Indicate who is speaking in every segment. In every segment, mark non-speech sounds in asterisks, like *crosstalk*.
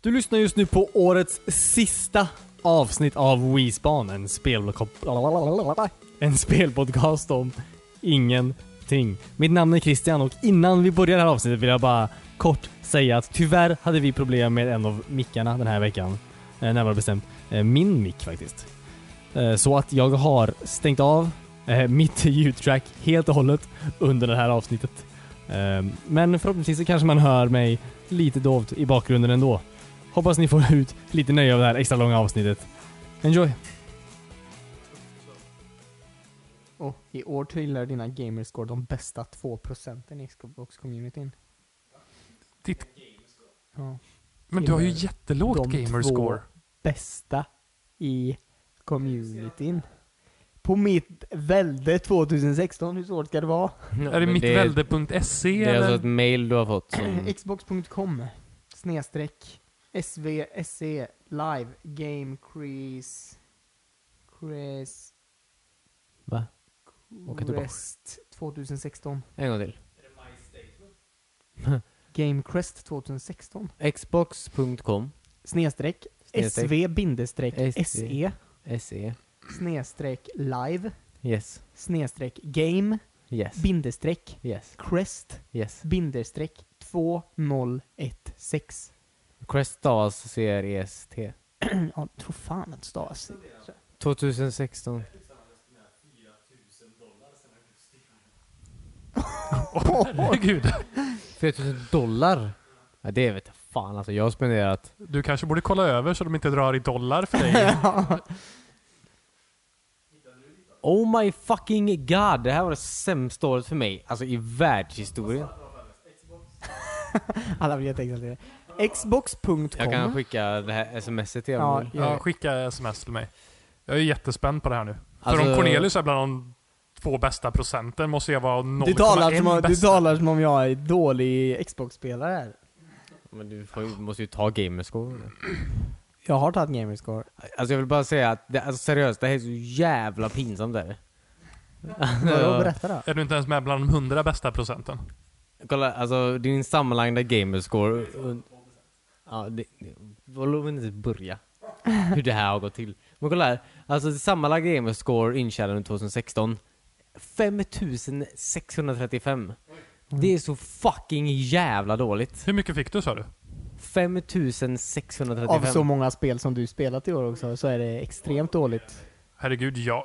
Speaker 1: Du lyssnar just nu på årets sista avsnitt av Wiespan, en spelblock- En spelpodcast om ingenting. Mitt namn är Christian och innan vi börjar det här avsnittet vill jag bara kort säga att tyvärr hade vi problem med en av mickarna den här veckan. Eh, närmare bestämt eh, min mick faktiskt. Eh, så att jag har stängt av eh, mitt ljudtrack helt och hållet under det här avsnittet. Eh, men förhoppningsvis så kanske man hör mig lite dovt i bakgrunden ändå. Hoppas ni får ut lite nöje av det här extra långa avsnittet. Enjoy!
Speaker 2: Och i år tillhör dina gamerscore de bästa 2% i Xbox-communityn.
Speaker 3: Ditt,
Speaker 2: Ja.
Speaker 3: men du har ju
Speaker 2: Gamer.
Speaker 3: jättelågt
Speaker 2: De
Speaker 3: gamerscore.
Speaker 2: Bästa i communityn. På mitt välde 2016, hur svårt ska det vara?
Speaker 3: Är det
Speaker 4: men
Speaker 3: mittvälde.se
Speaker 4: Det är alltså
Speaker 3: eller? *laughs*
Speaker 4: ett mail du har
Speaker 2: *clears throat*
Speaker 3: *clears throat*
Speaker 4: fått som...
Speaker 2: Xbox.com snedstreck svsc live game crease crease
Speaker 4: Va? Åka tillbaka.
Speaker 2: crest 2016
Speaker 4: En gång till.
Speaker 2: game crest 2016
Speaker 4: Xbox.com
Speaker 2: snedstreck
Speaker 4: Snedstreck.
Speaker 2: sv bindestreck E.
Speaker 4: SV.
Speaker 2: se
Speaker 4: SE
Speaker 2: snedstreck live
Speaker 4: E. Yes
Speaker 2: snedstreck game
Speaker 4: Yes
Speaker 2: bindestreck
Speaker 4: Yes
Speaker 2: crest
Speaker 4: Yes
Speaker 2: bindestreck 2016
Speaker 4: Crest stavas C-R-E-S-T
Speaker 2: Ja, tror fan att det stavas
Speaker 4: 2016
Speaker 3: Herregud.
Speaker 4: 4000 dollar? Ja det vet jag fan alltså, jag har spenderat...
Speaker 3: Du kanske borde kolla över så de inte drar i dollar för dig.
Speaker 4: Oh my fucking god! Det här var det sämsta året för mig, alltså i världshistorien.
Speaker 2: Alla vill jätteexalterade. Xbox.com.
Speaker 4: Jag kan skicka det här smset till er
Speaker 2: Ja,
Speaker 4: om ni vill.
Speaker 3: Ja, skicka sms till mig. Jag är jättespänd på det här nu. för
Speaker 4: Alltså-
Speaker 3: om Cornelius är bland de två bästa procenten måste jag vara
Speaker 2: du, talar
Speaker 3: 0,1
Speaker 2: som om, du
Speaker 3: bästa.
Speaker 2: talar som om jag är dålig Xbox-spelare här.
Speaker 4: Men du får, ju- måste ju ta gamerscore.
Speaker 2: Jag har tagit gamerscore.
Speaker 4: Alltså jag vill bara säga att, det, alltså seriöst, det här är så jävla pinsamt där.
Speaker 2: Vadå, berätta då.
Speaker 3: Är du inte ens med bland de 100 bästa procenten?
Speaker 4: Kolla, alltså din sammanlagda gamerscore... und- Ja, det... det- Låt mig inte börja. Hur det här har gått till. Men kolla här. Alltså det sammanlagda gamerscore intjänade under 2016. 5635. Det är så fucking jävla dåligt.
Speaker 3: Hur mycket fick du sa du?
Speaker 4: 5635.
Speaker 2: Av så många spel som du spelat i år också, så är det extremt dåligt.
Speaker 3: Herregud, jag...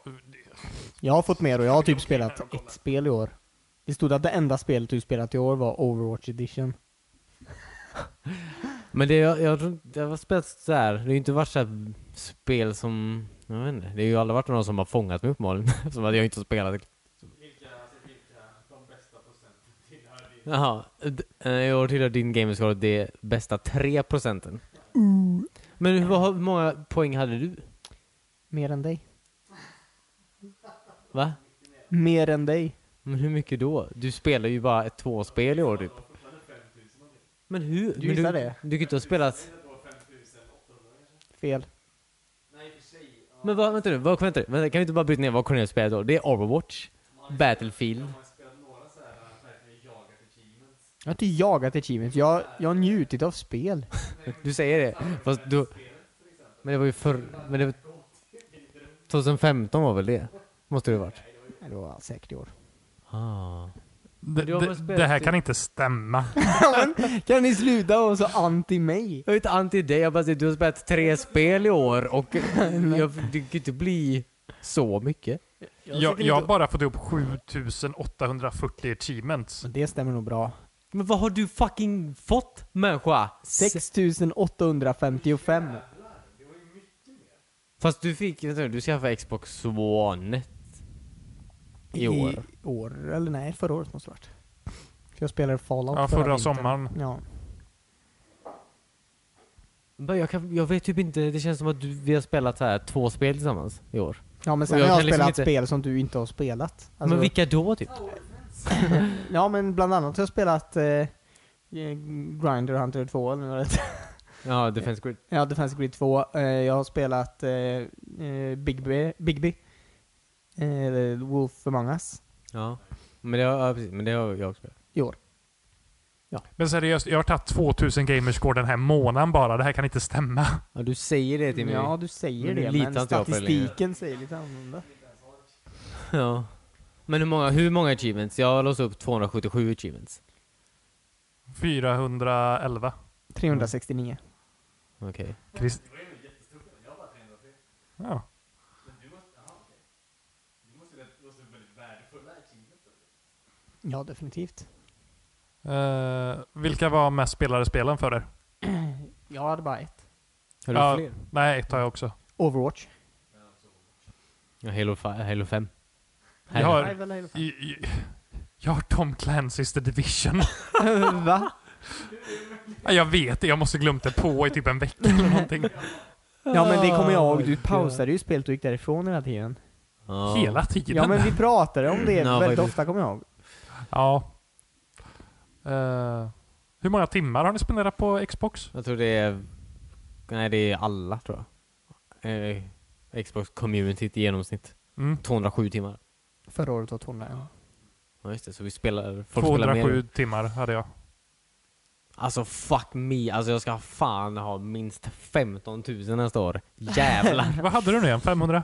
Speaker 2: Jag har fått mer och jag har typ spelat ett spel i år. Det stod att det enda spelet du spelat i år var Overwatch edition.
Speaker 4: Men det, jag, jag, tror inte- det har spelat så här. det har ju inte varit så här spel som, jag vet inte, det har ju aldrig varit någon som har fångat mig uppenbarligen. *laughs* som att jag inte har spelat. Vilka, alltså vilka, de bästa procenten tillhör din? Jaha, d- eh, i år tillhör din gamerscore de bästa 3 procenten.
Speaker 2: Mm.
Speaker 4: Men hur, vad- hur många poäng hade du?
Speaker 2: Mer än dig.
Speaker 4: Va?
Speaker 2: Mer än dig.
Speaker 4: Men hur mycket då? Du spelar ju bara ett, två spel i år typ. Men hur?
Speaker 2: Du
Speaker 4: men
Speaker 2: gissar det?
Speaker 4: Du kan ju inte ha spelat...
Speaker 2: Fel.
Speaker 4: Men vad, vänta nu, vad, vänta, nu, vänta, kan vi inte bara bryta ner vad Cornelius spelar då? Det är Overwatch, Battlefield.
Speaker 2: Jag har inte jagat achievements. Jag, jag har njutit av spel.
Speaker 4: Du säger det, fast du... Men det var ju förr... Men det var, 2015 var väl det? Måste det ha varit?
Speaker 2: Nej, Det var säkert i år.
Speaker 4: Ah.
Speaker 3: Det,
Speaker 4: Du har väl
Speaker 3: det,
Speaker 4: spelat
Speaker 3: det här
Speaker 4: typ-
Speaker 3: kan inte stämma.
Speaker 2: Kan ni sluta vara så anti mig?
Speaker 4: Jag är inte anti dig, jag bara säger du har spelat tre spel i år *laughs* och jag, det kan ju inte bli så mycket.
Speaker 3: Jag, jag har bara fått ihop 7840 achievements.
Speaker 2: Det stämmer nog bra.
Speaker 4: Men vad har du fucking fått människa?
Speaker 2: 6855.
Speaker 4: Fast du fick, vänta nu, du skaffade Xbox One i år.
Speaker 2: I år, eller nej, förra året måste det varit. För jag spelade Fallout
Speaker 3: Ja, förra
Speaker 2: vintern.
Speaker 3: sommaren.
Speaker 2: Ja.
Speaker 4: Men Jag, kan, jag vet typ inte, det känns som att du, vi har spelat så här två spel tillsammans i år.
Speaker 2: ja, men sen
Speaker 4: Och jag
Speaker 2: har jag
Speaker 4: kan liksom
Speaker 2: spelat
Speaker 4: inte-
Speaker 2: spel som du inte har spelat. Alltså,
Speaker 4: men vilka då typ?
Speaker 2: Ja, men bland annat har jag spelat eh, Grinder Hunter 2 eller något.
Speaker 4: Ja, Defense Grid.
Speaker 2: *laughs* Ja, Defense Grid 2. Eh, jag har spelat eh, eh, Bigby, Bigby. Eh, eller Wolf Among Us.
Speaker 4: Ja. Men det har, ja, precis, men det har jag också spelat.
Speaker 2: I år.
Speaker 3: Men seriöst, jag har tagit 2000 gamerscore den här månaden bara. Det här kan inte stämma. *laughs*
Speaker 4: Ja, du säger det till mig.
Speaker 2: Ja, du säger
Speaker 4: Men
Speaker 2: det,
Speaker 4: litar
Speaker 2: men
Speaker 4: inte jag på det längre.
Speaker 2: statistiken säger lite annorlunda.
Speaker 4: *laughs* Ja. Men hur många, hur många achievements? Jag har låst upp 277 achievements.
Speaker 3: 411.
Speaker 2: 369.
Speaker 4: Okej.
Speaker 3: Chris... Ja.
Speaker 2: Ja, definitivt.
Speaker 3: Eh, vilka var mest spelade spelen för er?
Speaker 2: Jag hade bara ett.
Speaker 4: Har du
Speaker 3: Ja.
Speaker 4: fler?
Speaker 3: Nej, ett har jag också.
Speaker 2: Overwatch.
Speaker 4: Ja, Halo, fi- Halo 5.
Speaker 3: Jag har,
Speaker 2: Rival Halo
Speaker 3: i- i- jag har Tom Clancy's The Division. *laughs*
Speaker 2: five. *laughs* Va?
Speaker 3: Ja, jag vet det, jag måste glömt det på i typ en vecka eller någonting.
Speaker 2: Ja men det kommer jag ihåg, du pausade ju spelet och gick därifrån hela tiden.
Speaker 4: Ja.
Speaker 3: Hela tiden.
Speaker 2: Ja men vi pratade om det
Speaker 4: Ja,
Speaker 2: väldigt
Speaker 4: faktiskt.
Speaker 2: ofta kommer jag ihåg.
Speaker 3: Ja. Eh, hur många timmar har ni spenderat på Xbox?
Speaker 4: Jag tror det är... Nej, det är alla tror jag. Eh, Xbox communityt i genomsnitt.
Speaker 3: Mm.
Speaker 4: 207 timmar.
Speaker 2: Förra året var Tornberg.
Speaker 4: Ja just det, så vi spelar... Folk spelar
Speaker 3: 207
Speaker 4: mer.
Speaker 3: timmar hade jag.
Speaker 4: Alltså fuck me, alltså jag ska fan ha minst 15 000 nästa år.
Speaker 3: *laughs*
Speaker 4: Jävlar.
Speaker 3: Vad hade du nu igen? 500?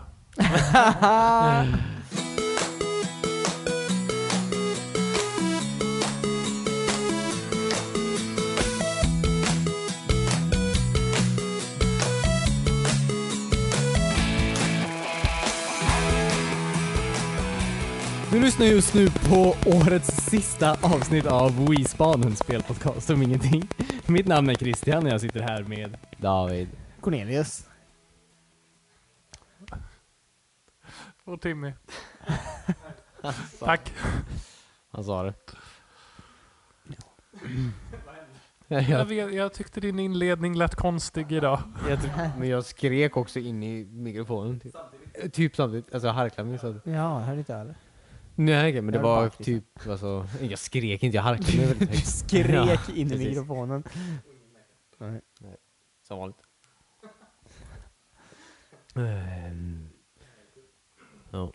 Speaker 1: Du lyssnar just nu på årets sista avsnitt av Wispanen spelpodcast om ingenting. Mitt namn är Christian och jag sitter här med...
Speaker 4: David.
Speaker 2: Cornelius.
Speaker 3: Och Timmy. Tack.
Speaker 4: Han sa det.
Speaker 3: Jag,
Speaker 4: jag,
Speaker 3: vet, jag tyckte din inledning lät konstig idag.
Speaker 4: jag, typ- men jag skrek också in i mikrofonen. Typ samtidigt? Typ samtidigt. Alltså jag harklade mig. Så att,
Speaker 2: Ja, hörde inte jag *laughs* heller.
Speaker 4: nej okej, men det
Speaker 2: Jag
Speaker 4: var
Speaker 2: bara kristna.
Speaker 4: typ alltså, Jag skrek inte, jag harklade mig väldigt högt. *laughs*
Speaker 2: Skrek in i
Speaker 4: precis.
Speaker 2: mikrofonen.
Speaker 4: Som vanligt. Ehm. Ja.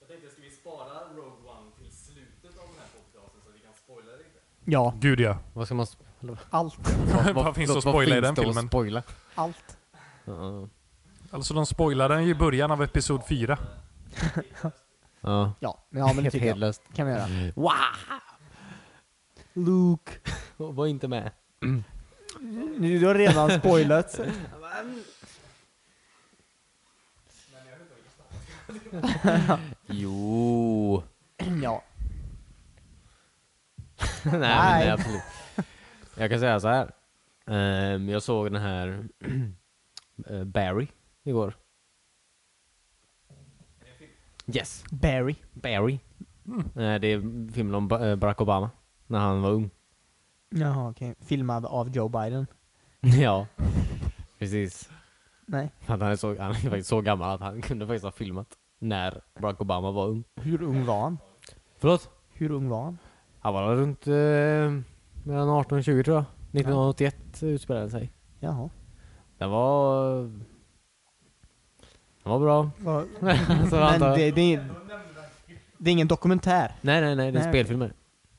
Speaker 1: Jag tänkte, ska vi spara Rogue One till slutet av den här podcasten så vi kan spoila det?
Speaker 2: Ja,
Speaker 3: Gud ja.
Speaker 4: Vad ska man... sp-
Speaker 2: allt.
Speaker 3: Vad, finns det att spoila i den
Speaker 4: finns det att
Speaker 3: filmen?
Speaker 4: spoila?
Speaker 2: Allt.
Speaker 4: Ja,
Speaker 3: Alltså de spoilade den ju i början av Episod 4.
Speaker 4: Ja.
Speaker 2: Ja, ja men det
Speaker 4: Helt
Speaker 2: tycker jag.
Speaker 4: hejdlöst.
Speaker 2: kan vi göra.
Speaker 4: Wow!
Speaker 2: Luke.
Speaker 4: Var inte med.
Speaker 2: Nu, du har redan *laughs* spoilat.
Speaker 4: Jo.
Speaker 2: ja.
Speaker 4: *laughs*
Speaker 2: Nej.
Speaker 4: nej, Men, nej, absolut. Jag kan säga så här. Ehm, jag såg den här *clears throat* eh, Barry igår. Yes,
Speaker 2: Barry.
Speaker 4: Barry.
Speaker 3: Mm.
Speaker 4: Eh, det är filmen om Ba- eh, Barack Obama. När han var ung. *laughs*
Speaker 2: Jaha okej. Filmad av Joe Biden.
Speaker 4: ja, precis.
Speaker 2: Nej.
Speaker 4: Att han, är så, han är faktiskt så gammal att han *laughs* kunde faktiskt ha filmat när Barack Obama var ung.
Speaker 2: Hur ung var han?
Speaker 4: Förlåt?
Speaker 2: Hur ung var han?
Speaker 4: Han var runt eh, mellan 18 och 20 tror jag. 1981 utspelade den sig.
Speaker 2: Jaha.
Speaker 4: Den var... Den var bra. *laughs* alltså,
Speaker 2: Men
Speaker 4: antar jag.
Speaker 2: det, det, är, det är ingen dokumentär.
Speaker 4: Nej, nej, nej. Det är
Speaker 2: Nej,
Speaker 4: spelfilmer.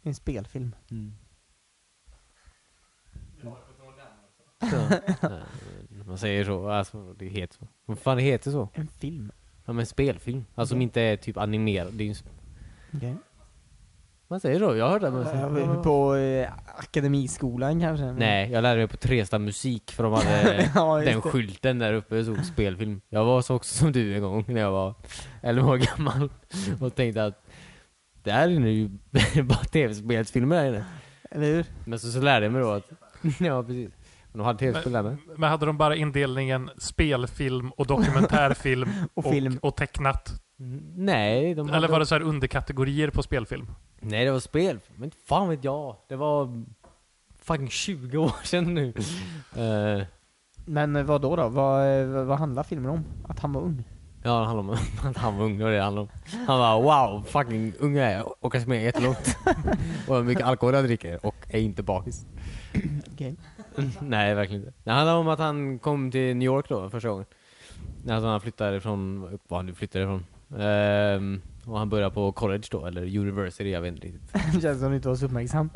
Speaker 2: Det är en spelfilm. *laughs*
Speaker 4: Ja. Nej, Man säger så. Alltså, det heter så. Vad fan det heter så?
Speaker 2: En film.
Speaker 4: Ja, men spelfilm. Alltså som inte är typ animerad. Det är ju... en sp-
Speaker 2: Okej.
Speaker 4: Man säger så. Jag hörde det. men-
Speaker 2: På eh, akademiskolan kanske? men-
Speaker 4: Nej, jag lärde mig på Tresta musik för de hade
Speaker 2: *laughs* Ja, just det.
Speaker 4: den skylten där uppe det stod spelfilm. Jag var så också som du en gång när jag var 11 år gammal
Speaker 2: Mm.
Speaker 4: och tänkte att det här är nu *laughs* bara tv-spelsfilmer här inne.
Speaker 2: Eller hur?
Speaker 4: Men så, så lärde jag mig då att, *laughs* ja precis. Men de hade tv-spel där med.
Speaker 3: Men hade de bara indelningen spelfilm och dokumentärfilm
Speaker 2: Och film.
Speaker 3: och, tecknat?
Speaker 4: Nej, de hade...
Speaker 3: Eller var det så här underkategorier på spelfilm?
Speaker 4: Nej, det var spel. Men inte fan vet jag. Det var fucking 20 år *laughs* sedan nu. Eh,
Speaker 2: Men vad då? då? Vad, eh, vad handlar filmen om? Att han var ung?
Speaker 4: ja, det handlar om *laughs* att han var ung. Det var det det handlade om. Han bara wow, fucking ung är jag och kanske med jättelångt. *laughs* och hur mycket alkohol jag dricker och är inte bakis.
Speaker 2: Okej. *laughs*
Speaker 4: Nej, verkligen inte. Det handlar om att han kom till New York då första gången. Alltså han flyttade från, upp var han nu flyttade ifrån. Ehm, Och han började på college då, eller university, jag vet inte riktigt.
Speaker 2: Det känns som du inte var så uppmärksam.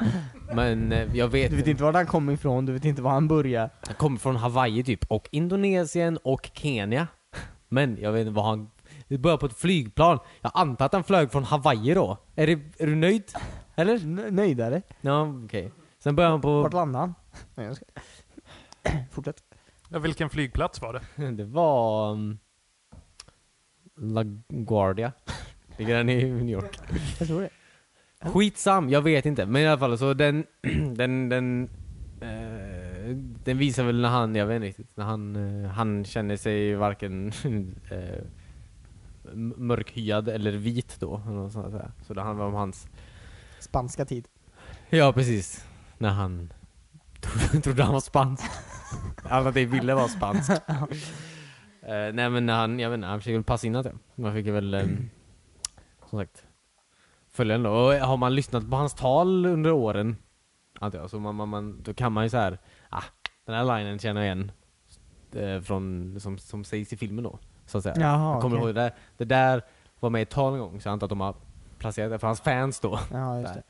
Speaker 4: Men eh, jag vet,
Speaker 2: Du vet inte var han kom ifrån, du vet inte var han började.
Speaker 4: han kommer från Hawaii typ, och Indonesien och Kenya. Men jag vet inte vad han... Det började på ett flygplan. Jag antar att han flög från Hawaii då. Är, det, är du nöjd? Eller?
Speaker 2: N- nöjdare.
Speaker 4: Ja, okej. Sen började han på... *laughs*
Speaker 2: Vart landade han? Nej, jag ska... *clears throat* Fortsätt.
Speaker 3: Ja, vilken flygplats var det?
Speaker 4: Det var... Um, LaGuardia. Ligger den i New York?
Speaker 2: Jag tror det.
Speaker 4: Skitsam, jag vet inte. Men i alla fall så den... *clears throat* den, den eh, den visar väl när han, jag vet inte riktigt, när han, eh, han känner sig varken *laughs* eh, m- mörkhyad eller vit då. eller något sånt att säga. Så det handlar om hans...
Speaker 2: Spanska tid.
Speaker 4: Ja, precis. När han *laughs* tro- trodde han var spansk. Alternativt ville vara spansk.
Speaker 2: *laughs*
Speaker 4: Eh, nej men när han, jag vet inte, han försöker väl passa in allt det. Man fick väl, eh, som sagt, följa den då. Och har man lyssnat på hans tal under åren, antar jag, så man, man, man, då kan man ju så här, ah, den här linen känner jag igen. Eh, från, som, som sägs i filmen då, så att säga.
Speaker 2: Jaha,
Speaker 4: jag kommer
Speaker 2: okej.
Speaker 4: ihåg det där, det där var med i ett tal en gång, så jag antar att de har placerat det för hans fans då.
Speaker 2: Ja, just det.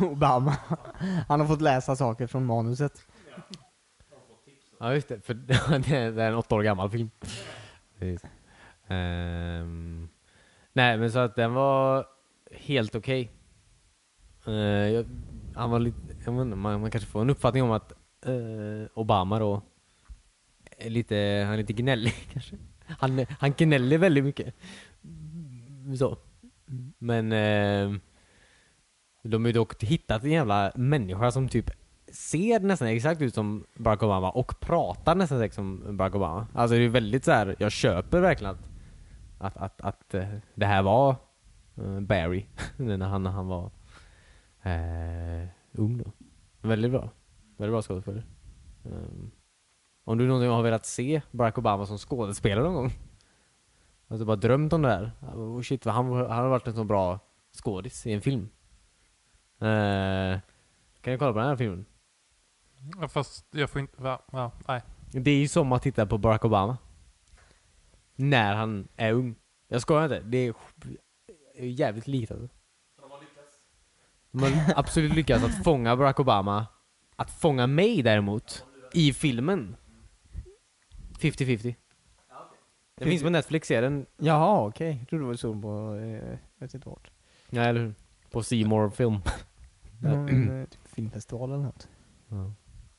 Speaker 2: *laughs* Obama. Han har fått läsa saker från manuset.
Speaker 4: Ja just det, för *laughs* det är det är en åtta år gammal film. Precis. Ehm, nej men så att den var helt okej. Eh, jag- han var lite, jag vet inte, man, man kanske får en uppfattning om att eh, Obama då är lite, han är lite gnällig *laughs* kanske. Han, han gnäller väldigt mycket. Så. Men eh, de har ju dock hittat en jävla människa som typ ser nästan exakt ut som Barack Obama och pratar nästan exakt som Barack Obama. Alltså det är väldigt så här. jag köper verkligen att, att, att, att eh, det här var eh, Barry *laughs* när han, när han var eh, ung då. Väldigt bra. Väldigt bra skådespelare. Ehm, om du någonsin har velat se Barack Obama som skådespelare någon gång? Alltså bara drömt om det här? Oh shit, vad han, han har varit en så bra skådis i en film. Eh, kan du kolla på den här filmen?
Speaker 3: Ja, fast jag får inte... Va? Va? Nej.
Speaker 4: Det är ju som att titta på Barack Obama. När han är ung. Jag skojar inte. Det är sj- är jävligt likt alltså. De har absolut lyckats att fånga Barack Obama. Att fånga mig däremot, i filmen. 50-50. Det finns på Netflix, ser den?
Speaker 2: Jaha, okej. Jag trodde det var så på... Eh, jag vet inte vart.
Speaker 4: Ja, eller hur? På Seymour film.
Speaker 2: Någon, eh, typ *clears throat* filmfestival eller något.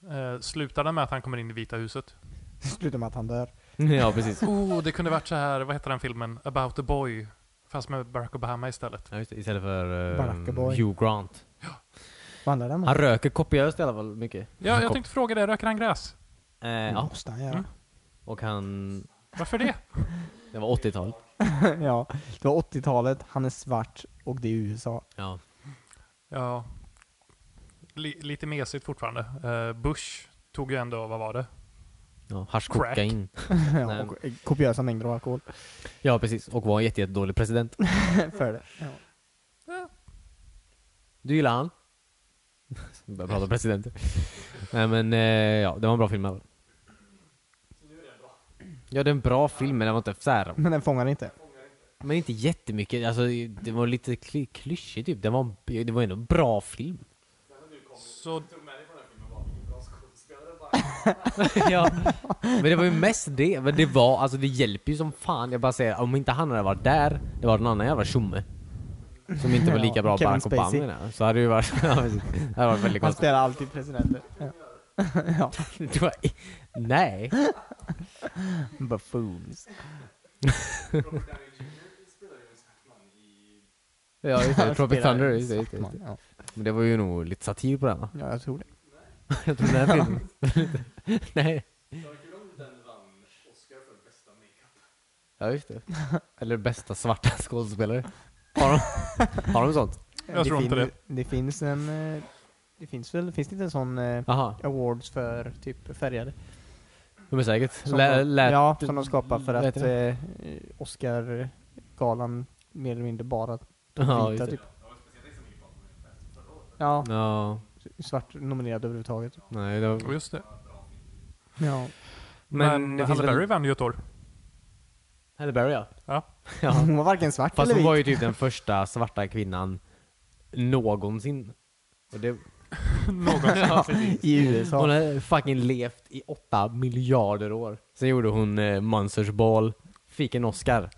Speaker 3: Eh, slutar den med att han kommer in i Vita huset?
Speaker 2: Slutar med att han dör.
Speaker 4: *laughs* ja, precis.
Speaker 3: Oh, det kunde varit så här, vad heter den filmen? About a boy. Fast med Barack Obama istället.
Speaker 4: Ja, just det. Istället för
Speaker 2: Barack
Speaker 4: eh,
Speaker 2: Obama.
Speaker 4: Hugh Grant.
Speaker 2: Vad handlar den om?
Speaker 4: Han röker kopiöst i alla fall, mycket.
Speaker 3: Ja, jag tänkte fråga dig, röker han gräs?
Speaker 4: Eh,
Speaker 2: Det
Speaker 4: ja,
Speaker 2: måste han göra.
Speaker 3: Mm.
Speaker 4: och han...
Speaker 3: Varför det?
Speaker 4: Det var 80-talet.
Speaker 2: *laughs* ja. Det var 80-talet, han är svart och det är USA.
Speaker 4: Ja.
Speaker 3: *laughs* Ja, li- lite mesigt fortfarande. Eh, Bush tog ju ändå, vad var det?
Speaker 4: Ja,
Speaker 3: Crack.
Speaker 4: haschkokain.
Speaker 2: *laughs* ja,
Speaker 4: Nej.
Speaker 2: och eh, kopiösa mängder av
Speaker 4: *laughs*
Speaker 2: alkohol.
Speaker 4: Ja, precis. Och var en jätte, jättedålig president.
Speaker 2: För det. Ja.
Speaker 4: Du gillar han? *laughs* Börjar prata om presidenter. Nej men, eh, ja, det var en bra film i alla fall. Ja, det är en bra film, men den var inte så här.
Speaker 2: Men den fångar inte.
Speaker 4: Men inte jättemycket. Alltså, det var lite kly- klyschig typ. Det var, en- det var ändå en bra film.
Speaker 3: Så,
Speaker 4: ja. Men det var ju mest det. Men det var, alltså det hjälper ju som fan. Jag bara säger, om inte han hade varit där, det var någon annan jävla tjomme. Som inte var
Speaker 2: Ja,
Speaker 4: lika bra
Speaker 2: Kevin
Speaker 4: Barack Obama
Speaker 2: Spacey.
Speaker 4: menar jag. Så hade det ju varit, *laughs* ja, precis. det hade varit väldigt
Speaker 2: Han
Speaker 4: konstigt.
Speaker 2: spelar alltid presidenter. Ja. *laughs*
Speaker 4: *laughs*
Speaker 2: ja.
Speaker 4: Det var, nej.
Speaker 2: Buffoons.
Speaker 4: Ja, just
Speaker 2: *laughs*
Speaker 4: det.
Speaker 2: Han
Speaker 4: Tropic
Speaker 2: spelar
Speaker 4: Thunder. Just det, just det, just
Speaker 2: Sackman,
Speaker 4: det.
Speaker 2: Ja.
Speaker 4: Men det var ju nog lite satir på den va?
Speaker 2: ja, jag tror det.
Speaker 4: Jag tror den här filmen. *laughs* Nej.
Speaker 2: *laughs*
Speaker 4: Ja, just det. *laughs* Eller bästa svarta *laughs* skådespelare. Har de,
Speaker 2: *laughs*
Speaker 4: har de sånt?
Speaker 3: Jag tror inte
Speaker 2: fin- det. finns en... eh, Det finns väl... Finns det inte en sån... eh,
Speaker 4: Jaha,
Speaker 2: Awards för typ färgade.
Speaker 4: men säkert.
Speaker 2: Som
Speaker 4: Lä,
Speaker 2: de,
Speaker 4: lät,
Speaker 2: ja, som de skapar för
Speaker 4: lät
Speaker 2: att eh, Oscar-galan mer eller mindre bara vita
Speaker 4: ja, just det.
Speaker 2: typ. Ja,
Speaker 4: Ja,
Speaker 2: svart nominerad överhuvudtaget.
Speaker 4: nej det var...
Speaker 3: oh, just det.
Speaker 2: Ja.
Speaker 3: Men,
Speaker 4: det
Speaker 3: Halle
Speaker 4: finns väl-
Speaker 3: Berry vann ju ett år.
Speaker 4: Halle Berry ja.
Speaker 3: Ja.
Speaker 4: *laughs* ja.
Speaker 2: Hon var varken svart
Speaker 4: Fast
Speaker 2: eller
Speaker 4: hon
Speaker 2: vit.
Speaker 4: var ju typ den första svarta kvinnan någonsin. Och det,
Speaker 3: *laughs* Någonsin.
Speaker 2: I USA.
Speaker 4: hon har fucking levt i åtta miljarder år. Sen gjorde hon eh, Monsters Ball, fick en Oscar.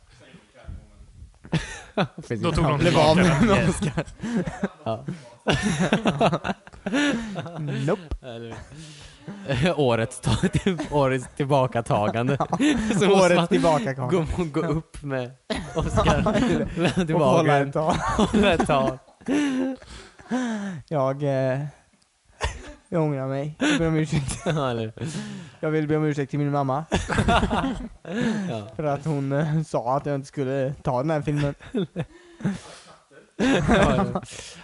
Speaker 4: Precis.
Speaker 3: Då tog de
Speaker 4: Blev
Speaker 3: tillbaka
Speaker 4: av med
Speaker 3: den.
Speaker 4: en Oscar.
Speaker 2: *laughs* Nope.
Speaker 4: Eller- Eh, *laughs* årets, ta- *laughs* till, årets
Speaker 2: *laughs*
Speaker 4: tillbakatagande. Så måste man
Speaker 2: Året tillbaka kom.
Speaker 4: gå, gå
Speaker 2: *laughs*
Speaker 4: upp med Oscar. Lämna
Speaker 2: Och hålla
Speaker 4: tillbaka
Speaker 2: ett
Speaker 4: den.
Speaker 2: tag.
Speaker 4: Hålla ett tag.
Speaker 2: *laughs* Jag... Eh, jag ångrar mig. Jag ber om ursäkt.
Speaker 4: Ja, eller-
Speaker 2: Jag vill be om ursäkt till min mamma.
Speaker 4: ja.
Speaker 2: För att hon eh, sa att jag inte skulle ta den här filmen.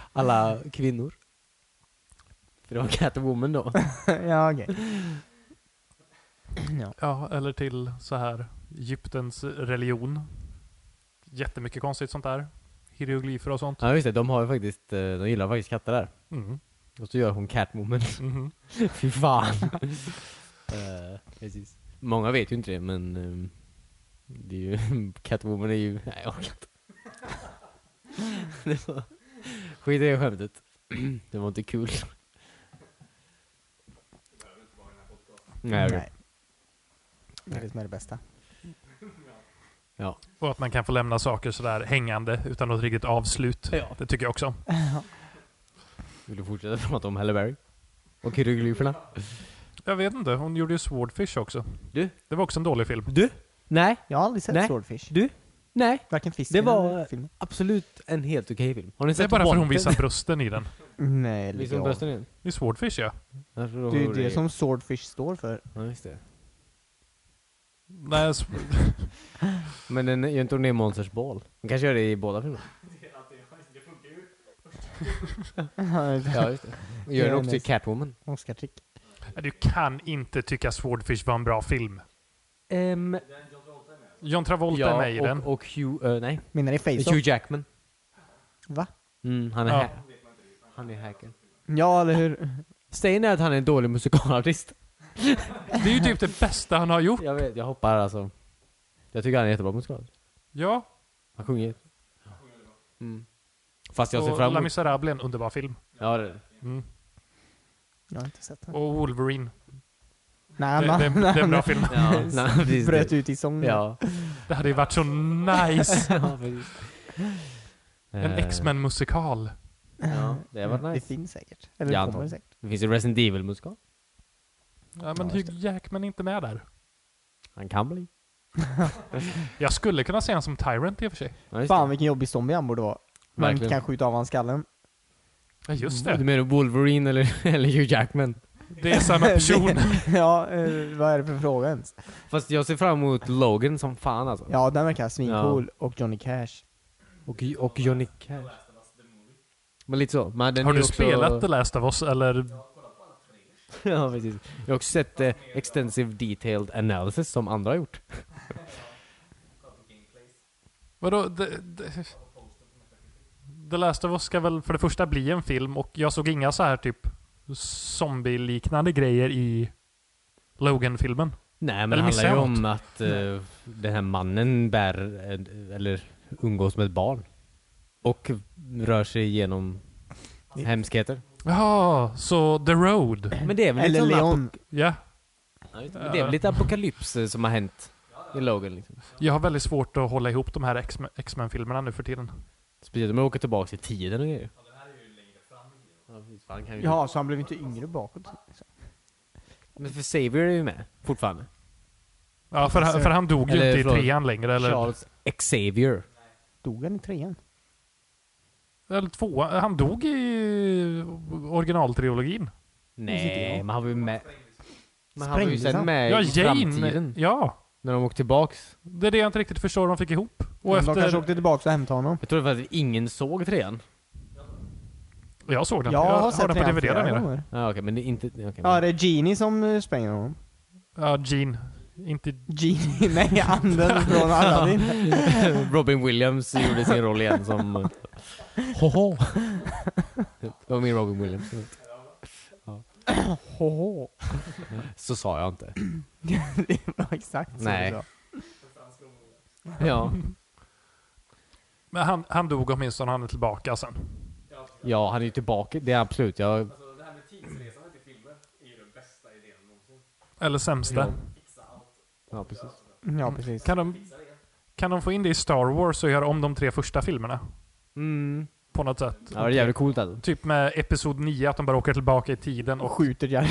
Speaker 2: *laughs*
Speaker 4: Alla kvinnor. För det var
Speaker 2: *laughs*
Speaker 4: Catwoman då.
Speaker 2: ja, okej. Ja.
Speaker 3: Ja, eller till så här Egyptens religion. Jättemycket konstigt sånt där. Hieroglyfer och sånt.
Speaker 4: Ja just det, de har ju faktiskt, eh, de gillar faktiskt katter där.
Speaker 3: Mm.
Speaker 4: Och så gör hon Catwoman.
Speaker 3: Mhm.
Speaker 4: Fy *laughs* fan. Eh, precis. Många vet ju inte det men eh, det är ju, *laughs* Catwoman är ju, nej jag orkar inte. *laughs* Det var- Skit i det skämtet. *clears throat* Det var inte kul. Nej, okej.
Speaker 2: Det är det som är det bästa.
Speaker 4: Ja.
Speaker 3: Och att man kan få lämna saker sådär hängande utan något riktigt avslut.
Speaker 4: Ja.
Speaker 3: Det tycker jag också.
Speaker 4: Vill du fortsätta *laughs* prata om Halle Berry? Och hieroglyferna?
Speaker 3: Jag vet inte, hon gjorde ju Swordfish också.
Speaker 4: Du?
Speaker 3: Det var också en dålig film.
Speaker 4: Du? Nej,
Speaker 2: Jag har aldrig sett
Speaker 4: Nej.
Speaker 2: Swordfish.
Speaker 4: du? Nej.
Speaker 2: Varken fisken
Speaker 4: Det var-
Speaker 2: eller filmen.
Speaker 4: Absolut en helt okej film. Har ni
Speaker 3: Det är
Speaker 4: sett
Speaker 3: bara för hon
Speaker 4: Wanted?
Speaker 3: visar brösten i den.
Speaker 2: Nej, lägg
Speaker 4: Visar
Speaker 2: av.
Speaker 4: hon brösten igen?
Speaker 3: I Swordfish ja.
Speaker 4: Jag tror
Speaker 2: Det
Speaker 4: hon
Speaker 2: är ju
Speaker 4: gjorde
Speaker 2: det som Swordfish står för.
Speaker 4: Ja, just det.
Speaker 3: Nej, sw-
Speaker 4: Men den, gör inte hon det i Monsters Ball? Hon kanske gör det i
Speaker 3: *laughs*
Speaker 4: båda filmerna? Ja, just det. Hon gör
Speaker 2: Det
Speaker 4: det
Speaker 2: är
Speaker 4: också i
Speaker 2: nice.
Speaker 4: Catwoman.
Speaker 2: *laughs* Oscar-trick.
Speaker 3: *laughs* du kan inte tycka Swordfish var en bra film.
Speaker 4: Ehm,
Speaker 3: John Travolta är med i den.
Speaker 4: och, och Hugh... eh, nej.
Speaker 2: Menar ni Face-Off?
Speaker 4: Hugh Jackman.
Speaker 2: Va?
Speaker 4: Mm, han är
Speaker 3: Ja.
Speaker 4: ha- Han är hacken.
Speaker 2: Ja, eller hur?
Speaker 4: Stein är att han är en dålig musikalartist.
Speaker 3: Det är ju typ det bästa han har gjort.
Speaker 4: *laughs* Jag vet, jag hoppar alltså. Jag tycker han är jättebra musikalartist.
Speaker 3: Ja,
Speaker 4: Han sjunger mm. Fast jag ser
Speaker 3: och
Speaker 4: fram
Speaker 3: La
Speaker 4: emot...
Speaker 3: Miserable är en underbar film.
Speaker 4: Ja, det är det.
Speaker 3: Mm.
Speaker 2: Jag har inte sett den.
Speaker 3: Och Wolverine.
Speaker 2: *laughs* Nej,
Speaker 3: Det,
Speaker 2: han,
Speaker 3: det, det är en *laughs* bra film.
Speaker 4: Ja, *laughs* nej, precis.
Speaker 2: bröt ut i sång.
Speaker 4: Ja.
Speaker 3: Det hade ju varit så nice.
Speaker 4: *laughs* ja, precis.
Speaker 3: En
Speaker 4: Eh,
Speaker 3: X-Men musikal.
Speaker 4: Ja, det hade varit
Speaker 2: Det
Speaker 4: *laughs* nice.
Speaker 2: finns säkert. Eller
Speaker 4: Ja,
Speaker 2: det kommer
Speaker 4: antagligen.
Speaker 2: säkert.
Speaker 4: Det finns ju Resident Evil-musikal.
Speaker 3: Ja, men
Speaker 2: Ja, just
Speaker 3: Hugh Jackman är inte med där.
Speaker 4: Han kan bli.
Speaker 3: Jag skulle kunna se honom som Tyrant i och för sig.
Speaker 4: Ja, just
Speaker 2: Fan
Speaker 4: det.
Speaker 2: vilken jobbig zombie han borde vara. Man
Speaker 4: Verkligen.
Speaker 2: kan skjuta av hans skallen. *laughs*
Speaker 3: Ja, just
Speaker 4: Du
Speaker 3: det.
Speaker 4: menar Wolverine eller, *laughs* eller Hugh Jackman?
Speaker 3: Det är samma person.
Speaker 2: ja, eh, vad är det för fråga ens?
Speaker 4: Fast jag ser fram emot Logan som fan alltså.
Speaker 2: Ja, den verkar svincool. Och Johnny Cash.
Speaker 4: Och, och Johnny Cash. Men lite så. Men den
Speaker 3: Har
Speaker 4: är
Speaker 3: du
Speaker 4: också...
Speaker 3: spelat The Last of Us eller?
Speaker 4: *laughs* ja, precis. Jag har också sett eh, Extensive Detailed Analysis som andra har gjort.
Speaker 3: Vadå? The, the, the Last of Us ska väl för det första bli en film och jag såg inga så här typ zombie-liknande grejer i Logan-filmen.
Speaker 4: Nej men
Speaker 3: Eller
Speaker 4: det
Speaker 3: missar
Speaker 4: handlar ju
Speaker 3: jag
Speaker 4: om att eh, den här mannen bär, eh, eller umgås med ett barn. Och rör sig igenom hemskheter.
Speaker 3: Ja, så The Road.
Speaker 4: Men det är väl
Speaker 2: Eller
Speaker 4: lite sån
Speaker 2: Leon.
Speaker 3: Ja.
Speaker 4: Ja, just det. Men Det är väl lite apokalyps eh, som har hänt i Logan liksom.
Speaker 3: Jag har väldigt svårt att hålla ihop de här X-Men- X-Men-filmerna nu för tiden.
Speaker 4: Speciellt om man åker tillbaka i tiden och grejer. Ja, precis, för han kan ju-
Speaker 2: Ja, så han blev inte yngre bakåt.
Speaker 4: Men för Xavier är ju med fortfarande.
Speaker 3: Ja, för, han- för han dog ju
Speaker 4: Eller,
Speaker 3: inte i
Speaker 4: förlåt.
Speaker 3: trean längre. Eller,
Speaker 4: Charles Xavier.
Speaker 2: Dog han i trean?
Speaker 3: eller tvåan. Han dog i originaltrilogin.
Speaker 4: Nej, men han var ju med. Men han var ju
Speaker 2: Sprängdes
Speaker 4: sen
Speaker 2: han?
Speaker 4: med
Speaker 3: Ja,
Speaker 4: i
Speaker 3: Jane.
Speaker 4: framtiden.
Speaker 3: Ja,
Speaker 4: När de åkte tillbaks.
Speaker 3: det är det jag inte riktigt förstår hur de fick ihop. Och
Speaker 2: De kanske
Speaker 3: efter...
Speaker 2: åkte tillbaka och hämtade honom.
Speaker 4: Jag tror faktiskt ingen såg trean.
Speaker 3: Jag såg den.
Speaker 2: Jag har,
Speaker 3: jag
Speaker 2: sett
Speaker 3: har den på
Speaker 2: trean
Speaker 3: DVD
Speaker 2: flera
Speaker 3: där nere.
Speaker 2: gånger.
Speaker 4: Ja, okej, men det är inte... okej,
Speaker 2: Ja,
Speaker 4: men-
Speaker 2: det är Genie som eh, spränger honom.
Speaker 3: Ja, Gene. Inte...
Speaker 2: Genie? *laughs* Nej, anden från *laughs* Aladdin.
Speaker 4: *laughs* Robin Williams gjorde sin roll igen som... eh, Hoho! Det var min Robin Williams. Ja.
Speaker 2: Hoho.
Speaker 4: Så sa jag inte.
Speaker 2: Det var Exakt så
Speaker 4: Nej.
Speaker 2: det var.
Speaker 4: Ja.
Speaker 3: Men han, han dog åtminstone, han är tillbaka sen.
Speaker 4: ja, han är ju tillbaka. Det är absolut. Jag,
Speaker 1: Alltså,
Speaker 3: Eller sämsta.
Speaker 4: ja, precis.
Speaker 2: Ja, precis.
Speaker 3: Kan de, kan de få in det i Star Wars och göra om de tre första filmerna?
Speaker 4: Mm.
Speaker 3: På något sätt.
Speaker 4: Ja, det är jävligt coolt alltså.
Speaker 3: Typ med Episod 9, att de bara åker tillbaka i tiden och
Speaker 2: Och skjuter Jar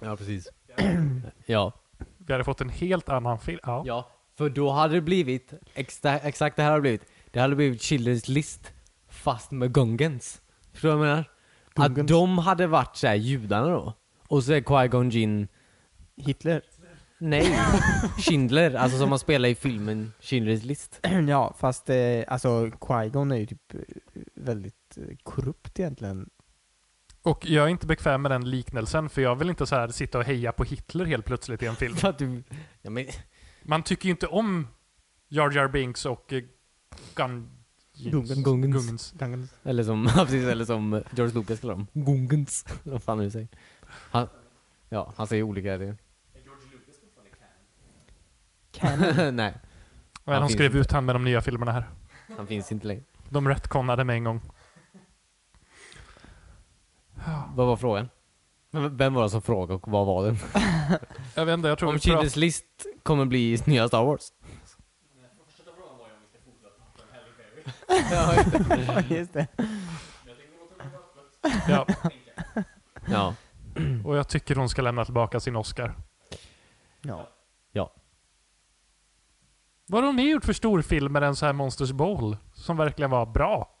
Speaker 4: Ja, precis. ja.
Speaker 3: vi hade fått en helt annan film. Ja.
Speaker 4: ja, för då hade det blivit exta, exakt det här hade blivit. Det hade blivit Children's List fast med Gungens. Förstår du vad jag menar? Att
Speaker 2: Gungens.
Speaker 4: de hade varit så här judarna då. Och så är Qui-Gon Jinn,
Speaker 2: Hitler.
Speaker 4: nej, Schindler, alltså som man spelar i filmen Schindler's List.
Speaker 2: *clears throat* ja, fast eh, alltså Qui-Gon är ju typ eh, väldigt eh, korrupt egentligen.
Speaker 3: Och jag är inte bekväm med den liknelsen, för jag vill inte så här sitta och heja på Hitler helt plötsligt i en film.
Speaker 4: För att du, ja, men,
Speaker 3: Man tycker ju inte om Jar Jar Binks och eh, Gun...
Speaker 4: Gungens. Gungens.
Speaker 3: Gungens.
Speaker 4: Eller som, *laughs* ja, precis, eller som George Lucas kallar dem. Gungens. Vad fan är det du säger? Han, ja, han säger olika det. *laughs* Nej,
Speaker 3: Men de
Speaker 4: finns
Speaker 3: skrev
Speaker 4: inte.
Speaker 3: ut han med de nya filmerna här.
Speaker 4: han finns inte längre.
Speaker 3: De retconnade med en gång.
Speaker 4: Vad var frågan? Men Vem var det som frågade och vad var det?
Speaker 3: Jag vet inte, jag tror
Speaker 4: Om
Speaker 3: vi pratar-
Speaker 4: Children's List kommer bli nya Star
Speaker 3: *laughs*
Speaker 4: Wars?
Speaker 2: Ja, *laughs* just det.
Speaker 3: Ja,
Speaker 4: *laughs* Ja. Mm.
Speaker 3: och jag tycker hon ska lämna tillbaka sin Oscar.
Speaker 2: Ja.
Speaker 4: Ja.
Speaker 3: Vad har ni gjort för storfilmer än så här Monsters Ball? Som verkligen var bra.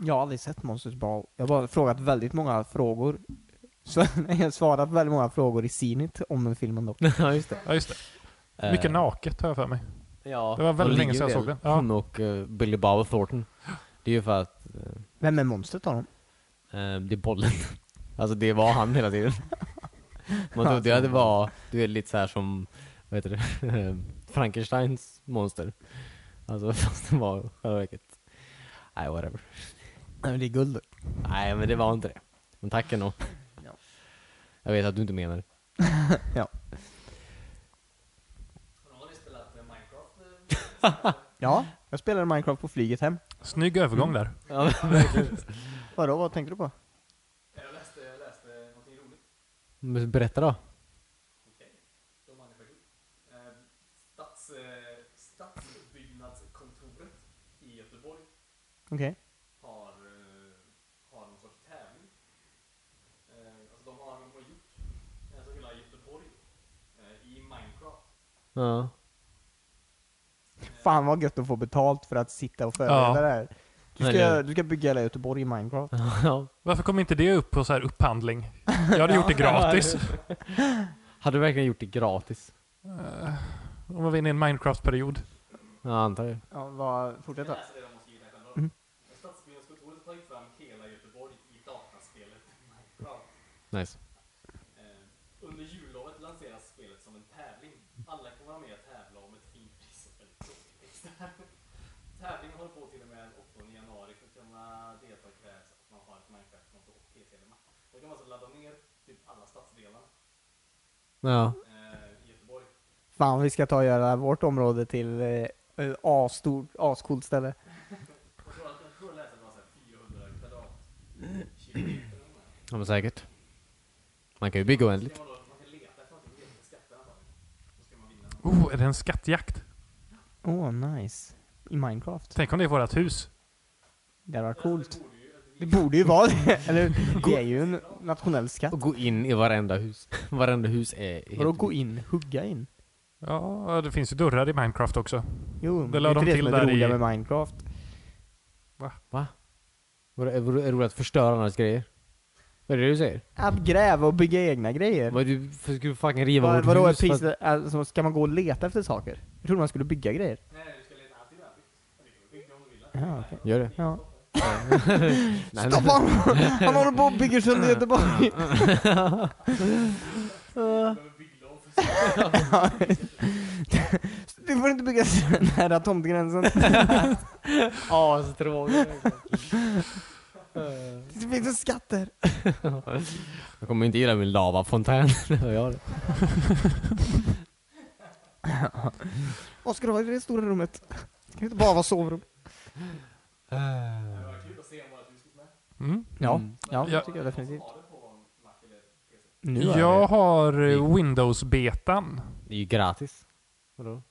Speaker 2: Jag har aldrig sett Monsters Ball. Jag har bara frågat väldigt många frågor. *laughs* Så jag har svarat väldigt många frågor i Zenit om den filmen dock.
Speaker 4: ja, just det.
Speaker 3: *laughs* Ja, just det. Mycket
Speaker 4: Eh,
Speaker 3: naket har jag för mig.
Speaker 4: Ja.
Speaker 3: Det var väldigt
Speaker 4: Hon
Speaker 3: länge sedan
Speaker 4: ligger
Speaker 3: jag
Speaker 4: väl,
Speaker 3: såg den. Ja.
Speaker 4: Hon och eh, Billy Bob Thornton. Det är ju för att
Speaker 2: Vem är monstret av dem?
Speaker 4: eh, det är bollen. *laughs* Alltså det var han hela *laughs* tiden. Man trodde ju att det var, du är lite så här som, vad heter det, *laughs* Frankensteins monster. Alltså *laughs* fast det var själva verket. Nej, whatever.
Speaker 2: Nej, men det är guld.
Speaker 4: Nej, men det var inte det. Men tack ändå.
Speaker 2: Ja.
Speaker 4: Jag vet att du inte menar det.
Speaker 2: Ja, jag spelade Minecraft på flyget hem.
Speaker 3: Snygg övergång
Speaker 4: Mm.
Speaker 3: där.
Speaker 4: Ja,
Speaker 2: Vadå, vad tänker du på?
Speaker 4: men berätta då.
Speaker 1: eh, Stadsbyggnadskontoret i Göteborg
Speaker 2: Okej.
Speaker 1: har, eh, har någon sorts tävling. Eh, alltså de har, de har gjort alltså hela Göteborg eh, i Minecraft.
Speaker 4: Ja. *laughs*
Speaker 2: Fan vad gött att få betalt för att sitta och förbereda
Speaker 3: Ja.
Speaker 2: det här. Du
Speaker 4: Eller
Speaker 2: ska,
Speaker 4: hur?
Speaker 2: du ska bygga hela Göteborg i Minecraft.
Speaker 4: ja.
Speaker 3: Varför kom inte det upp på så här upphandling? Jag hade
Speaker 4: *laughs*
Speaker 3: gjort det gratis.
Speaker 4: Hade du verkligen gjort det gratis?
Speaker 3: Om man var inne i en Minecraft-period.
Speaker 4: Ja, antar jag.
Speaker 2: Ja, vad, fortsätt då.
Speaker 1: Alltså det de måste ju räkna bra.
Speaker 2: Mm.
Speaker 1: Stadsbyggnadskontoret har tagit fram hela Göteborg i dataspelet Minecraft.
Speaker 4: Nice.
Speaker 1: Eh, under jullovet lanseras spelet som en tävling. Alla kan vara med och tävla om ett fint pris *laughs* och en tråkig text. Tävlingen håller på till och med den 8 januari. För att kunna delta krävs att man har ett Minecraft-konto och PC eller Mac. Då kan man alltså ladda ner typ alla stadsdelar
Speaker 4: Ja.
Speaker 1: eh, i Göteborg.
Speaker 2: Fan vi ska ta och göra vårt område till eh, eh, asstort, ascoolt ställe.
Speaker 1: Och så jag tror jag läste att det var så här 400 kvadratkilometer. eller nåt.
Speaker 4: ja, men säkert. Man kan ju bygga oändligt.
Speaker 1: Man, då- man kan leta efter någonting, leta skatter antagligen. Då ska man vinna.
Speaker 3: Oh, är det en skattjakt?
Speaker 2: Åh, oh, nice. I Minecraft.
Speaker 3: Tänk om det är vårt hus.
Speaker 2: Det hade varit coolt. Det borde ju vara det. *laughs* Eller det är ju en nationell skatt.
Speaker 4: Och gå in i varenda hus. *laughs* varenda hus är helt...
Speaker 2: Vadå gå in, hugga in?
Speaker 3: Ja, det finns ju dörrar i Minecraft också.
Speaker 2: Jo, men det
Speaker 3: la
Speaker 2: är
Speaker 3: de
Speaker 2: inte det
Speaker 3: till
Speaker 2: som är det
Speaker 3: där
Speaker 2: roliga
Speaker 3: i-
Speaker 2: med Minecraft.
Speaker 4: Vadå, Är är det roligt att förstöra andras grejer? Vad är det du säger?
Speaker 2: Att gräva och bygga egna grejer.
Speaker 4: Vad är du, för ska du fucking riva
Speaker 2: Vad,
Speaker 4: vårt
Speaker 2: vadå är
Speaker 4: hus? för att-
Speaker 2: priset, alltså, ska man gå och leta efter saker? Jag trodde man skulle bygga grejer.
Speaker 1: Nej, du ska leta allt i världen. Bygga om du vill.
Speaker 2: Ja, okej.
Speaker 4: Gör det.
Speaker 2: Ja.
Speaker 4: Nej,
Speaker 2: Stopp
Speaker 4: *laughs*
Speaker 2: honom! Han håller på och bygger sönder Göteborg! du får inte bygga så nära tomtgränsen.
Speaker 4: Astråkigt.
Speaker 2: Det finns en skatt där.
Speaker 4: *laughs* Jag kommer inte gilla min lavafontän. *laughs* Det hör jag.
Speaker 2: Vad ska du ha i det stora rummet? Det kan inte bara vara sovrum.
Speaker 3: Mm.
Speaker 2: Ja,
Speaker 4: Mm.
Speaker 2: ja,
Speaker 3: Ja.
Speaker 2: det tycker jag definitivt. Nu är
Speaker 3: Jag har eh, Windows-betan.
Speaker 4: Det är ju gratis. Vadå?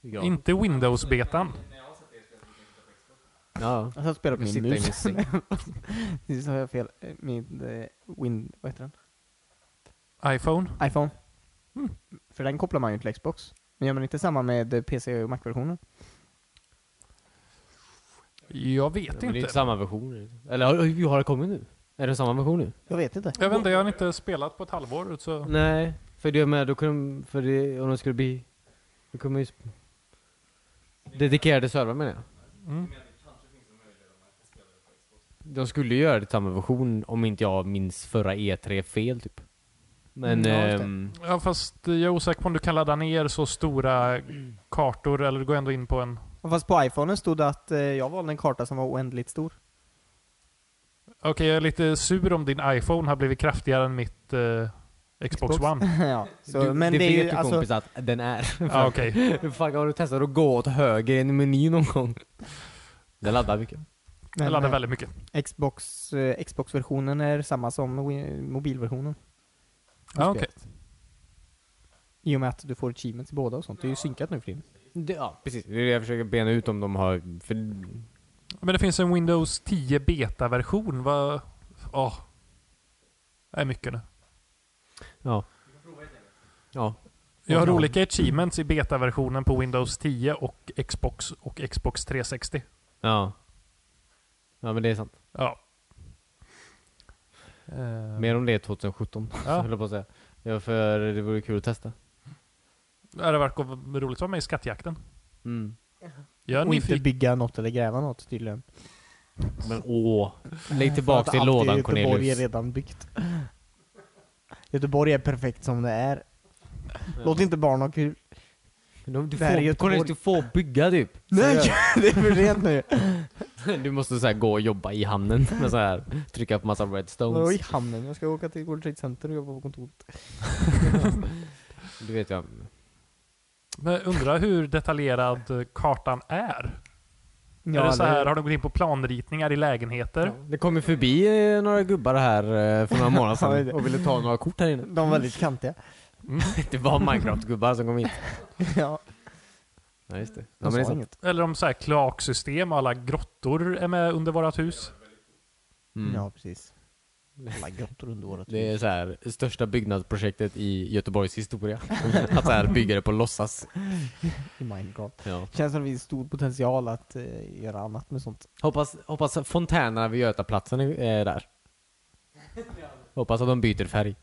Speaker 4: Ja.
Speaker 3: Inte Windows-betan.
Speaker 4: ja.
Speaker 2: Alltså, Jag satt och spelade
Speaker 4: Jag
Speaker 2: på min
Speaker 4: sitter i min
Speaker 2: mus.
Speaker 4: säng.
Speaker 2: *laughs* Nu sa jag fel. Eh, Min eh, Win... Vad heter
Speaker 3: iPhone.
Speaker 2: den? iPhone.
Speaker 3: Mm.
Speaker 2: För den kopplar man ju till Xbox. Men gör man inte samma med eh, PC och Mac-versionen?
Speaker 3: Jag
Speaker 4: Men
Speaker 3: vet
Speaker 4: det är inte
Speaker 3: inte.
Speaker 4: samma version. Eller har, har det kommit nu? Är det samma version nu?
Speaker 2: Jag vet inte.
Speaker 3: Jag vet inte, jag har inte spelat på ett halvår. Så.
Speaker 4: Nej, för det med, då kunde, för det, om de skulle bli... Då kommer ju... sp- Dedikerade servrar menar jag.
Speaker 3: Mm.
Speaker 4: De skulle ju göra det samma version om inte jag minns förra E3 fel typ.
Speaker 2: Mm,
Speaker 4: Men...
Speaker 2: ja, just det.
Speaker 4: ehm,
Speaker 3: Ja, fast jag är osäker på om du kan ladda ner så stora kartor eller du går ändå in på en...
Speaker 2: Och Fast på iPhonen stod det att eh, jag valde en karta som var oändligt stor.
Speaker 3: Okej, jag är lite sur om din iPhone har blivit kraftigare än mitt eh, Xbox,
Speaker 2: Xbox.
Speaker 3: One.
Speaker 2: *laughs* ja. Så,
Speaker 4: du,
Speaker 2: men
Speaker 4: det,
Speaker 2: det, är
Speaker 4: vet
Speaker 2: ju
Speaker 4: ju
Speaker 2: alltså...
Speaker 4: kompis att
Speaker 2: *laughs*
Speaker 4: den är.
Speaker 3: Ja, okej.
Speaker 4: Hur fan har du testat att gå åt höger i en meny någon gång? Den laddar mycket.
Speaker 3: Jag
Speaker 2: men,
Speaker 3: laddar
Speaker 2: eh,
Speaker 3: väldigt mycket.
Speaker 2: Xbox, eh, Xbox-versionen är samma som Win- mobilversionen.
Speaker 3: Ja, okej.
Speaker 2: I och med att du får achievements i båda och sånt. Det är ju synkat nu för tiden.
Speaker 4: Det, ja, precis. Det är det jag försöker bena ut om de har... För,
Speaker 3: Men det finns en Windows 10 beta-version. Vad... Åh. Det är mycket nu.
Speaker 4: ja. Ja.
Speaker 3: Jag har
Speaker 4: Ja.
Speaker 3: olika achievements i beta-versionen på Windows 10 och Xbox och Xbox 360.
Speaker 4: Ja. Ja men det är sant.
Speaker 3: Ja. Eh,
Speaker 4: Mer om det 2017,
Speaker 3: Ja.
Speaker 4: *laughs* höll jag på att säga. Ja, för det vore kul att testa.
Speaker 3: det hade varit go- roligt att vara med i skattjakten.
Speaker 4: Mm.
Speaker 3: Jag är
Speaker 2: Och inte
Speaker 3: nyfiken.
Speaker 2: bygga något eller gräva något tydligen.
Speaker 4: Men åh. Lägg tillbaka till lådan
Speaker 2: Göteborg är
Speaker 4: Cornelius.
Speaker 2: redan byggt. *laughs* Göteborg är perfekt som det är. Låt
Speaker 4: Ja.
Speaker 2: inte barn ha kul.
Speaker 4: De- Du
Speaker 2: Det här är
Speaker 4: får,
Speaker 2: Göteborg.
Speaker 4: Cornelius, du får bygga typ.
Speaker 2: Nej! *laughs* det är för sent nu.
Speaker 4: *laughs* Du måste så här gå och jobba i hamnen *laughs* med så här trycka på massa redstones.
Speaker 2: Vadå i hamnen? Jag ska åka till World Trade Center och jobba på kontoret.
Speaker 4: Du vet jag.
Speaker 3: Men undrar hur detaljerad eh, kartan är.
Speaker 2: Ja,
Speaker 3: är det så här,
Speaker 2: eller-
Speaker 3: har de gått in på planritningar i lägenheter?
Speaker 4: Det kom ju förbi eh, några gubbar här eh, för några
Speaker 2: *laughs*
Speaker 4: månader
Speaker 2: Ja,
Speaker 4: sedan
Speaker 2: det-
Speaker 4: och ville ta några kort här
Speaker 2: *laughs*
Speaker 4: inne.
Speaker 2: De är väldigt
Speaker 4: *laughs*
Speaker 2: kantiga.
Speaker 4: Det var Minecraft-gubbar som kom hit.
Speaker 2: ja,
Speaker 4: Ja just det. Ja,
Speaker 2: de
Speaker 4: men det är
Speaker 2: sa
Speaker 4: sant.
Speaker 2: inget.
Speaker 3: Eller om så här kloaksystem och alla grottor är med under vårat hus?
Speaker 4: Mm.
Speaker 2: Ja, precis. Alla grottor under året.
Speaker 4: Det är så här, största byggnadsprojektet i Göteborgs historia. *laughs* Att så här bygga det på låtsas.
Speaker 2: I Minecraft.
Speaker 4: Ja.
Speaker 2: Känns som det finns stor potential att eh, göra annat med sånt.
Speaker 4: Hoppas, hoppas att fontänerna vid Götaplatsen är är eh, där. Hoppas att de byter färg.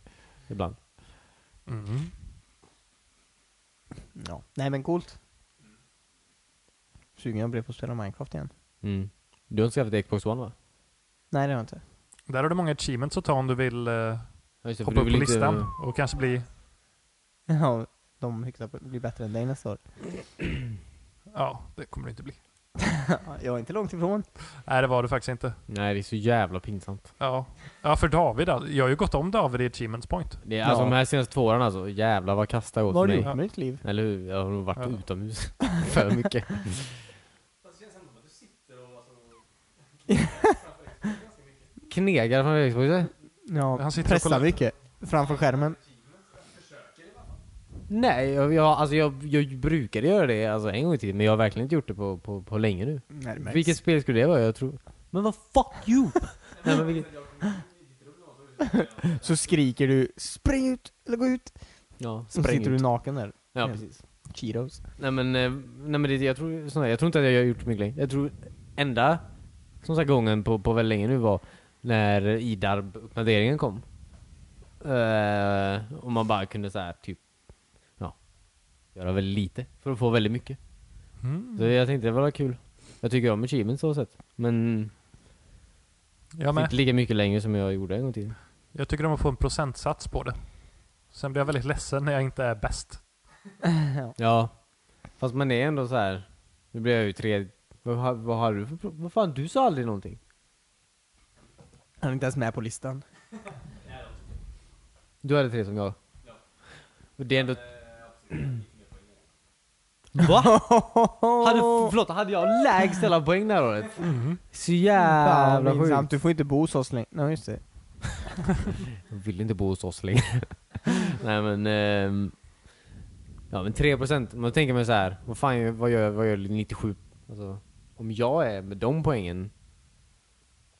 Speaker 4: Ibland.
Speaker 3: Mm.
Speaker 2: Ja. Nej men coolt. Sugen jag blev på att spela Minecraft igen.
Speaker 4: Mm. Du har inte skaffat Xbox One va?
Speaker 2: Nej det har jag inte.
Speaker 3: Där har du många achievements att ta om du vill eh,
Speaker 4: Ja, just det, för
Speaker 3: hoppa
Speaker 4: du
Speaker 3: upp på
Speaker 4: vill inte-
Speaker 3: listan och kanske bli...
Speaker 2: *laughs* Ja, de hyfsat blir bättre än dig nästa år.
Speaker 3: Ja, det kommer du inte bli.
Speaker 2: jag är inte långt ifrån.
Speaker 3: Nej, det var du faktiskt inte.
Speaker 4: Nej det är så jävla pinsamt.
Speaker 3: Ja, ja för David alltså. Jag har ju gått om David i Achievements Point.
Speaker 4: Det är, alltså
Speaker 2: Ja.
Speaker 4: de här senaste två åren alltså, jävlar vad kasta går
Speaker 2: Vad har
Speaker 4: för
Speaker 2: du
Speaker 4: mig.
Speaker 2: gjort med ditt liv?
Speaker 4: Eller hur? Jag har nog varit
Speaker 3: Ja. *laughs*
Speaker 4: utomhus för mycket. *laughs* Knegar från Xbox? eh?
Speaker 2: Ja,
Speaker 3: Han sitter och
Speaker 2: pressar
Speaker 3: kollar-
Speaker 2: mycket. Framför skärmen.
Speaker 4: Nej, jag, jag, alltså jag, jag brukade göra det alltså, en gång i tiden, men jag har verkligen inte gjort det på, på, på länge nu.
Speaker 2: Nej, det märks.
Speaker 4: Vilket spel skulle det vara? Jag tror... Men vad fuck *laughs* you! Nej, men vilket...
Speaker 2: Så skriker du 'Spring ut! Eller gå ut!'
Speaker 4: Ja,
Speaker 2: Så sitter
Speaker 4: spräng
Speaker 2: du
Speaker 4: ut.
Speaker 2: naken där.
Speaker 4: Ja, precis.
Speaker 2: Cheetos.
Speaker 4: Nej men, eh, nej, men det, jag, tror, sån här, jag tror inte att jag har gjort mycket längre. Jag tror enda som sagt, gången på, på väldigt länge nu var när IDARB-uppdateringen kom. Eh, och man bara kunde så här, typ, ja, göra väldigt lite för att få väldigt mycket.
Speaker 3: Mm.
Speaker 4: Så jag tänkte det var kul. Jag tycker om achievements så sett. Men
Speaker 3: Jag
Speaker 4: inte
Speaker 3: med.
Speaker 4: lika mycket längre som jag gjorde en gång i tiden.
Speaker 3: Jag tycker om att få en procentsats på det. Sen blir jag väldigt ledsen när jag inte är bäst.
Speaker 4: Ja. Fast man är ändå så här. Nu blir jag ju tre... Vad, har- vad har du för pro- Vad fan, du sa aldrig någonting.
Speaker 2: Han är inte ens med på listan.
Speaker 4: Du hade tre som jag. Och Det är ändå... eh, *clears throat* Va? hade, *laughs* förlåt, hade jag lägst alla poäng det här året? Så jävla
Speaker 2: Jävla
Speaker 4: sjukt.
Speaker 2: pinsamt. Du får inte bo hos oss längre. Nej, just det.
Speaker 4: Jag vill inte bo
Speaker 2: *laughs*
Speaker 4: hos oss längre. Nej men... ehm, ja men 3%. Om jag tänker mig så här. Vad fan vad gör, vad gör 97? Alltså, om jag är med de poängen.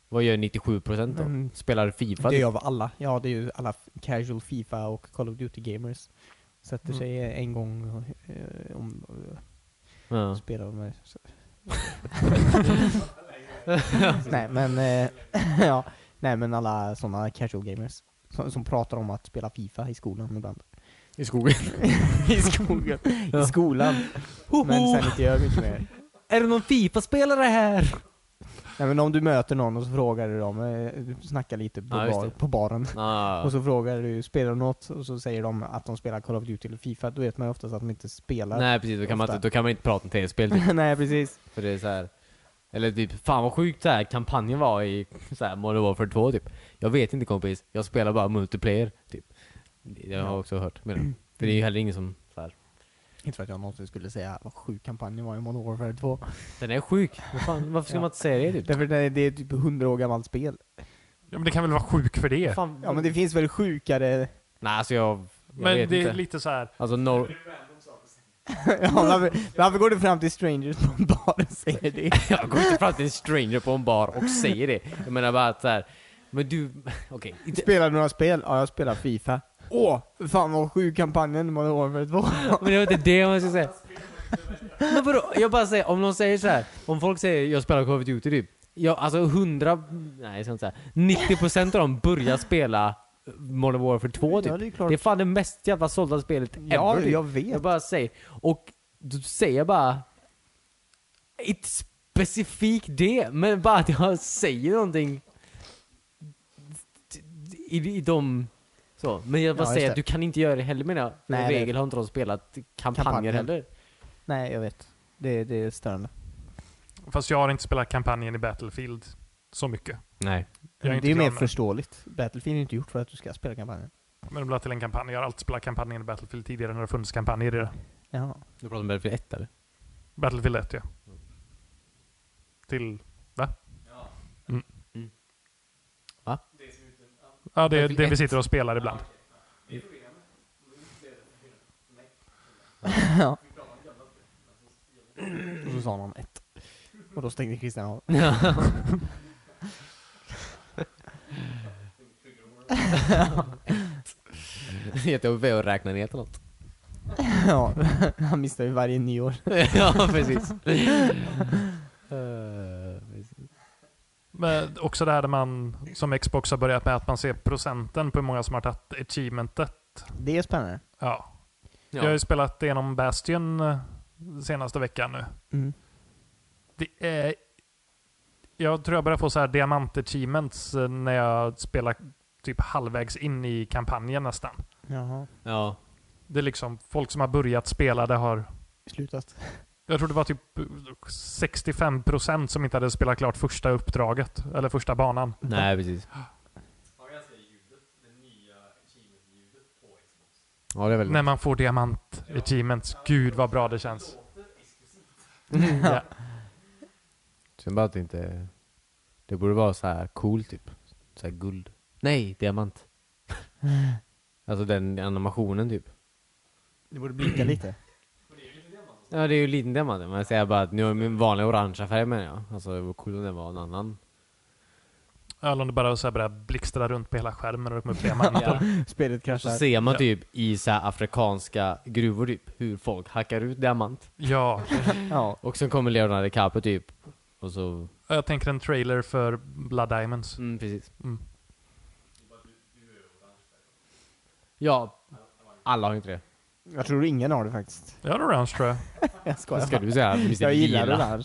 Speaker 4: Vad gör 97% då?
Speaker 2: Mm.
Speaker 4: Spelar Fifa? typ?
Speaker 2: Det gör vi alla. Ja, det är ju alla f- casual Fifa och Call of Duty gamers. Sätter
Speaker 3: Mm.
Speaker 2: sig en gång eh, om,
Speaker 4: Ja.
Speaker 2: och spelar med...
Speaker 4: *laughs*
Speaker 2: så- nej men, eh, *laughs* ja. Nej men alla sådana casual gamers. Som, som pratar om att spela Fifa i skolan ibland.
Speaker 4: I *laughs* skogen.
Speaker 2: I skolan? I
Speaker 4: Ja.
Speaker 2: skolan. Men sen inte gör mycket mer.
Speaker 4: Är det någon Fifa-spelare här?
Speaker 2: Nej men om du möter någon och så frågar du dem, eh, du snackar lite på,
Speaker 4: Ja, just
Speaker 2: bar,
Speaker 4: det.
Speaker 2: på baren.
Speaker 4: Ah.
Speaker 2: Och så frågar du, spelar du något? Och så säger de att de spelar Call of Duty eller Fifa, då vet man ju oftast att de inte spelar.
Speaker 4: Nej precis, då kan, man
Speaker 2: Ofta.
Speaker 4: inte, då kan man inte prata om tv-spel
Speaker 2: *laughs*
Speaker 4: typ,
Speaker 2: Nej precis.
Speaker 4: för det är så här. Eller typ, fan vad sjukt så här kampanjen var i så här, Modern Warfare 2 typ. Jag vet inte kompis, jag spelar bara multiplayer typ. Det det har jag också hört. Men, för det är ju heller ingen som så här.
Speaker 2: Inte för att jag någonsin skulle säga vad sjuk kampanjen var i Modern Warfare 2.
Speaker 4: Den är sjuk, Vad fan, varför ska
Speaker 2: Ja.
Speaker 4: man inte säga det typ?
Speaker 2: Därför det, det är typ 100 år gammalt spel.
Speaker 3: Ja, men det kan väl vara sjuk för det?
Speaker 4: Fan,
Speaker 2: Ja men det finns väl sjukare... *laughs*
Speaker 4: Nej alltså jag, jag
Speaker 3: men
Speaker 4: vet
Speaker 3: det är
Speaker 4: inte.
Speaker 3: lite så här.
Speaker 4: Alltså no... *laughs*
Speaker 2: ja, varför, varför går du fram till strangers på en bar och säger det?
Speaker 4: jag går inte fram till en stranger på en bar och säger det. Jag menar bara att så här. men du, *laughs* okej.
Speaker 2: *laughs*
Speaker 4: inte-
Speaker 2: Spelar du några spel? Ja, jag spelar Fifa. Åh, fan vad sjuk kampanjen i Modern Warfare 2.
Speaker 4: Men det var inte det man skulle säga. Men vadå? Jag bara säger, om någon säger så här. Om folk säger jag spelar Call of Duty typ. Jag, alltså 100, nej jag ska inte säga. 90% av dem börjar spela Modern Warfare 2 typ.
Speaker 2: Ja, det är klart.
Speaker 4: Det är fan det mest jävla sålda spelet
Speaker 2: Ja,
Speaker 4: ever. typ.
Speaker 2: jag vet.
Speaker 4: Jag bara säger, och du säger bara... Inte specifikt det, men bara att jag säger någonting i, i de... Så. Men jag bara
Speaker 2: Ja, just
Speaker 4: säger
Speaker 2: det.
Speaker 4: att du kan inte göra det heller menar jag. För
Speaker 2: Nej,
Speaker 4: I
Speaker 2: det-
Speaker 4: regel har inte de spelat kampanjer,
Speaker 2: Kampanjer.
Speaker 4: heller.
Speaker 2: Nej, jag vet. Det, det är störande.
Speaker 3: Fast jag har inte spelat kampanjen i Battlefield så mycket.
Speaker 4: Nej.
Speaker 3: Jag är
Speaker 2: det
Speaker 3: inte
Speaker 2: är ju mer
Speaker 3: klar med-
Speaker 2: förståeligt. Battlefield är inte gjort för att du ska spela kampanjen.
Speaker 3: Men det blir till en kampanj. Jag har alltid spelat kampanjen i Battlefield tidigare när det har funnits kampanjer i det.
Speaker 2: Ja.
Speaker 4: Du pratar om Battlefield
Speaker 2: *laughs*
Speaker 4: 1 eller?
Speaker 3: Battlefield 1 ja. Till... Va? Mm.
Speaker 4: Mm. Va?
Speaker 3: Ja, det är det
Speaker 4: Battlefield
Speaker 3: vi
Speaker 4: 1.
Speaker 3: sitter och spelar ibland.
Speaker 2: Och så sa någon ett. Och då stängde Christian av.
Speaker 4: Jättejobbigt att räkna ner till något.
Speaker 2: *laughs* ja, *laughs* han missar ju varje nyår.
Speaker 4: *laughs* ja, precis. Eh, precis.
Speaker 3: Men också det här där man som Xbox har börjat med att man ser procenten på hur många som har tagit achievementet.
Speaker 2: Det är spännande.
Speaker 3: Ja.
Speaker 4: Ja.
Speaker 3: Jag har ju spelat igenom Bastion eh, senaste veckan nu.
Speaker 2: Mm.
Speaker 3: Det är... Jag tror jag börjar få så här diamant-achievements eh, när jag spelar typ halvvägs in i kampanjen nästan.
Speaker 2: Jaha.
Speaker 4: ja.
Speaker 3: Det är liksom folk som har börjat spela, det har...
Speaker 2: Slutat.
Speaker 3: Jag tror det var typ 65% som inte hade spelat klart första uppdraget, eller första banan.
Speaker 4: Nej, precis. Ja, det är väldigt
Speaker 3: När man får diamant-achievements. Gud vad bra det känns. ja.
Speaker 4: Synd bara att det inte... Det borde vara så här cool typ. Så här guld. Nej, diamant. *laughs* alltså den animationen typ.
Speaker 2: Det borde blinka lite.
Speaker 4: Ja, det är ju en liten diamant. Men jag säger bara att nu har jag min vanliga orangea färg menar jag. Alltså det vore coolt om det var en annan.
Speaker 3: Eller om det bara så här börjar blixtra runt på hela skärmen och det kommer upp diamanter.
Speaker 2: Spelet
Speaker 4: Så
Speaker 2: kraschar.
Speaker 4: ser man typ i så här afrikanska gruvor typ hur folk hackar ut diamant.
Speaker 3: *laughs* ja.
Speaker 2: Ja.
Speaker 4: Och sen kommer Leonardo DiCaprio typ. Och så...
Speaker 3: Jag tänker en trailer för Blood Diamonds.
Speaker 4: Mm, precis.
Speaker 3: Mm.
Speaker 4: Ja. Alla har inte det.
Speaker 2: Jag tror ingen har det faktiskt.
Speaker 3: Jag har orange tror jag.
Speaker 2: Jag
Speaker 4: Vad
Speaker 2: skojar.
Speaker 4: ska du säga? Visst är
Speaker 2: jag
Speaker 4: det
Speaker 2: gillar
Speaker 4: lila?
Speaker 2: orange.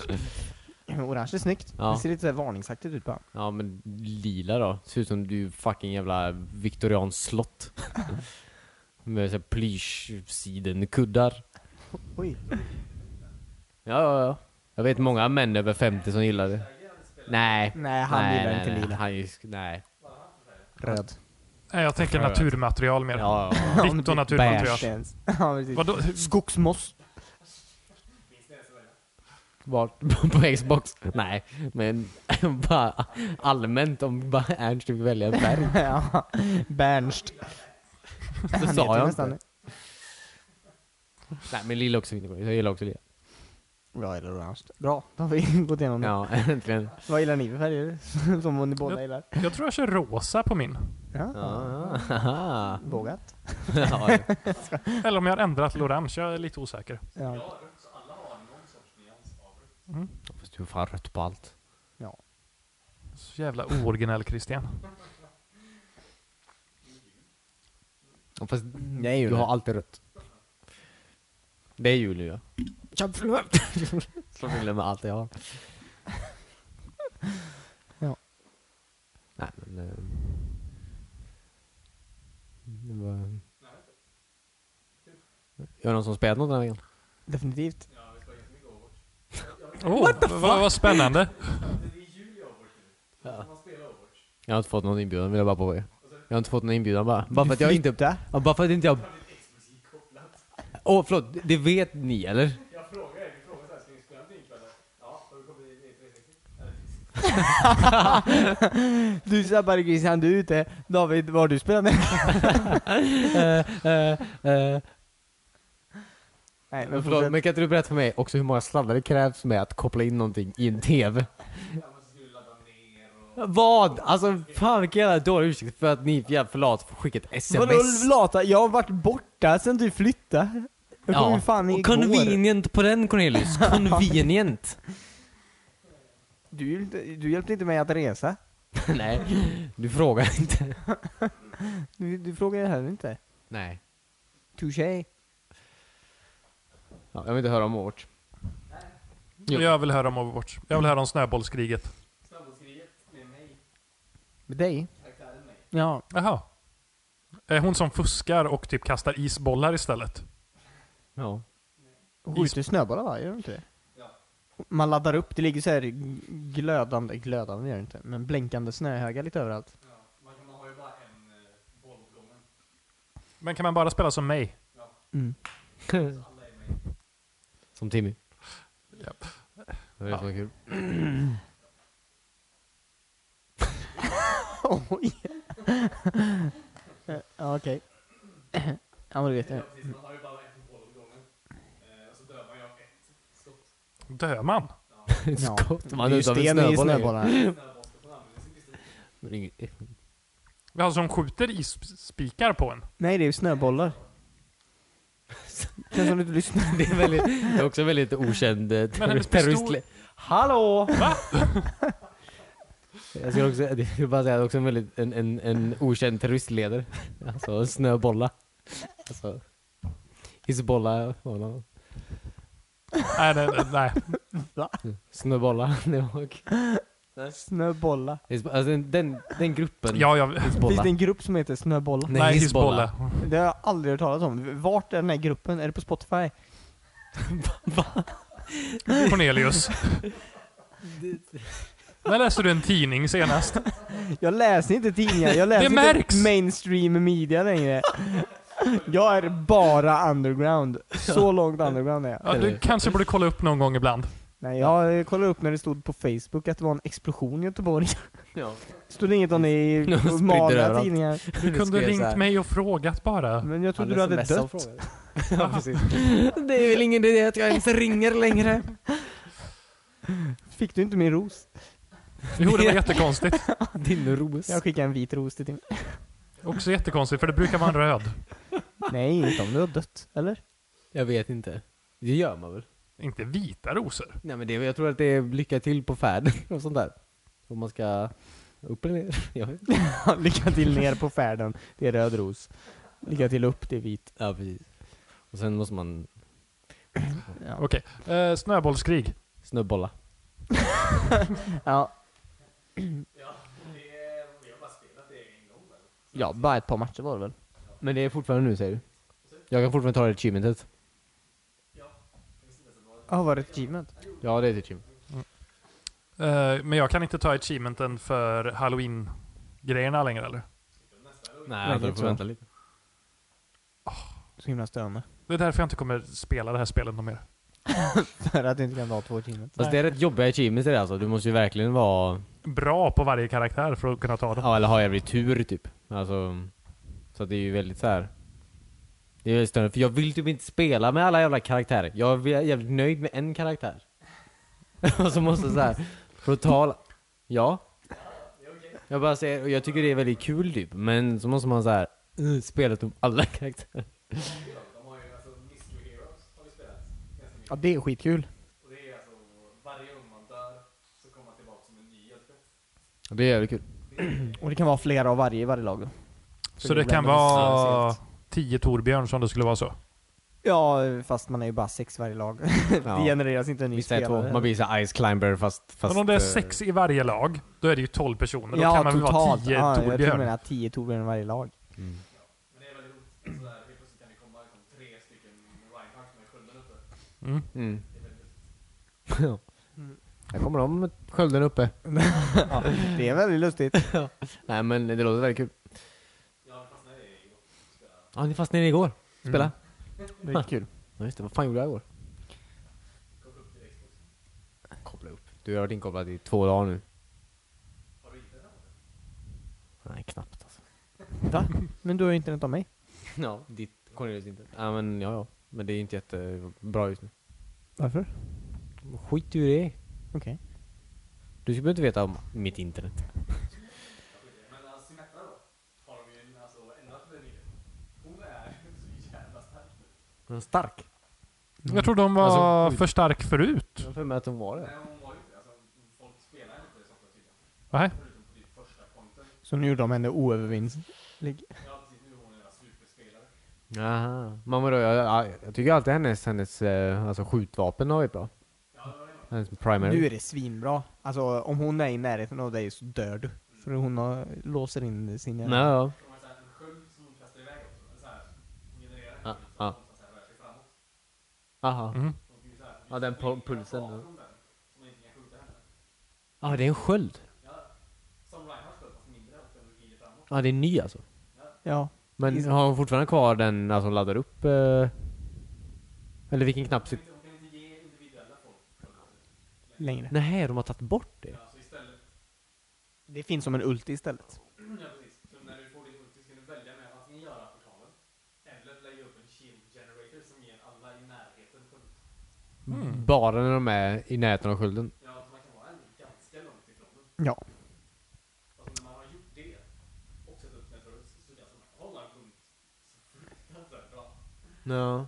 Speaker 2: Orange är snyggt.
Speaker 4: Ja.
Speaker 2: Det ser lite så här varningsaktigt ut bara.
Speaker 4: Ja men lila då, ser ut som du fucking jävla viktorian slott.
Speaker 2: *laughs*
Speaker 4: Med såhär plyschsidenkuddar.
Speaker 2: Oj.
Speaker 4: Ja ja ja. Jag vet många män över 50 som gillar det. Nej.
Speaker 2: Nej, Mm, han
Speaker 4: nej,
Speaker 2: gillar
Speaker 4: nej,
Speaker 2: inte
Speaker 4: nej.
Speaker 2: lila.
Speaker 4: Han just, nej.
Speaker 2: Röd.
Speaker 3: Nej, jag tänker
Speaker 4: Frö.
Speaker 3: naturmaterial mer.
Speaker 4: Ja, ja.
Speaker 3: Vitt och naturmaterial.
Speaker 4: Beige.
Speaker 2: Ja, precis.
Speaker 3: Vadå?
Speaker 2: Skogsmoss. *laughs*
Speaker 4: Vart? *laughs* På Xbox? Nej, men *laughs* bara allmänt om bara Ernst fick välja en färg.
Speaker 2: ja. Bernst.
Speaker 4: Så
Speaker 2: *laughs* Han
Speaker 4: sa
Speaker 2: heter
Speaker 4: jag
Speaker 2: nästan
Speaker 4: inte. Nej, men lila också vinner. Jag gillar också lila.
Speaker 2: Bra eller orange. Bra, då har vi *laughs* gått igenom det.
Speaker 4: Ja, *laughs* äntligen.
Speaker 2: Vad gillar ni för färger? *laughs* Som ni båda gillar.
Speaker 3: Jag tror jag kör rosa på min.
Speaker 2: Ja.
Speaker 4: Ja, *laughs* ja.
Speaker 2: Vågat. *laughs*
Speaker 4: Ja,
Speaker 3: Eller om jag har ändrat till orange. Jag är lite osäker.
Speaker 2: Ja.
Speaker 4: Fast du är fan rött på allt.
Speaker 2: ja.
Speaker 3: Så jävla ooriginell Christian.
Speaker 4: Fast
Speaker 2: Det är ju
Speaker 4: Mm. du har alltid rött. Det är jul nu ja. *laughs* Slå till med allt jag *laughs* har.
Speaker 2: Ja.
Speaker 4: Nej men... eh, Det var... Är det någon som spelat något den här veckan?
Speaker 2: Definitivt.
Speaker 3: Oh, What vad, vad spännande.
Speaker 4: Jag har inte fått någon inbjudan vill jag bara påpeka. Jag har inte fått någon inbjudan bara. *laughs* Bara för att jag inte...
Speaker 2: Flytta.
Speaker 4: Ja, bara för att inte jag... Åh förlåt, det vet ni eller?
Speaker 2: Du sabbade grisen, du är ute. David, vad har du spelat *laughs* med?
Speaker 4: Eh,
Speaker 2: Nej, men
Speaker 4: Förlåt,
Speaker 2: fortsätt.
Speaker 4: men kan inte du berätta för mig också hur många sladdar det krävs med att koppla in någonting i en TV? Vad? Alltså fan vilken jävla dålig ursäkt för att ni är jävla för lat för att skicka ett
Speaker 2: Vadå
Speaker 4: sms.
Speaker 2: lata? Jag har varit borta sen du flyttade. Jag kom ju fan
Speaker 4: Och
Speaker 2: igår.
Speaker 4: convenient på den Cornelius.
Speaker 2: *laughs*
Speaker 4: Convenient.
Speaker 2: Du, hjälpte- du hjälpte inte mig att resa.
Speaker 4: Nej, du frågar inte.
Speaker 2: Du, du frågade heller inte.
Speaker 4: Nej.
Speaker 2: Touché.
Speaker 4: Ja, jag vill inte höra om Overwatch. Jo.
Speaker 3: Jag vill höra om Overwatch. Jag vill höra om snöbollskriget.
Speaker 2: Med dig? Ja.
Speaker 3: Jaha. Eh, Hon som fuskar och typ kastar isbollar istället.
Speaker 4: Ja.
Speaker 2: Skjuter snöbollar va? Gör du inte det? Man laddar upp, det ligger så här glödande, eh, glödande gör det inte, men blänkande snöhögar lite överallt.
Speaker 3: Men kan man bara spela som mig?
Speaker 4: Som Timmy.
Speaker 3: Japp.
Speaker 4: Det var det som var kul.
Speaker 2: *laughs* Oj! *laughs* ja, okej. *clears throat* ja, men du vet jag.
Speaker 3: Dör man?
Speaker 4: Skott man
Speaker 2: det är ju
Speaker 4: ut av en
Speaker 2: sten i
Speaker 4: snöboll.
Speaker 2: *laughs* snöbollarna.
Speaker 4: Men inget-
Speaker 3: Ja, som skjuter isspikar på en.
Speaker 2: Nej, det är ju *laughs* snöbollar. Känns som du inte lyssnar.
Speaker 4: Det är, väldigt, det är också väldigt okänd eh,
Speaker 3: Men hennes
Speaker 4: terrorist.
Speaker 3: pistol-
Speaker 4: terrorist- Hallå! *laughs*
Speaker 3: Va?
Speaker 4: Jag skulle också, jag skulle bara säga att det är också en väldigt, en, en, en okänd terroristledare. Alltså snöbolla. Alltså, hissbolla, bolla,
Speaker 3: Nej, nej, nej, nej.
Speaker 4: snöbolla. *laughs* Det var kul.
Speaker 2: Snöbollar.
Speaker 4: Hiss- Alltså den, den, den gruppen.
Speaker 3: Ja, jag...
Speaker 2: Finns
Speaker 4: Hissbolla.
Speaker 2: det en grupp som heter Snöbollar?
Speaker 4: Nej,
Speaker 3: Nej,
Speaker 4: hissbolla.
Speaker 3: hissbolla.
Speaker 2: Det har jag aldrig hört talas om. Vart är den här gruppen? Är det på Spotify?
Speaker 4: *laughs*
Speaker 3: Cornelius. När läste du en tidning senast?
Speaker 2: Jag läser inte tidningar, jag läser
Speaker 3: Det
Speaker 2: inte
Speaker 3: märks!
Speaker 2: mainstream media längre. Jag är bara underground. Så långt underground är jag.
Speaker 3: Ja, du kanske borde kolla upp någon gång ibland.
Speaker 2: Nej, jag kollade upp när det stod på Facebook att det var en explosion i Göteborg. *laughs*
Speaker 4: Ja.
Speaker 2: Stod inget om det i
Speaker 4: De sprider
Speaker 2: vanliga
Speaker 4: överallt.
Speaker 2: tidningar.
Speaker 3: Du kunde ringt mig och frågat bara.
Speaker 2: Men jag trodde du hade dött.
Speaker 4: ja, precis. Det är väl ingen idé att jag ens ringer längre.
Speaker 2: Fick du inte min ros?
Speaker 3: Jo,
Speaker 2: *laughs*
Speaker 3: det var jättekonstigt.
Speaker 4: Din ros.
Speaker 2: Jag skickade en vit ros till din.
Speaker 3: Också jättekonstigt, för det brukar vara en röd.
Speaker 2: Nej, inte om du har dött. Eller?
Speaker 4: Jag vet inte. Det gör man väl?
Speaker 3: Inte vita rosor.
Speaker 4: Nej men det, jag tror att det är lycka till på färden och sånt där. Om man ska upp eller ner. Jag vet. inte.
Speaker 2: Lycka till ner på färden. Det är röd ros. Lycka till upp, det är vit.
Speaker 4: Ja precis. Och sen måste man
Speaker 2: Ja.
Speaker 3: Okej. Eh, snöbollskrig.
Speaker 4: snöbolla.
Speaker 2: Ja. Ja, bara ett par matcher var det väl?
Speaker 4: Men det är fortfarande nu säger du? Jag kan fortfarande ta det achievementet.
Speaker 2: Ja, var det ett achievement?
Speaker 4: Ja det är ett achievement.
Speaker 3: Eh, men jag kan inte ta achievementen för halloween-grejerna längre eller?
Speaker 4: Nej, jag
Speaker 2: det
Speaker 4: får
Speaker 2: tror jag.
Speaker 4: vänta lite.
Speaker 2: Så himla störande. *laughs*
Speaker 3: Det är därför jag inte kommer spela det här spelet någon mer.
Speaker 2: För att det inte kan vara två timmar.
Speaker 4: Fast det är rätt jobbiga achievements i det alltså. Du måste ju verkligen vara...
Speaker 3: Bra på varje karaktär för att kunna ta dem.
Speaker 4: Ja, eller ha every tur typ. Alltså... Så att det är ju väldigt så här. Det är väldigt störande, för jag vill typ inte spela med alla jävla karaktärer. Jag är jävligt nöjd med en karaktär. *laughs* Och så måste jag så här. För att ta alla... Ja. Jag bara säger, och jag tycker det är väldigt kul typ. Men så måste man så här. "Ugh, Spelet om alla *laughs* karaktärer.
Speaker 2: Ja, det är skitkul.
Speaker 4: Det är jävligt kul.
Speaker 2: Och det kan vara flera av varje i varje lag.
Speaker 3: Så det kan vara 10 Torbjörn som det skulle vara så.
Speaker 2: Ja, fast man är ju bara sex i varje lag.
Speaker 4: *laughs* Ja.
Speaker 2: *laughs* Det genereras inte en ny
Speaker 4: Visst är det
Speaker 2: spelare.
Speaker 4: två. Man blir så här Ice Climber fast... fast
Speaker 3: Men om det är
Speaker 4: eh,
Speaker 3: sex i varje lag, då är det ju 12 personer. Då
Speaker 2: ja,
Speaker 3: kan man väl vara
Speaker 2: totalt.
Speaker 3: 10
Speaker 2: ja, Jag tror
Speaker 3: Torbjörn.
Speaker 2: du menar 10 Torbjörn i varje *laughs* lag.
Speaker 4: Mm. Ja. Här kommer de med skölden uppe.
Speaker 2: Ja, det är väldigt lustigt.
Speaker 4: Nej men det låter väldigt kul. Ja, ni fastnade i igår. Spela.
Speaker 2: Det är kul.
Speaker 4: Ja just det, vad fan gjorde jag igår? Koppla upp. Du har varit inkopplad i två dagar nu. Nej, knappt alltså.
Speaker 2: Va? Men du har ju internet av mig.
Speaker 4: *laughs* Ja, ditt Cornelius inte. Ja men ja, ja. Men det är inte jättebra just nu.
Speaker 2: Varför?
Speaker 4: Skit i hur det är.
Speaker 2: Okej.
Speaker 4: Du skulle inte veta om mitt internet. alltså, *laughs* Men stark?
Speaker 3: Jag tror de var
Speaker 4: Alltså,
Speaker 3: för stark förut.
Speaker 4: Jag har för mig att hon var det.
Speaker 3: Nej.
Speaker 2: Så nu gjorde de henne oövervinnlig.
Speaker 4: Aha. Mamma då, jag, jag, jag tycker alltid hennes, hennes eh, alltså skjutvapen har varit bra. Hennes primary.
Speaker 2: Nu är det svinbra. Alltså om hon är i närheten av dig så dör du. För hon har, låser in sin
Speaker 4: Nej, ja. Ah, ah. Aha.
Speaker 3: Mm.
Speaker 4: Ja, den pu- pulsen. Ja, ah, det är en sköld. Ja, ah, det är ny alltså.
Speaker 2: Ja.
Speaker 4: Men
Speaker 2: Is-
Speaker 4: har hon fortfarande kvar den, alltså hon laddar upp? Eh, eller vilken knapp sitter...
Speaker 2: Längre.
Speaker 4: Nej, de har tagit bort det.
Speaker 2: Det finns som en ulti istället.
Speaker 4: Bara när de är i närheten av skölden.
Speaker 2: Ja.
Speaker 4: Ja.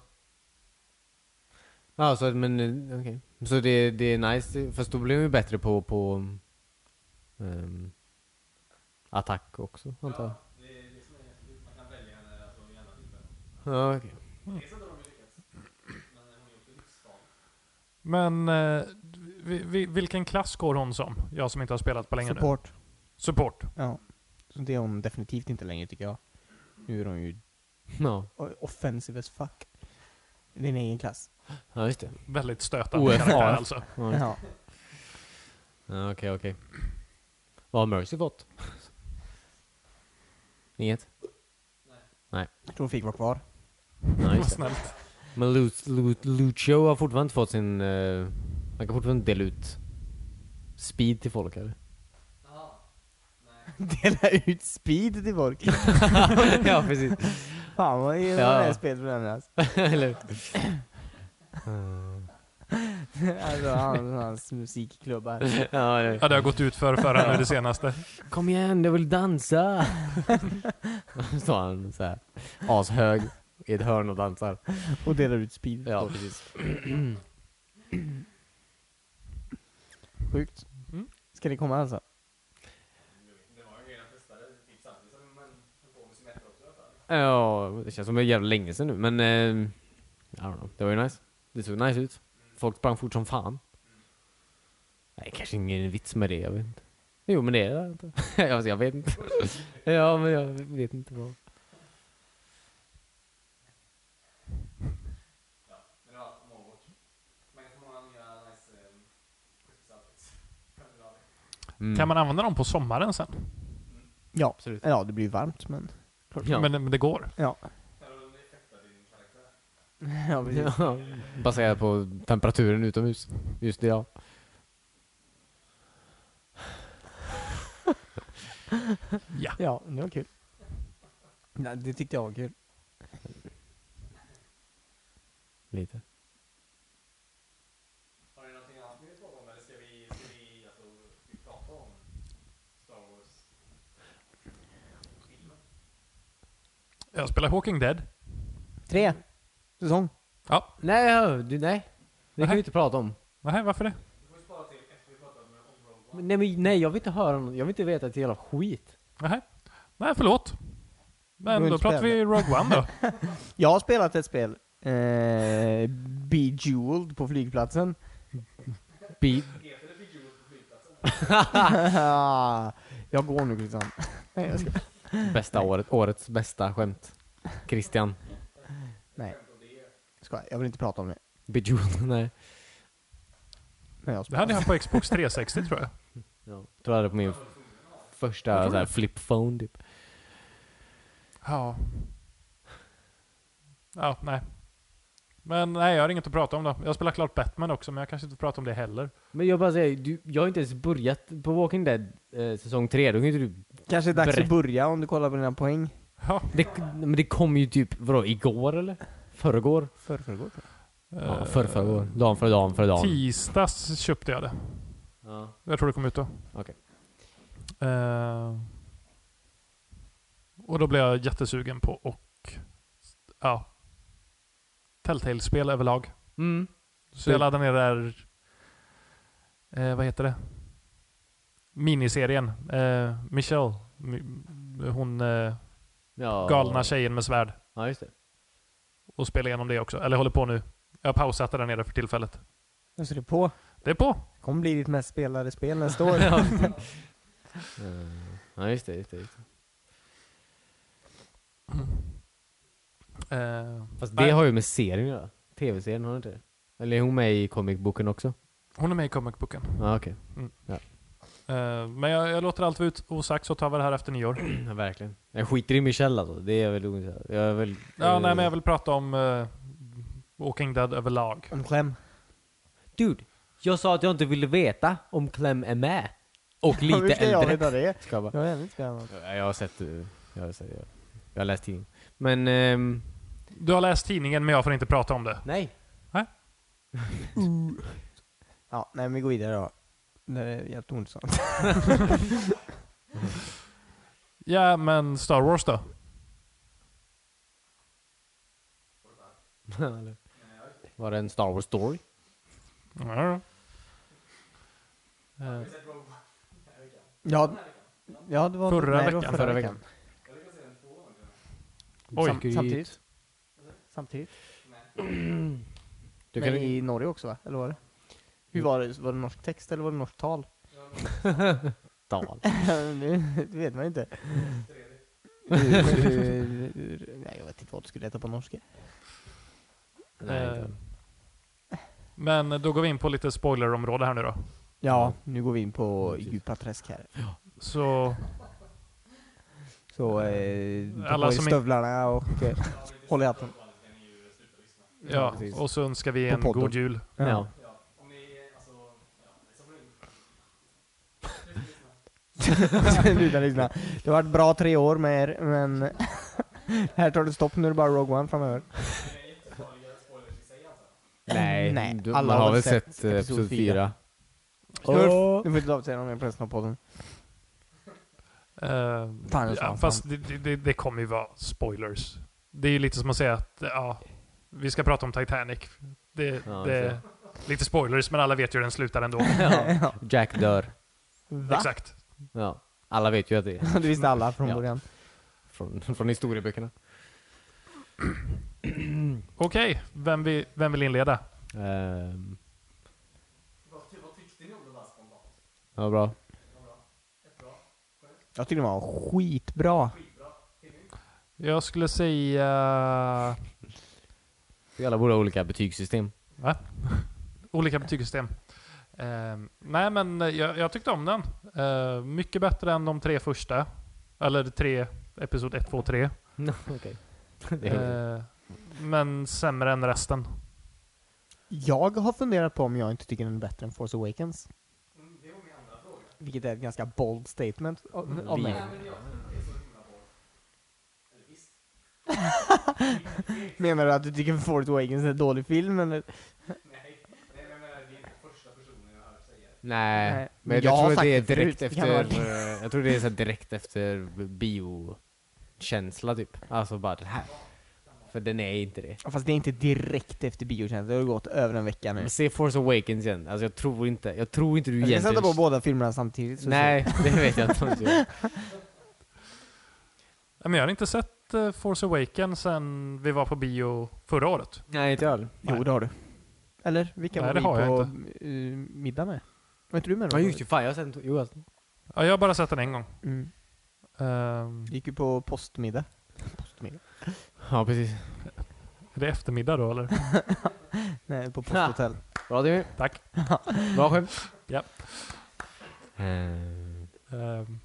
Speaker 4: Ja, så att- men eh, okej. Så det, det är nice, fast då blir de ju bättre på, på ehm, attack också, antar jag. Ja, okej.
Speaker 3: Men eh, vi- vi- vilken klass går hon som? Jag som inte har spelat på länge nu.
Speaker 2: Support.
Speaker 3: Support.
Speaker 2: Ja. Så det är hon definitivt inte längre tycker jag. Nu är hon ju
Speaker 4: Ja,
Speaker 2: offensive as fuck. Din egen klass.
Speaker 4: ja just det.
Speaker 3: Väldigt stötande
Speaker 4: OFR.
Speaker 3: karaktär alltså.
Speaker 4: Ja, just det.
Speaker 2: Ja.
Speaker 4: Ja, Okej, okej. Vad har Mercy fått? *laughs* Inget?
Speaker 2: Jag tror hon fick vara kvar. *laughs*
Speaker 4: Ja,
Speaker 3: Vad
Speaker 4: just det.
Speaker 3: snällt.
Speaker 4: Men Lu- Lu- Lucio har fortfarande inte fått sin... eh, han kan fortfarande dela ut speed till folk, eller?
Speaker 2: Dela ut speed till folk.
Speaker 4: *laughs* ja, precis.
Speaker 2: Fan vad är det
Speaker 4: Ja.
Speaker 2: här spelet för den här, alltså.
Speaker 4: eller
Speaker 2: *laughs* Alltså han- hans musikklubb här.
Speaker 4: ja, eller-
Speaker 3: Ja, det har gått ut för förra nu det senaste.
Speaker 4: Kom igen, jag vill *laughs* dansa! Står han så här ashög i ett hörn och dansar.
Speaker 2: Och delar ut speed.
Speaker 4: Ja, precis.
Speaker 2: Sjukt.
Speaker 3: Mm.
Speaker 2: Ska det komma alltså?
Speaker 4: Ja, det känns som det är jävla länge sedan nu, men... Eh, I don't know, det var ju nice. Det såg nice ut. Folk sprang fort som fan. Nej, kanske ingen vits med det, jag vet inte. Jo, men det är det inte. *laughs* alltså, jag vet inte. ja, men jag vet inte vad... Mm.
Speaker 3: Kan man använda dem på sommaren sen?
Speaker 2: Ja,
Speaker 4: Absolut.
Speaker 2: ja det blir ju varmt men...
Speaker 4: Ja.
Speaker 3: Men, men det går.
Speaker 2: Ja. *laughs* Ja, precis.
Speaker 4: Ja, baserat på temperaturen utomhus. Just det, ja.
Speaker 3: Ja.
Speaker 2: ja, det var kul. Nej, det tyckte jag var kul.
Speaker 4: Lite.
Speaker 1: alltså,
Speaker 3: Jag spelar Hawking Dead.
Speaker 2: Tre säsong.
Speaker 3: Ja.
Speaker 4: Nej, ja, du, nej. Det kan
Speaker 3: Nähä.
Speaker 4: vi inte prata om.
Speaker 3: Nej, varför det?
Speaker 4: Men Nej, men, nej, jag vill inte höra något. Jag vill inte veta ett jävla skit.
Speaker 3: Nej. Nej, förlåt. Men
Speaker 2: Runt
Speaker 3: då pratar vi Rogue One då.
Speaker 2: Jag har spelat ett spel. Eh, Bejeweled på flygplatsen.
Speaker 4: Beat.
Speaker 2: *laughs* jag går nu Christian. Nej, jag ska.
Speaker 4: Bästa året. Årets bästa skämt. Christian.
Speaker 2: Nej. Ska, jag vill inte prata om det.
Speaker 4: Bejeweled. *laughs* Nej.
Speaker 2: Nej, jag
Speaker 3: Det
Speaker 2: spelar.
Speaker 3: hade jag på Xbox 360 tror jag.
Speaker 4: Ja. Tror jag hade på min första så här, flip phone typ.
Speaker 3: Ja. Ja, nej. Men nej, jag har inget att prata om då. Jag spelar klart Batman också, men jag kanske inte pratar om det heller.
Speaker 4: Men jag bara säger, du, jag har inte ens börjat på Walking Dead eh, säsong 3. Då kan ju inte du...
Speaker 2: Kanske är dags
Speaker 4: Berätta.
Speaker 2: att börja om du kollar på dina poäng.
Speaker 3: Ja,
Speaker 4: Det, men det kom ju typ, vadå, igår eller? Förrgår?
Speaker 2: Förrförrgår
Speaker 4: Ja,
Speaker 3: eh,
Speaker 4: förrförrgår. Dagen före dagen före dagen.
Speaker 3: Tisdags köpte jag det.
Speaker 4: Ja.
Speaker 3: Jag tror det kom ut då.
Speaker 4: Okej.
Speaker 3: Eh, och då blev jag jättesugen på och ja, Telltale-spel överlag.
Speaker 4: Mm.
Speaker 3: Så jag laddade ner det här, eh, vad heter det? Miniserien. Eh, Michelle. Mi- Hon eh,
Speaker 4: Ja.
Speaker 3: galna tjejen med svärd.
Speaker 4: Ja, just det.
Speaker 3: och spela igenom det också. Eller håller på nu. Jag har pausat det där nere för tillfället.
Speaker 2: Nu ser du på.
Speaker 3: Det är på.
Speaker 2: Det kommer bli ditt mest spelade spel nästa *laughs* år.
Speaker 4: Ja, just det. Just det, just det.
Speaker 3: Eh,
Speaker 4: Fast
Speaker 3: Nej.
Speaker 4: det har ju med serien att göra. Tv-serien har inte det. Eller är hon med i comicboken också?
Speaker 3: hon är med i comic booken.
Speaker 4: Ja, okej.
Speaker 3: Eh, men jag, jag låter allt vara ut osagt så tar vi det här efter nyår.
Speaker 4: *clears throat* Ja, verkligen. Jag skiter i Michelle alltså. Det är väl... Jag är väl
Speaker 3: Ja,
Speaker 4: eh,
Speaker 3: nej, men jag vill prata om eh, Walking Dead överlag.
Speaker 2: Om *laughs* kläm.
Speaker 4: Dude, jag sa att jag inte ville veta om Clem är med. Och
Speaker 2: Hur
Speaker 4: lite
Speaker 2: ska jag
Speaker 4: äldre.
Speaker 2: veta det?
Speaker 4: Ska jag bara-
Speaker 2: Jag har ännu inte spelat något.
Speaker 4: Ja, Jag har sett... eh, Jag har, sett, jag, jag har läst tidningen. Men... ehm,
Speaker 3: Du har läst tidningen men jag får inte prata om det.
Speaker 4: nej. *laughs*
Speaker 2: Ja, nej men vi går vidare då. Det är jätteintressant.
Speaker 3: Ja, men Star Wars då?
Speaker 4: Eller, Var det en Star Wars story?
Speaker 3: Ja. Eh,
Speaker 2: Ja, ja det var
Speaker 3: Förra
Speaker 2: nej, det var
Speaker 3: veckan,
Speaker 2: Förra,
Speaker 4: förra
Speaker 2: veckan.
Speaker 3: oj.
Speaker 2: Sam, samtidigt. Samtidigt.
Speaker 4: Du
Speaker 2: men
Speaker 4: kan,
Speaker 2: i Norge också va? Eller var det? Hur var det? Var det norsk text eller var det norskt *laughs* tal?
Speaker 4: tal.
Speaker 2: det vet man inte. Mm. *laughs* nej, jag vet inte vad du skulle heta på norska.
Speaker 4: Nej,
Speaker 3: Eh,
Speaker 4: inte.
Speaker 3: Men då går vi in på lite spoilerområde här nu då.
Speaker 2: Ja, Mm, nu går vi in på djupa träsk här.
Speaker 3: Så
Speaker 2: Så eh,
Speaker 3: Alla
Speaker 2: Alla
Speaker 3: som är-
Speaker 2: stövlarna och eh, håll i hatten.
Speaker 3: ja,
Speaker 4: precis.
Speaker 3: och så önskar vi
Speaker 2: På
Speaker 3: en
Speaker 2: podden.
Speaker 3: god jul. Eh,
Speaker 4: Ja.
Speaker 2: Ja. *laughs* Sluta lyssna. Det har varit bra tre år med er, men *laughs* här tar det stopp nu är det bara Rogue One framöver.
Speaker 4: Nej,
Speaker 2: Nej,
Speaker 4: du,
Speaker 2: alla
Speaker 4: man har väl sett,
Speaker 2: episod
Speaker 4: eh, episod
Speaker 2: fyra.
Speaker 4: 4.
Speaker 2: Smurf! Du får inte avsäga någon mer på resten av podden.
Speaker 3: Eh,
Speaker 2: Fan, jag sa
Speaker 3: ja,
Speaker 2: fan.
Speaker 3: fast det, det- det, det kommer ju vara spoilers. Det är ju lite som att säga att ja, vi ska prata om Titanic. Det,
Speaker 4: Ja,
Speaker 3: det
Speaker 4: just
Speaker 3: är lite spoilers, men alla vet ju hur den slutar ändå.
Speaker 4: Ja. Jack dör.
Speaker 2: *laughs* Va?
Speaker 3: Exakt.
Speaker 4: Ja. Alla vet ju att det
Speaker 2: *laughs*
Speaker 4: är
Speaker 2: Det visste alla från
Speaker 4: Ja.
Speaker 2: början.
Speaker 4: från, från historieböckerna.
Speaker 3: Okej, vem, vi, vem vill inleda?
Speaker 4: Ehm. Ja, bra.
Speaker 2: Jag tyckte den var skitbra.
Speaker 3: Jag skulle säga...
Speaker 4: Vi alla borde ha olika betygssystem. *laughs*
Speaker 3: Olika betygssystem. Eh, Eh, nej, men jag, jag tyckte om den. Eh, mycket bättre än de tre första. Eller tre, episod 1, 2,
Speaker 4: *laughs*
Speaker 3: 3.
Speaker 4: Okej.
Speaker 3: Eh, men sämre än resten.
Speaker 2: Jag har funderat på om jag inte tycker den är bättre än Force Awakens. Vilket är ett ganska bold statement
Speaker 4: Mm,
Speaker 2: av av mig. *laughs* Menar du att du tycker Force Awakens är en dålig film eller?
Speaker 4: Nej,
Speaker 2: Nej,
Speaker 4: men
Speaker 2: men
Speaker 4: jag,
Speaker 2: jag har
Speaker 4: tror att
Speaker 2: sagt
Speaker 4: det är
Speaker 2: det förut,
Speaker 4: direkt
Speaker 2: det kan
Speaker 4: efter,
Speaker 2: vara-
Speaker 4: eh, jag tror det är så här direkt efter biokänsla typ. Alltså bara det här. För den är inte det.
Speaker 2: Fast det är inte direkt efter biotjänsten, det har gått över en vecka nu.
Speaker 4: Men se Force Awakens igen, alltså jag tror inte, jag tror inte du
Speaker 2: Jag ska
Speaker 4: egentligen...
Speaker 2: sätta på båda filmerna samtidigt. så-
Speaker 4: Nej, *laughs* det vet jag inte. om du gör.
Speaker 3: Nej, Men jag har inte sett eh, Force Awakens sen vi var på bio förra året.
Speaker 4: Nej, inte jag heller.
Speaker 2: Jo, det har du. Eller? Vilka
Speaker 3: Nej,
Speaker 2: var
Speaker 3: det
Speaker 2: vi
Speaker 3: har jag
Speaker 2: på eh, middag med? Var inte du med? då?
Speaker 4: Ja just det, fan jag har sett Jo, alltså.
Speaker 3: Ja, jag har bara sett den en gång.
Speaker 2: Mm.
Speaker 3: Ehm,
Speaker 2: gick ju på postmiddag. postmiddag.
Speaker 4: Ja precis.
Speaker 3: är det eftermiddag då
Speaker 4: *laughs*
Speaker 3: eller?
Speaker 2: Nej, på posthotell.
Speaker 4: Bra Timmy,
Speaker 3: Tack.
Speaker 4: bra skämt.
Speaker 3: Japp.
Speaker 4: Ehm,
Speaker 3: Ehm,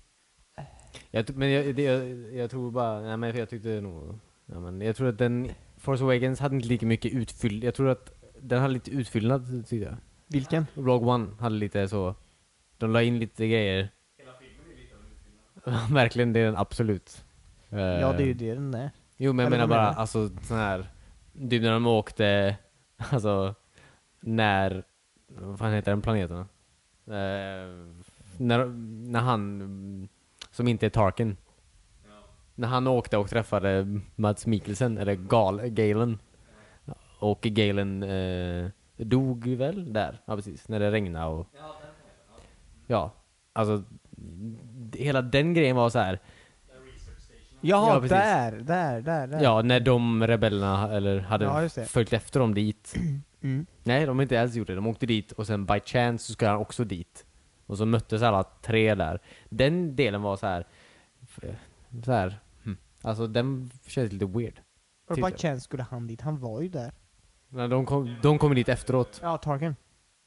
Speaker 4: Jag, ty- men jag, det, jag, jag tror bara, nej men jag tyckte nog, ja, men jag tror att den, Force Awakens hade inte lika mycket utfyll, jag tror att den hade lite utfyllnad tyckte jag.
Speaker 2: Vilken?
Speaker 4: Rogue One hade lite så, de la in lite grejer. Hela filmen är lite utfyllnad. *laughs* Verkligen, det är den absolut.
Speaker 2: Ja, det är ju
Speaker 4: Eh.
Speaker 2: det den är.
Speaker 4: Jo men jag
Speaker 2: Eller vad
Speaker 4: menar bara,
Speaker 2: menar du?
Speaker 4: alltså sån här, typ när de åkte, *laughs* alltså, när, vad fan heter den planeten? då? Eh, när, när han, mm, som inte är Tarkin. När han åkte och träffade Mats Mikkelsen, eller Gal, Galen. Och Galen eh, dog väl där? Ja precis, när det regnade och... Ja, alltså, d- hela den grejen var så här.
Speaker 2: Jaha,
Speaker 4: Ja, precis.
Speaker 2: där, där, där, där.
Speaker 4: Ja, när de rebellerna eller hade
Speaker 2: Ja, just det.
Speaker 4: följt efter dem dit.
Speaker 2: Mm.
Speaker 4: Nej, de inte alls gjort det. De åkte dit och sen by chance så skulle han också dit. Och så möttes alla tre där. Den delen var så här. f- Så här. hm. Alltså den kändes lite weird.
Speaker 2: Och
Speaker 4: Typ.
Speaker 2: bara chance skulle han dit, han var ju där.
Speaker 4: När de kom, de kom dit efteråt.
Speaker 2: Ja, Tarkin.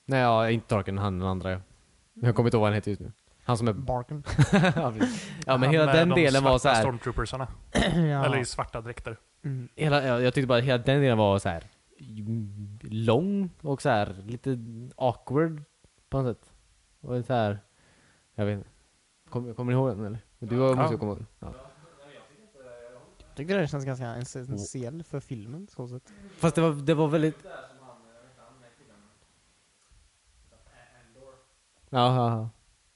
Speaker 4: Nej, ja, inte Tarkin, han den andra. Jag kommer inte ihåg vad han heter just nu.
Speaker 3: *laughs*
Speaker 4: Han som är... *clears throat*
Speaker 2: Barken.
Speaker 4: ja, precis. ja, men hela
Speaker 3: han med
Speaker 4: den
Speaker 3: de
Speaker 4: delen var så
Speaker 3: svarta
Speaker 4: här.
Speaker 3: Stormtroopersarna.
Speaker 2: ja.
Speaker 3: Eller i svarta dräkter.
Speaker 2: Mm.
Speaker 4: hela, jag, jag tyckte bara hela den delen var så här mm, lång och så här lite awkward på något sätt. Och så här, jag vet inte. Kommer, kommer ni ihåg den eller? Du har- måste ju komma ihåg den. Ja.
Speaker 2: Jag tyckte det känns ganska essentiell för filmen, så sett.
Speaker 4: Fast det var, det var väldigt... Ja, ja, ja.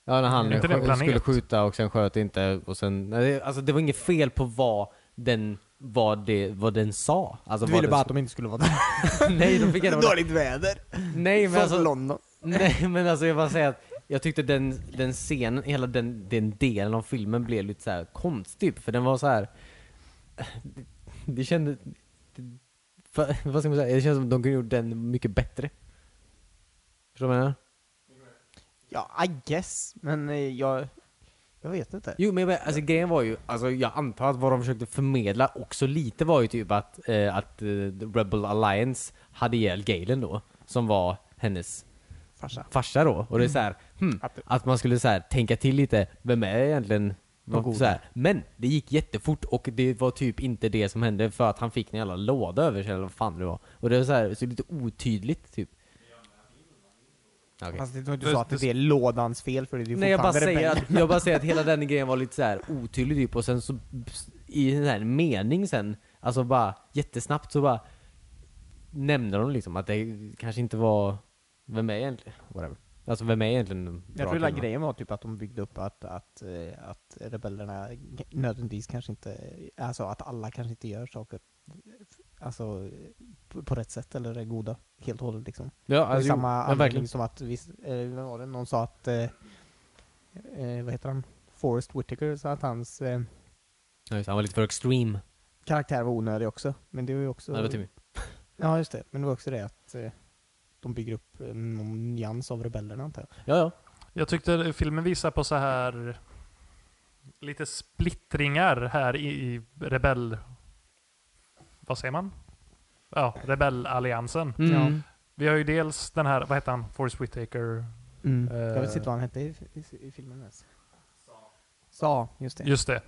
Speaker 4: ja när han
Speaker 3: Är inte det en
Speaker 4: skö- skulle
Speaker 3: planet?
Speaker 4: skjuta och sen sköt inte och sen... nej, det- Alltså det var inget fel på vad den, vad det, vad den sa. Alltså,
Speaker 2: Du
Speaker 4: vad
Speaker 2: ville
Speaker 4: den
Speaker 2: bara att de inte skulle
Speaker 4: *laughs*
Speaker 2: vara där.
Speaker 4: sa. Nej,
Speaker 2: *laughs*
Speaker 4: de fick ändå...
Speaker 2: Dåligt väder.
Speaker 4: Nej men
Speaker 2: Från
Speaker 4: alltså...
Speaker 2: London.
Speaker 4: Nej men alltså jag bara säger att jag tyckte den, den scenen, hela den, den delen av filmen blev lite så här konstig för den var så här. Det, det kändes, det, va- vad ska man säga, det känns som att de kunde gjort den mycket bättre. Förstår du vad jag menar?
Speaker 2: Ja, I guess. Men eh, jag... Jag vet inte.
Speaker 4: Jo men jag menar, alltså grejen var ju, alltså jag antar att vad de försökte förmedla också lite var ju typ att, eh, att eh, Rebel Alliance hade ihjäl Galen då, som var hennes
Speaker 2: Farsa.
Speaker 4: farsa då. Och det är så här, hmm,
Speaker 2: Mm. Att-
Speaker 4: att man skulle så här, tänka till lite, vem är egentligen
Speaker 2: Vad god.
Speaker 4: så här. Men det gick jättefort och det var typ inte det som hände för att han fick en jävla låda över sig eller vad fan det var. Och det var så här, så lite otydligt typ. Okej.
Speaker 2: Fast det var inte
Speaker 3: Det-
Speaker 2: så att
Speaker 3: det-
Speaker 2: det är lådans fel för det är ju
Speaker 4: Nej jag bara,
Speaker 2: fortfarande
Speaker 4: säger
Speaker 2: rebell.
Speaker 4: att, jag
Speaker 2: *laughs*
Speaker 4: bara säger att hela den grejen var lite så här otydlig typ och sen så i en sån här mening sen, alltså bara jättesnabbt så bara nämnde de liksom att det kanske inte var, vem är egentligen, whatever. Alltså vem är egentligen en bra
Speaker 2: Jag tror hela
Speaker 4: kvinna?
Speaker 2: grejen var typ att de byggde upp att, att, eh, att rebellerna g- nödvändigtvis kanske inte, alltså att alla kanske inte gör saker f- alltså, på- på rätt sätt eller är goda helt och hållet liksom.
Speaker 4: Ja,
Speaker 2: Det är
Speaker 4: alltså, jo,
Speaker 2: samma
Speaker 4: men
Speaker 2: anledning
Speaker 4: verkligen.
Speaker 2: som att, visst, eh, vem var det, någon sa att, eh, eh, vad heter han, Forrest Whitaker sa att hans eh,
Speaker 4: Ja, just, det, han var lite för extreme.
Speaker 2: karaktär var onödig också. Men det var ju också,
Speaker 4: Nej, det var typ- Timmy.
Speaker 2: ja just det, men det var också det att eh, de bygger upp eh, någon nyans av rebellerna antar jag.
Speaker 4: Ja, ja.
Speaker 3: Jag tyckte filmen visar på så här lite splittringar här i, i rebell... Vad säger man? Ja, rebellalliansen.
Speaker 4: Mm.
Speaker 2: Ja.
Speaker 3: Vi har ju dels den här, vad heter han, Forrest Whitaker
Speaker 2: Mm. Jag
Speaker 3: Eh.
Speaker 2: vet inte vad han hette i, i, i filmen ens. Sa, just det.
Speaker 3: Just det.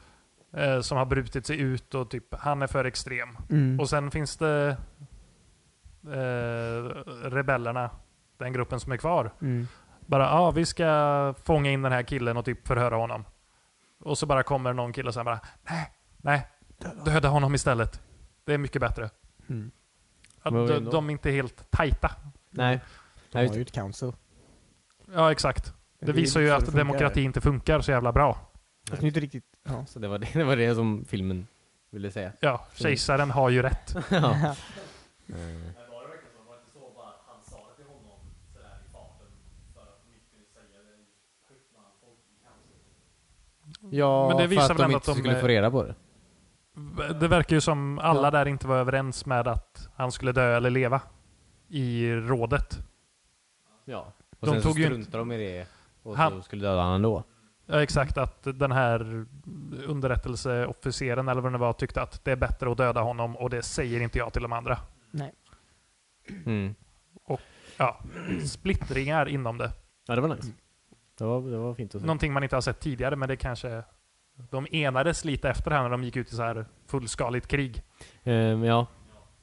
Speaker 3: Eh, som har brutit sig ut och typ, han är för extrem.
Speaker 2: Mm.
Speaker 3: Och sen finns det eh, rebellerna, den gruppen som är kvar.
Speaker 2: Mm.
Speaker 3: Bara, ja ah, vi ska fånga in den här killen och typ förhöra honom. Och så bara kommer någon kille och sen bara, nej, nej, döda honom istället. Det är mycket bättre.
Speaker 2: Mm.
Speaker 3: Att
Speaker 4: Men
Speaker 3: de,
Speaker 4: ändå.
Speaker 3: de är inte helt tajta.
Speaker 4: Nej.
Speaker 2: De
Speaker 4: Nej,
Speaker 2: har ju ett council.
Speaker 3: Ja, exakt. Det
Speaker 2: är ju
Speaker 3: visar ju
Speaker 2: så
Speaker 3: att
Speaker 2: det funkar.
Speaker 3: demokrati inte funkar så jävla bra.
Speaker 2: Fast det är inte riktigt... Ja.
Speaker 4: Så det var det, *laughs* det var det som filmen ville säga.
Speaker 3: Ja, kejsaren har
Speaker 2: *laughs*
Speaker 3: ju rätt.
Speaker 4: ja. Ja,
Speaker 3: Men det visar
Speaker 4: för att
Speaker 3: väl
Speaker 4: de
Speaker 3: ändå
Speaker 4: inte
Speaker 3: att de
Speaker 4: skulle
Speaker 3: är-
Speaker 4: få reda på det.
Speaker 3: Det verkar ju som alla
Speaker 2: Ja.
Speaker 3: där inte var överens med att han skulle dö eller leva i rådet.
Speaker 4: Ja. Och
Speaker 3: De
Speaker 4: sen
Speaker 3: tog
Speaker 4: så
Speaker 3: ju
Speaker 4: struntade de i det och
Speaker 3: Han-
Speaker 4: så skulle döda han ändå.
Speaker 3: Ja, exakt. Att den här underrättelseofficeren eller vad det var tyckte att det är bättre att döda honom och det säger inte jag till de andra.
Speaker 4: Mm.
Speaker 3: Ja, splittringar inom det.
Speaker 4: Ja, det var nice. Det var, det var fint att se.
Speaker 3: Någonting man inte har sett tidigare, men det kanske... De enades lite efter här när de gick ut i så här fullskaligt krig.
Speaker 4: Ehm, ja.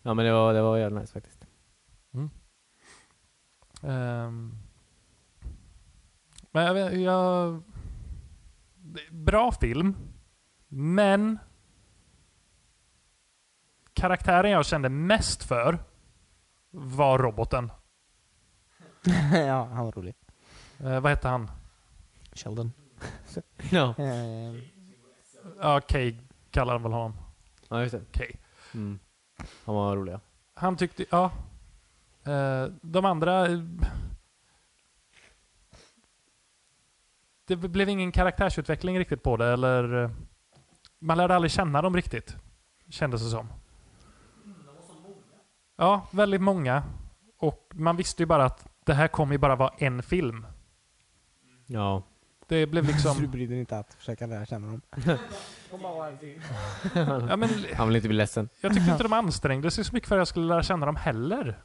Speaker 4: ja, men det var, det var jävligt nice faktiskt.
Speaker 3: Ehm. men jag, vet- jag... det är Bra film, men... Karaktären jag kände mest för var roboten.
Speaker 2: *laughs* ja, han var rolig.
Speaker 3: Eh, vad hette han?
Speaker 2: Sheldon.
Speaker 4: Ja,
Speaker 2: Eh,
Speaker 3: Ja, Kay kallar han väl honom.
Speaker 4: ja just det.
Speaker 3: Kay.
Speaker 4: Mm. Han var rolig ja.
Speaker 3: Han tyckte, ja. Eh, de andra... eh, Det blev ingen karaktärsutveckling riktigt på det, eller... eh, Man lärde aldrig känna dem riktigt, kändes det som. Ja, väldigt många. Och man visste ju bara att det här kommer ju bara vara en film.
Speaker 4: Ja.
Speaker 3: Det blev
Speaker 2: Så du *laughs*
Speaker 3: liksom...
Speaker 2: brydde dig inte att försöka lära känna dem?
Speaker 3: Ja, men,
Speaker 4: Han vill inte bli ledsen.
Speaker 3: jag tyckte inte de ansträngde sig så mycket för att jag skulle lära känna dem heller.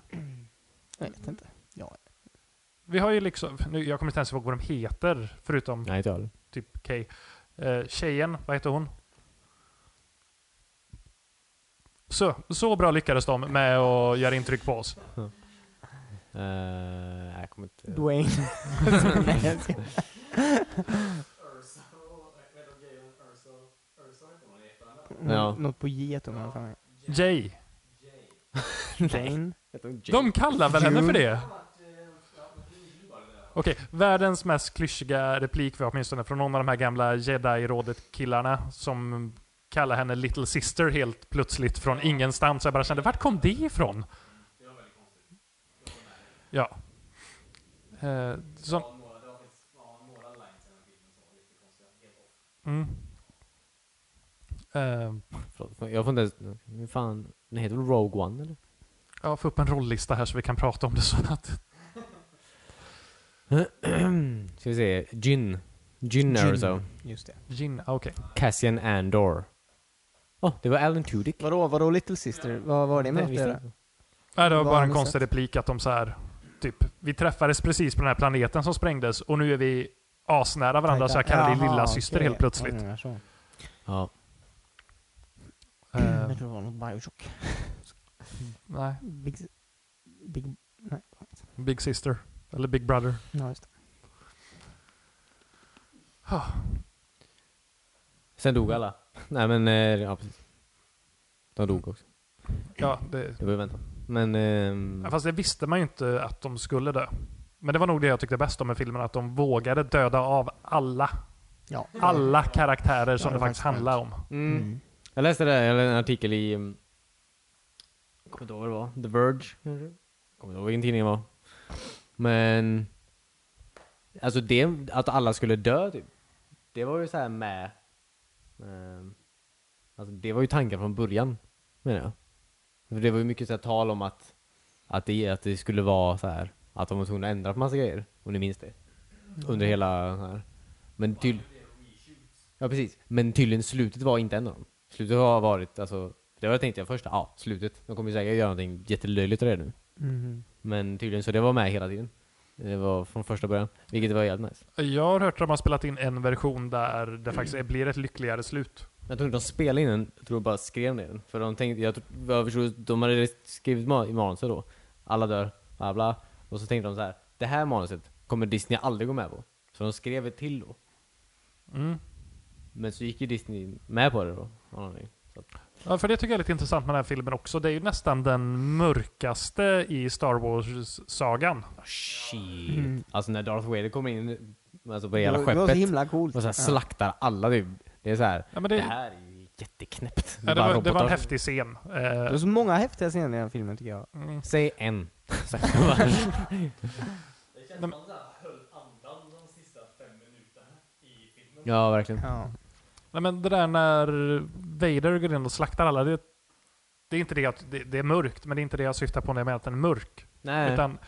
Speaker 2: Jag vet inte.
Speaker 3: Vi har ju liksom, nu, jag kommer inte ens ihåg vad de heter, förutom
Speaker 4: Nej, inte jag heller.
Speaker 3: typ Kay. Eh, tjejen, vad heter hon? Så, så bra lyckades de med att göra intryck på oss.
Speaker 4: Ehm, nej, jag kommer inte...
Speaker 2: *laughs* Dwayne. Nej, jag ska-
Speaker 4: Ja.
Speaker 2: Nå- Något på J tror jag. fan.
Speaker 3: Jay.
Speaker 2: Jane.
Speaker 3: De kallar väl henne för det? Okej, världens mest klyschiga replik var åtminstone från någon av de här gamla jedi-rådet-killarna som kallar henne Little Sister helt plötsligt från ingenstans. Jag bara kände, vart kom det ifrån? Ja. Eh, som... Mm. Eh,
Speaker 4: Förlåt, jag får inte ens... Hur fan... Den heter väl Rogue One eller?
Speaker 3: jag får upp en rollista här så vi kan prata om det så att
Speaker 4: Ska vi se. Gin. Gin eller så.
Speaker 2: Just det.
Speaker 3: Gin, ah, okej.
Speaker 4: Cassian Andor. Åh, det var Alan Tudyk.
Speaker 2: Vadå, vadå Little Sister? Vad var det med
Speaker 4: Nej,
Speaker 2: något att
Speaker 4: visste
Speaker 2: göra?
Speaker 4: inte.
Speaker 3: Nej, det var
Speaker 2: Vad
Speaker 3: bara
Speaker 2: har
Speaker 3: en
Speaker 2: ni
Speaker 3: konstig
Speaker 2: sett?
Speaker 3: replik att de så här, typ, vi träffades precis på den här planeten som sprängdes och nu är vi asnära varandra så jag kallar dig
Speaker 2: Jaha,
Speaker 3: lilla syster
Speaker 2: okej.
Speaker 3: helt plötsligt.
Speaker 2: Ja, det var så.
Speaker 4: Ja.
Speaker 3: Eh,
Speaker 2: Jag tror det var något Bioshock.
Speaker 3: nej,
Speaker 2: Big... Big... Nej,
Speaker 3: Big Sister. Eller Big Brother.
Speaker 2: ja, just det.
Speaker 4: Sen dog alla. Nej men, eh, ja precis. De dog också.
Speaker 3: Ja, det,
Speaker 4: Det var ju väntat. Men, ehm,
Speaker 2: Mm.
Speaker 3: ja, fast det visste man ju inte att de skulle dö. Men det var nog det jag tyckte bäst om med filmen, att de vågade döda av alla,
Speaker 2: Ja.
Speaker 3: alla karaktärer som
Speaker 2: Ja,
Speaker 3: det
Speaker 2: det var
Speaker 3: faktiskt handlar om.
Speaker 4: mm.
Speaker 2: Mm.
Speaker 4: Jag läste det, eller en artikel i... mm, Jag kommer inte ihåg vad det var. The Verge kanske? Jag Kommer inte ihåg vilken tidning det var. Men... Alltså det, att alla skulle dö typ. Det var ju så här med... ehm, alltså det var ju tanken från början, menar jag. För det var ju mycket så här tal om att, att, det, att det skulle vara så här att de var tvungna att ändra på massa grejer, om ni minns det. Under hela den här. Men typ, till... Ja precis, men tydligen slutet var inte en av dem. Slutet har varit, alltså, det var jag tänkte jag först, ja slutet. De kommer ju säkert göra någonting jättelöjligt av det nu.
Speaker 2: Mhm.
Speaker 4: Men tydligen så det var med hela tiden. Det var från första början, vilket var jävligt nice.
Speaker 3: Jag har hört att de har spelat in en version där det faktiskt blir ett lyckligare slut.
Speaker 4: Jag tror inte de spelade in den, jag tror de bara skrev ner den. För de tänkte, jag, tror- vad jag förstod, de hade skrivit ma- i manuset då. Alla dör, bla bla. Och så tänkte de så här, det här manuset kommer Disney aldrig gå med på. Så de skrev ett till då.
Speaker 3: Mm.
Speaker 4: Men så gick ju Disney med på det då. av någon anledning. Så att,
Speaker 3: Ja, för det tycker jag är lite intressant med den här filmen också. Det är ju nästan den mörkaste i Star Wars-sagan.
Speaker 4: oh, shit.
Speaker 2: Mm.
Speaker 4: Alltså när Darth Vader kommer in alltså på hela
Speaker 2: Det var- det var så
Speaker 4: skeppet
Speaker 2: himla coolt.
Speaker 4: och så här slaktar alla typ. Det är så här,
Speaker 3: Ja, men
Speaker 4: det
Speaker 3: det,
Speaker 4: här är ju jätteknäppt.
Speaker 3: ja, det, var, det
Speaker 4: bara
Speaker 3: var en
Speaker 4: robotar.
Speaker 3: häftig scen.
Speaker 2: Ja.
Speaker 3: Eh,
Speaker 2: Det var så många häftiga scener i den här filmen tycker jag.
Speaker 3: mm.
Speaker 4: Säg
Speaker 3: *laughs*
Speaker 4: en. Så jag bara-
Speaker 3: som
Speaker 4: ja, verkligen.
Speaker 2: Ja.
Speaker 3: Nej, men det där när Vader går in och slaktar alla. Det, det är inte det att det, det är mörkt, men det är inte det jag syftar på när jag menar att den är mörk.
Speaker 4: Nej.
Speaker 3: Utan,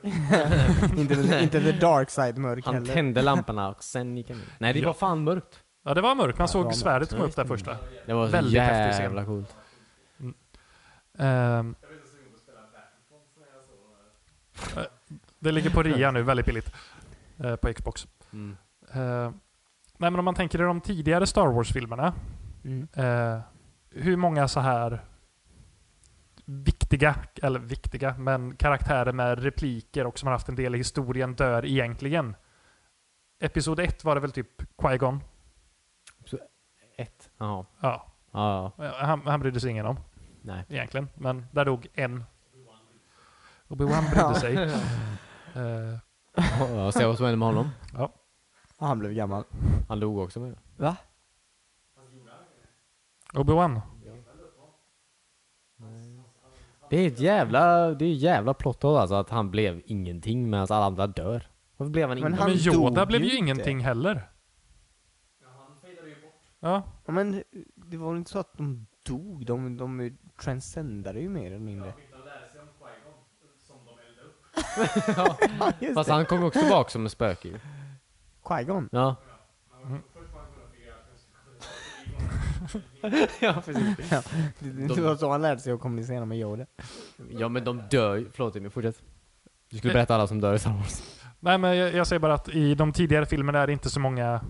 Speaker 2: *laughs* inte, inte the dark side mörk
Speaker 4: Han
Speaker 2: heller.
Speaker 4: tände lamporna och sen gick han in. Nej, det
Speaker 3: Ja.
Speaker 4: var fan mörkt.
Speaker 3: ja, det var mörkt. Man
Speaker 2: det var
Speaker 3: såg
Speaker 2: mörkt.
Speaker 3: svärdet komma
Speaker 4: Ja,
Speaker 3: upp där första.
Speaker 4: Det var så
Speaker 3: Väldigt häftig scen.
Speaker 4: jävla coolt.
Speaker 3: Ehm. Eh, Det ligger på rea nu, väldigt billigt. eh, På Xbox.
Speaker 4: Mm.
Speaker 3: Eh, Nej men om man tänker i de tidigare Star Wars-filmerna.
Speaker 2: Mm.
Speaker 3: eh, Hur många så här viktiga, eller viktiga, men karaktärer med repliker och som har haft en del i historien dör egentligen? Episod 1 var det väl typ Qui-Gon?
Speaker 4: Ett. Jaha.
Speaker 3: Ja,
Speaker 4: Ja, ja.
Speaker 3: eh, han, han brydde sig ingen om
Speaker 4: Nej.
Speaker 3: egentligen, men där dog en. Obi-Wan
Speaker 2: *laughs*
Speaker 3: brydde sig. Eh,
Speaker 4: Ja, se vad som hände med honom.
Speaker 2: Ja, han blev gammal.
Speaker 4: Han dog också med det.
Speaker 2: Va?
Speaker 3: Obi-Wan?
Speaker 4: Det är ett jävla, det är ett jävla plott hole, alltså att han blev ingenting medan alla andra dör. Varför blev
Speaker 2: Men
Speaker 4: han ingenting?
Speaker 3: Ja,
Speaker 2: han-
Speaker 3: men Yoda
Speaker 2: dog
Speaker 3: blev
Speaker 2: ju
Speaker 3: ju
Speaker 2: inte.
Speaker 3: ingenting heller. Ja,
Speaker 2: Ja, men det var väl inte så att de dog? De, de transcendade ju mer eller mindre. *laughs* Ja, just
Speaker 4: Fast
Speaker 2: det.
Speaker 4: han kom också tillbaka som en spöke ju.
Speaker 2: Qui-Gon.
Speaker 4: Ja.
Speaker 3: Mm.
Speaker 2: Det, det var så han lärde sig att kommunicera med Yoda.
Speaker 4: ja, men de dör ju. Förlåt Jimmy, fortsätt. Du skulle berätta alla som dör i Star Wars.
Speaker 3: Nej, men jag, jag säger bara att i de tidigare filmerna är det inte så många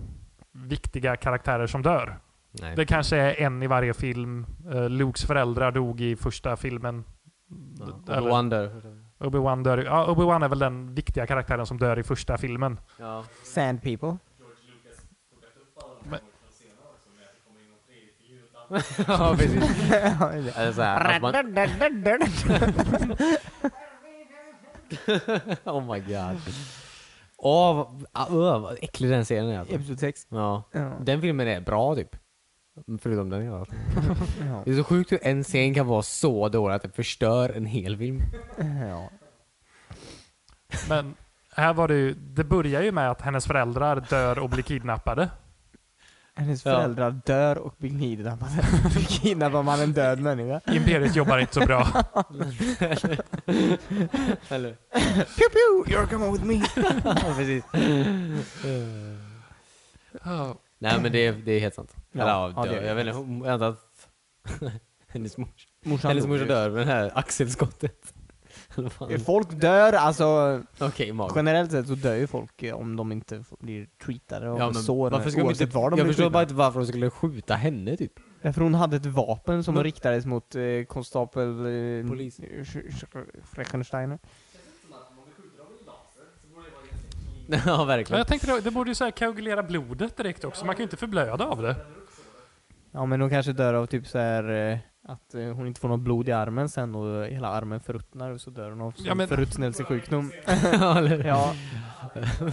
Speaker 3: viktiga karaktärer som dör.
Speaker 4: Nej.
Speaker 3: Det kanske är en i varje film. Eh, Lukes föräldrar dog i första filmen.
Speaker 4: Ja.
Speaker 3: Eller-
Speaker 4: Och One dör.
Speaker 3: Obi-Wan dör. i- Ja, Obi-Wan är väl den viktiga karaktären som dör i första filmen.
Speaker 4: Ja. *laughs*
Speaker 2: Sand people.
Speaker 4: ja, precis.
Speaker 2: Ja, just det.
Speaker 4: Eller så här, att Äh, alltså man,
Speaker 2: *laughs*
Speaker 4: Oh my god. Åh, vad, ah, öh, vad äcklig den serien är. Alltså.
Speaker 2: Episod 6.
Speaker 4: Ja.
Speaker 2: Ja.
Speaker 4: Den filmen är bra typ. Förutom den jag
Speaker 2: Ja.
Speaker 4: Det är så sjukt hur en scen kan vara så dålig att den förstör en hel film.
Speaker 2: ja.
Speaker 3: Men här var det ju, det börjar ju med att hennes föräldrar dör och blir kidnappade.
Speaker 2: Hennes
Speaker 4: Ja.
Speaker 2: föräldrar dör och blir kidnappade. *laughs* Kidnappar man en död människa?
Speaker 3: Imperiet jobbar inte så *laughs* bra.
Speaker 4: Eller
Speaker 2: Pew pew! You're coming with me!
Speaker 4: *laughs* Ja, precis. Nej men det är, det är helt sant.
Speaker 2: Ja,
Speaker 4: Eller ja,
Speaker 2: ja, det
Speaker 4: dör.
Speaker 2: är
Speaker 4: jag vet inte, hon- jag antar att *laughs* hennes morsa,
Speaker 2: Morsan
Speaker 4: hennes
Speaker 2: dog
Speaker 4: morsa
Speaker 2: ju.
Speaker 4: dör med det här axelskottet. *laughs* Eller vad fan.
Speaker 2: Folk dör, alltså
Speaker 4: Okej, magiskt.
Speaker 2: generellt sett så dör ju folk eh, om de inte f- blir treatade och
Speaker 4: Ja, men
Speaker 2: sår.
Speaker 4: varför ska de
Speaker 2: oavsett
Speaker 4: inte,
Speaker 2: var de
Speaker 4: jag
Speaker 2: blir
Speaker 4: förstår bara
Speaker 2: treatade.
Speaker 4: inte varför de skulle skjuta henne typ. *laughs*
Speaker 2: Därför hon hade ett vapen som
Speaker 4: Men-
Speaker 2: riktades mot eh, konstapel... Eh,
Speaker 4: Polis.
Speaker 2: Sch- Sch- Freckensteiner.
Speaker 4: ja
Speaker 3: Ja,
Speaker 4: verkligen.
Speaker 3: jag tänkte det, det borde ju så här koagulera blodet direkt också. Man kan ju inte förblöda av det.
Speaker 2: Ja men hon kanske dör av typ så här eh, att eh, hon inte får något blod i armen sen och hela armen förruttnar och så dör hon av
Speaker 3: Ja, men-
Speaker 2: ja,
Speaker 4: *laughs*
Speaker 2: förruttnelsesjukdom.
Speaker 4: Ja, eller-
Speaker 2: ja.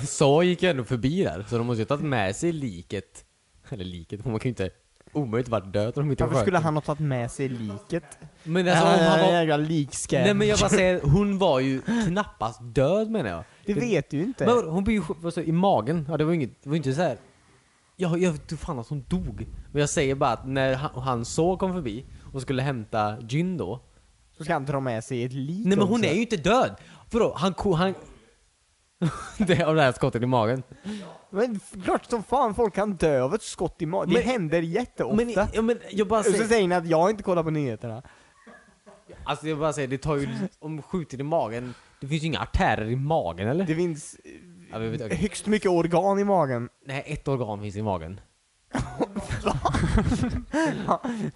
Speaker 4: Sa gick ju ändå förbi där, så de måste ju ha tagit med sig liket. Eller liket, hon kan ju inte omöjligt varit död om de inte
Speaker 2: Varför
Speaker 4: sköt
Speaker 2: skulle
Speaker 4: henne.
Speaker 2: han ha tagit med sig liket?
Speaker 4: Men
Speaker 2: Alltså,
Speaker 4: alltså, om han var...
Speaker 2: jävla likscam.
Speaker 4: Nej men jag bara säger, hon var ju knappast död menar jag.
Speaker 2: Det vet du ju inte.
Speaker 4: Men vadå, hon blev ju sk- alltså, i magen, ja det var inget, det var inte så här. Ja, jag vet inte fan att hon dog. Men jag säger bara att när han, han så kom förbi och skulle hämta Jyn då.
Speaker 2: Så ska han dra med sig ett lik
Speaker 4: Nej men hon
Speaker 2: också.
Speaker 4: är ju inte död! Vadå, han ko... han... *laughs* det, av det här skottet i magen.
Speaker 2: Men f- klart som fan folk kan dö av ett skott i magen. Det
Speaker 4: Men-
Speaker 2: händer jätteofta.
Speaker 4: Men, alltså- ja, men jag bara
Speaker 2: och så
Speaker 4: säger...
Speaker 2: säger ni att jag inte kollar på nyheterna.
Speaker 4: Alltså jag bara säger, det tar ju... Om skjuter i magen, Det finns ju inga artärer i magen eller?
Speaker 2: Det finns eh,
Speaker 4: Ja, vi vet, okej.
Speaker 2: högst mycket organ i magen. *laughs*
Speaker 4: Nej, ett organ finns i magen.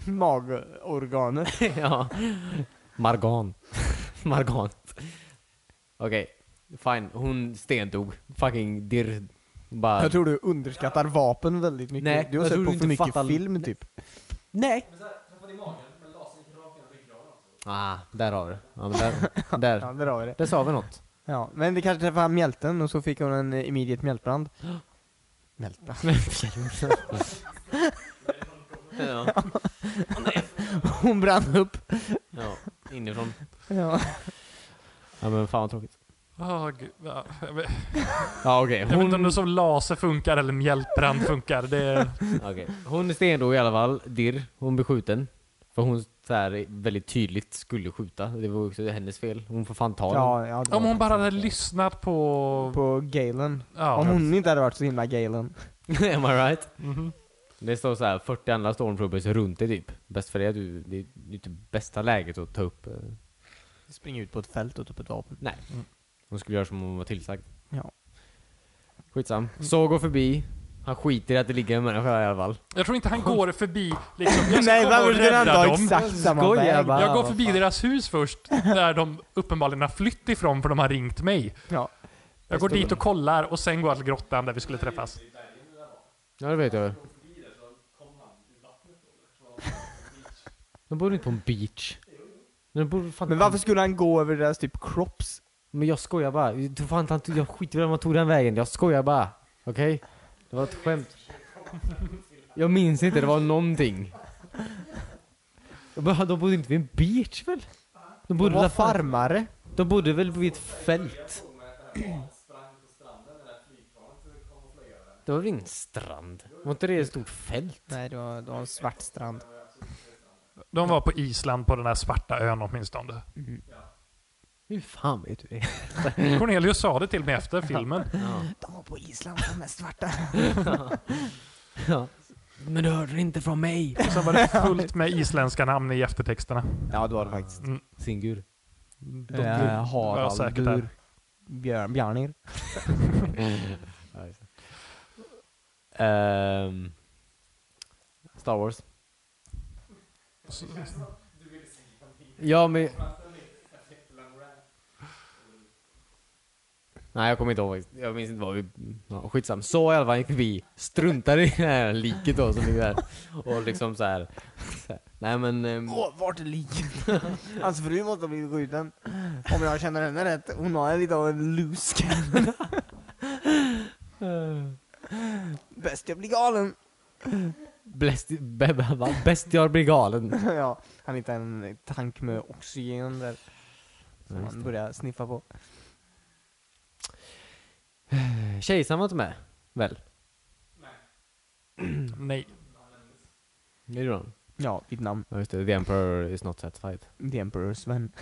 Speaker 2: Magorganet.
Speaker 4: *laughs* ja. *laughs* Margan. Margant. Okej, fine. Hon stendog. Fucking dirr. Bara...
Speaker 2: Jag tror du underskattar vapen väldigt mycket.
Speaker 4: Nej,
Speaker 2: du har
Speaker 4: jag
Speaker 2: sett
Speaker 4: tror
Speaker 2: på
Speaker 4: du
Speaker 2: för
Speaker 4: inte
Speaker 2: mycket
Speaker 4: fattar-
Speaker 2: film typ.
Speaker 4: Nej! Ah, där har du det. ja, men där,
Speaker 2: *laughs* Ja,
Speaker 4: där,
Speaker 2: där har vi det.
Speaker 4: där sa vi något.
Speaker 2: Ja, men det kanske träffade mjälten och så fick hon en eh, immediate mjältbrand. Mjältbrand.
Speaker 4: ja,
Speaker 2: *laughs* Hon brann upp.
Speaker 4: ja, inifrån.
Speaker 2: Ja.
Speaker 4: Ja men fan vad tråkigt.
Speaker 3: Åh, gud. Ja, jag vet
Speaker 4: Ja okej,
Speaker 3: jag vet inte om
Speaker 4: hon,
Speaker 3: det är som laser funkar eller mjältbrand funkar. Det är,
Speaker 4: okej. hon är stendog i alla fall, dirr. Hon blir skjuten. För hon så här, väldigt tydligt skulle skjuta. Det var också hennes fel. Hon får fan ta den.
Speaker 2: Ja, ja, det var
Speaker 3: om hon
Speaker 2: det.
Speaker 3: bara hade lyssnat på...
Speaker 2: På Galen.
Speaker 3: ja.
Speaker 2: Om hon inte hade varit så himla Galen.
Speaker 4: *laughs* Am I right?
Speaker 3: Mhm.
Speaker 4: Det står så här 40 andra stormtroopers runt dig typ. Bäst för det är du, det är ju inte bästa läget att ta upp. eh.
Speaker 2: Springa ut på ett fält och ta upp ett vapen.
Speaker 4: Hon skulle göra som hon var tillsagd.
Speaker 2: Ja.
Speaker 4: Skitsam. Så går förbi. Han skiter i att det ligger en människa i alla fall.
Speaker 3: Jag tror inte han går förbi liksom,
Speaker 2: *laughs*
Speaker 3: jag
Speaker 2: *laughs*
Speaker 3: ska
Speaker 2: Nej,
Speaker 3: komma och
Speaker 2: varför skulle han
Speaker 3: rädda
Speaker 2: ta
Speaker 3: dem.
Speaker 2: exakt samma
Speaker 4: Skojar
Speaker 2: väg?
Speaker 4: bara.
Speaker 3: Jag går
Speaker 4: Ah,
Speaker 3: förbi deras hus först, där de uppenbarligen har flytt ifrån för de har ringt mig.
Speaker 2: Ja.
Speaker 3: Jag går dit och kollar och sen går jag till grottan där vi skulle träffas.
Speaker 4: Ja det vet jag väl. De bor inte på en beach. De bor fan
Speaker 2: Men varför skulle han gå över deras typ kropps?
Speaker 4: Men jag skojar bara. Jag tror fan han, jag skiter i om han tog den vägen. Jag skojar bara. Okej? Det var ett skämt. Jag minns inte, det var någonting. Men de bodde inte vid en beach väl? De bodde,
Speaker 2: De var
Speaker 4: väl fan-
Speaker 2: farmare.
Speaker 4: de bodde väl vid ett fält? Det var väl ingen strand? Var inte det ett stort fält?
Speaker 2: Nej, det var, det var en svart strand.
Speaker 3: De var på Island på den här svarta
Speaker 2: *laughs*
Speaker 3: ön åtminstone.
Speaker 4: Hur fan vet du det?
Speaker 3: Cornelius sa det till mig efter filmen.
Speaker 2: De var på Island, de är
Speaker 3: *laughs*
Speaker 2: svarta.
Speaker 4: *laughs* Men du hörde det inte från mig!
Speaker 3: Och sen var det fullt med isländska namn i eftertexterna.
Speaker 2: Ja, det var det faktiskt.
Speaker 4: Mm. Singur.
Speaker 2: De,
Speaker 3: var
Speaker 2: Harald,
Speaker 3: säkert
Speaker 2: Dur,
Speaker 3: där.
Speaker 2: Björn, Bjarnir.
Speaker 4: Ehm, Star Wars. Ja men... Nej jag kommer inte ihåg. Jag minns inte vad vi... Ja, skitsam. Så i alla fall gick vi, struntade i det här liket då som ligger där. Och liksom så här. Så här. Nej men... ehm,
Speaker 2: Åh, vart är liket? Hans fru måste ha blivit skjuten. Om jag känner henne rätt, hon har lite av en loose *laughs* cannon. Bäst jag blir galen.
Speaker 4: Bläst, be, be, va? Bestiarbrigalen.
Speaker 2: *laughs* ja, han hittar en tank med oxygen där.
Speaker 4: Ja,
Speaker 2: Som
Speaker 4: just
Speaker 2: han börjar sniffa på.
Speaker 4: Kejsaren var inte med? Väl?
Speaker 3: Nej.
Speaker 4: Det gjorde han.
Speaker 2: Ja, vid namn.
Speaker 4: Ja just det, The Emperor is not satisfied.
Speaker 2: The Emperor Sven.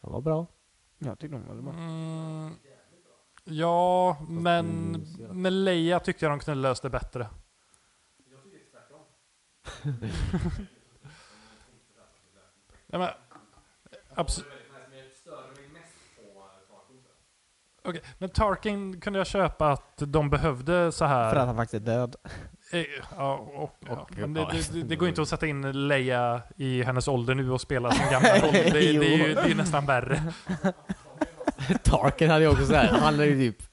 Speaker 4: Han var bra.
Speaker 2: Jag tyckte hon var bra.
Speaker 3: Mm, ja, men med Leia tyckte jag de kunde löst det bättre. ja, men, abs- Okej, men Tarkin kunde jag köpa att de behövde så
Speaker 2: För att
Speaker 3: här.
Speaker 2: han faktiskt är död.
Speaker 3: Eh, Ja, och, ja. Men
Speaker 4: ja.
Speaker 3: det, det, det- det går inte att sätta in Leia i hennes ålder nu och spela sin
Speaker 4: *laughs*
Speaker 3: gamla roll. Det, det, är ju det är ju nästan värre.
Speaker 4: *laughs* Tarkin hade ju också så här. han hade ju typ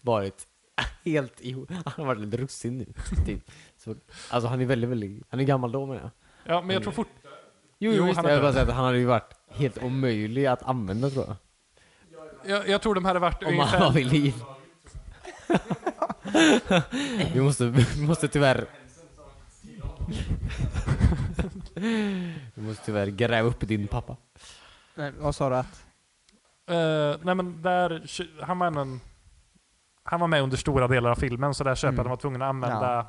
Speaker 4: varit helt i... Han har varit lite russin nu, *laughs* typ. Så, alltså han är väldigt, väldigt... Han är gammal då menar jag.
Speaker 3: Ja, men jag tror fort,
Speaker 4: Jo,
Speaker 3: Jo,
Speaker 4: jo, visst,
Speaker 3: han
Speaker 4: jag
Speaker 3: är
Speaker 4: vill bara
Speaker 3: död.
Speaker 4: säga att han hade ju varit helt omöjlig att använda tror jag.
Speaker 3: jag, jag tror de hade varit
Speaker 4: Om han var vid *laughs* liv. vi, måste, vi måste tyvärr... *laughs* vi måste tyvärr gräva upp din pappa.
Speaker 2: Nej, vad sa du att?
Speaker 3: Eh, nej men där, han var ändå en, Han var med under stora delar av filmen så där köparen
Speaker 2: Mm.
Speaker 3: var tvungen att använda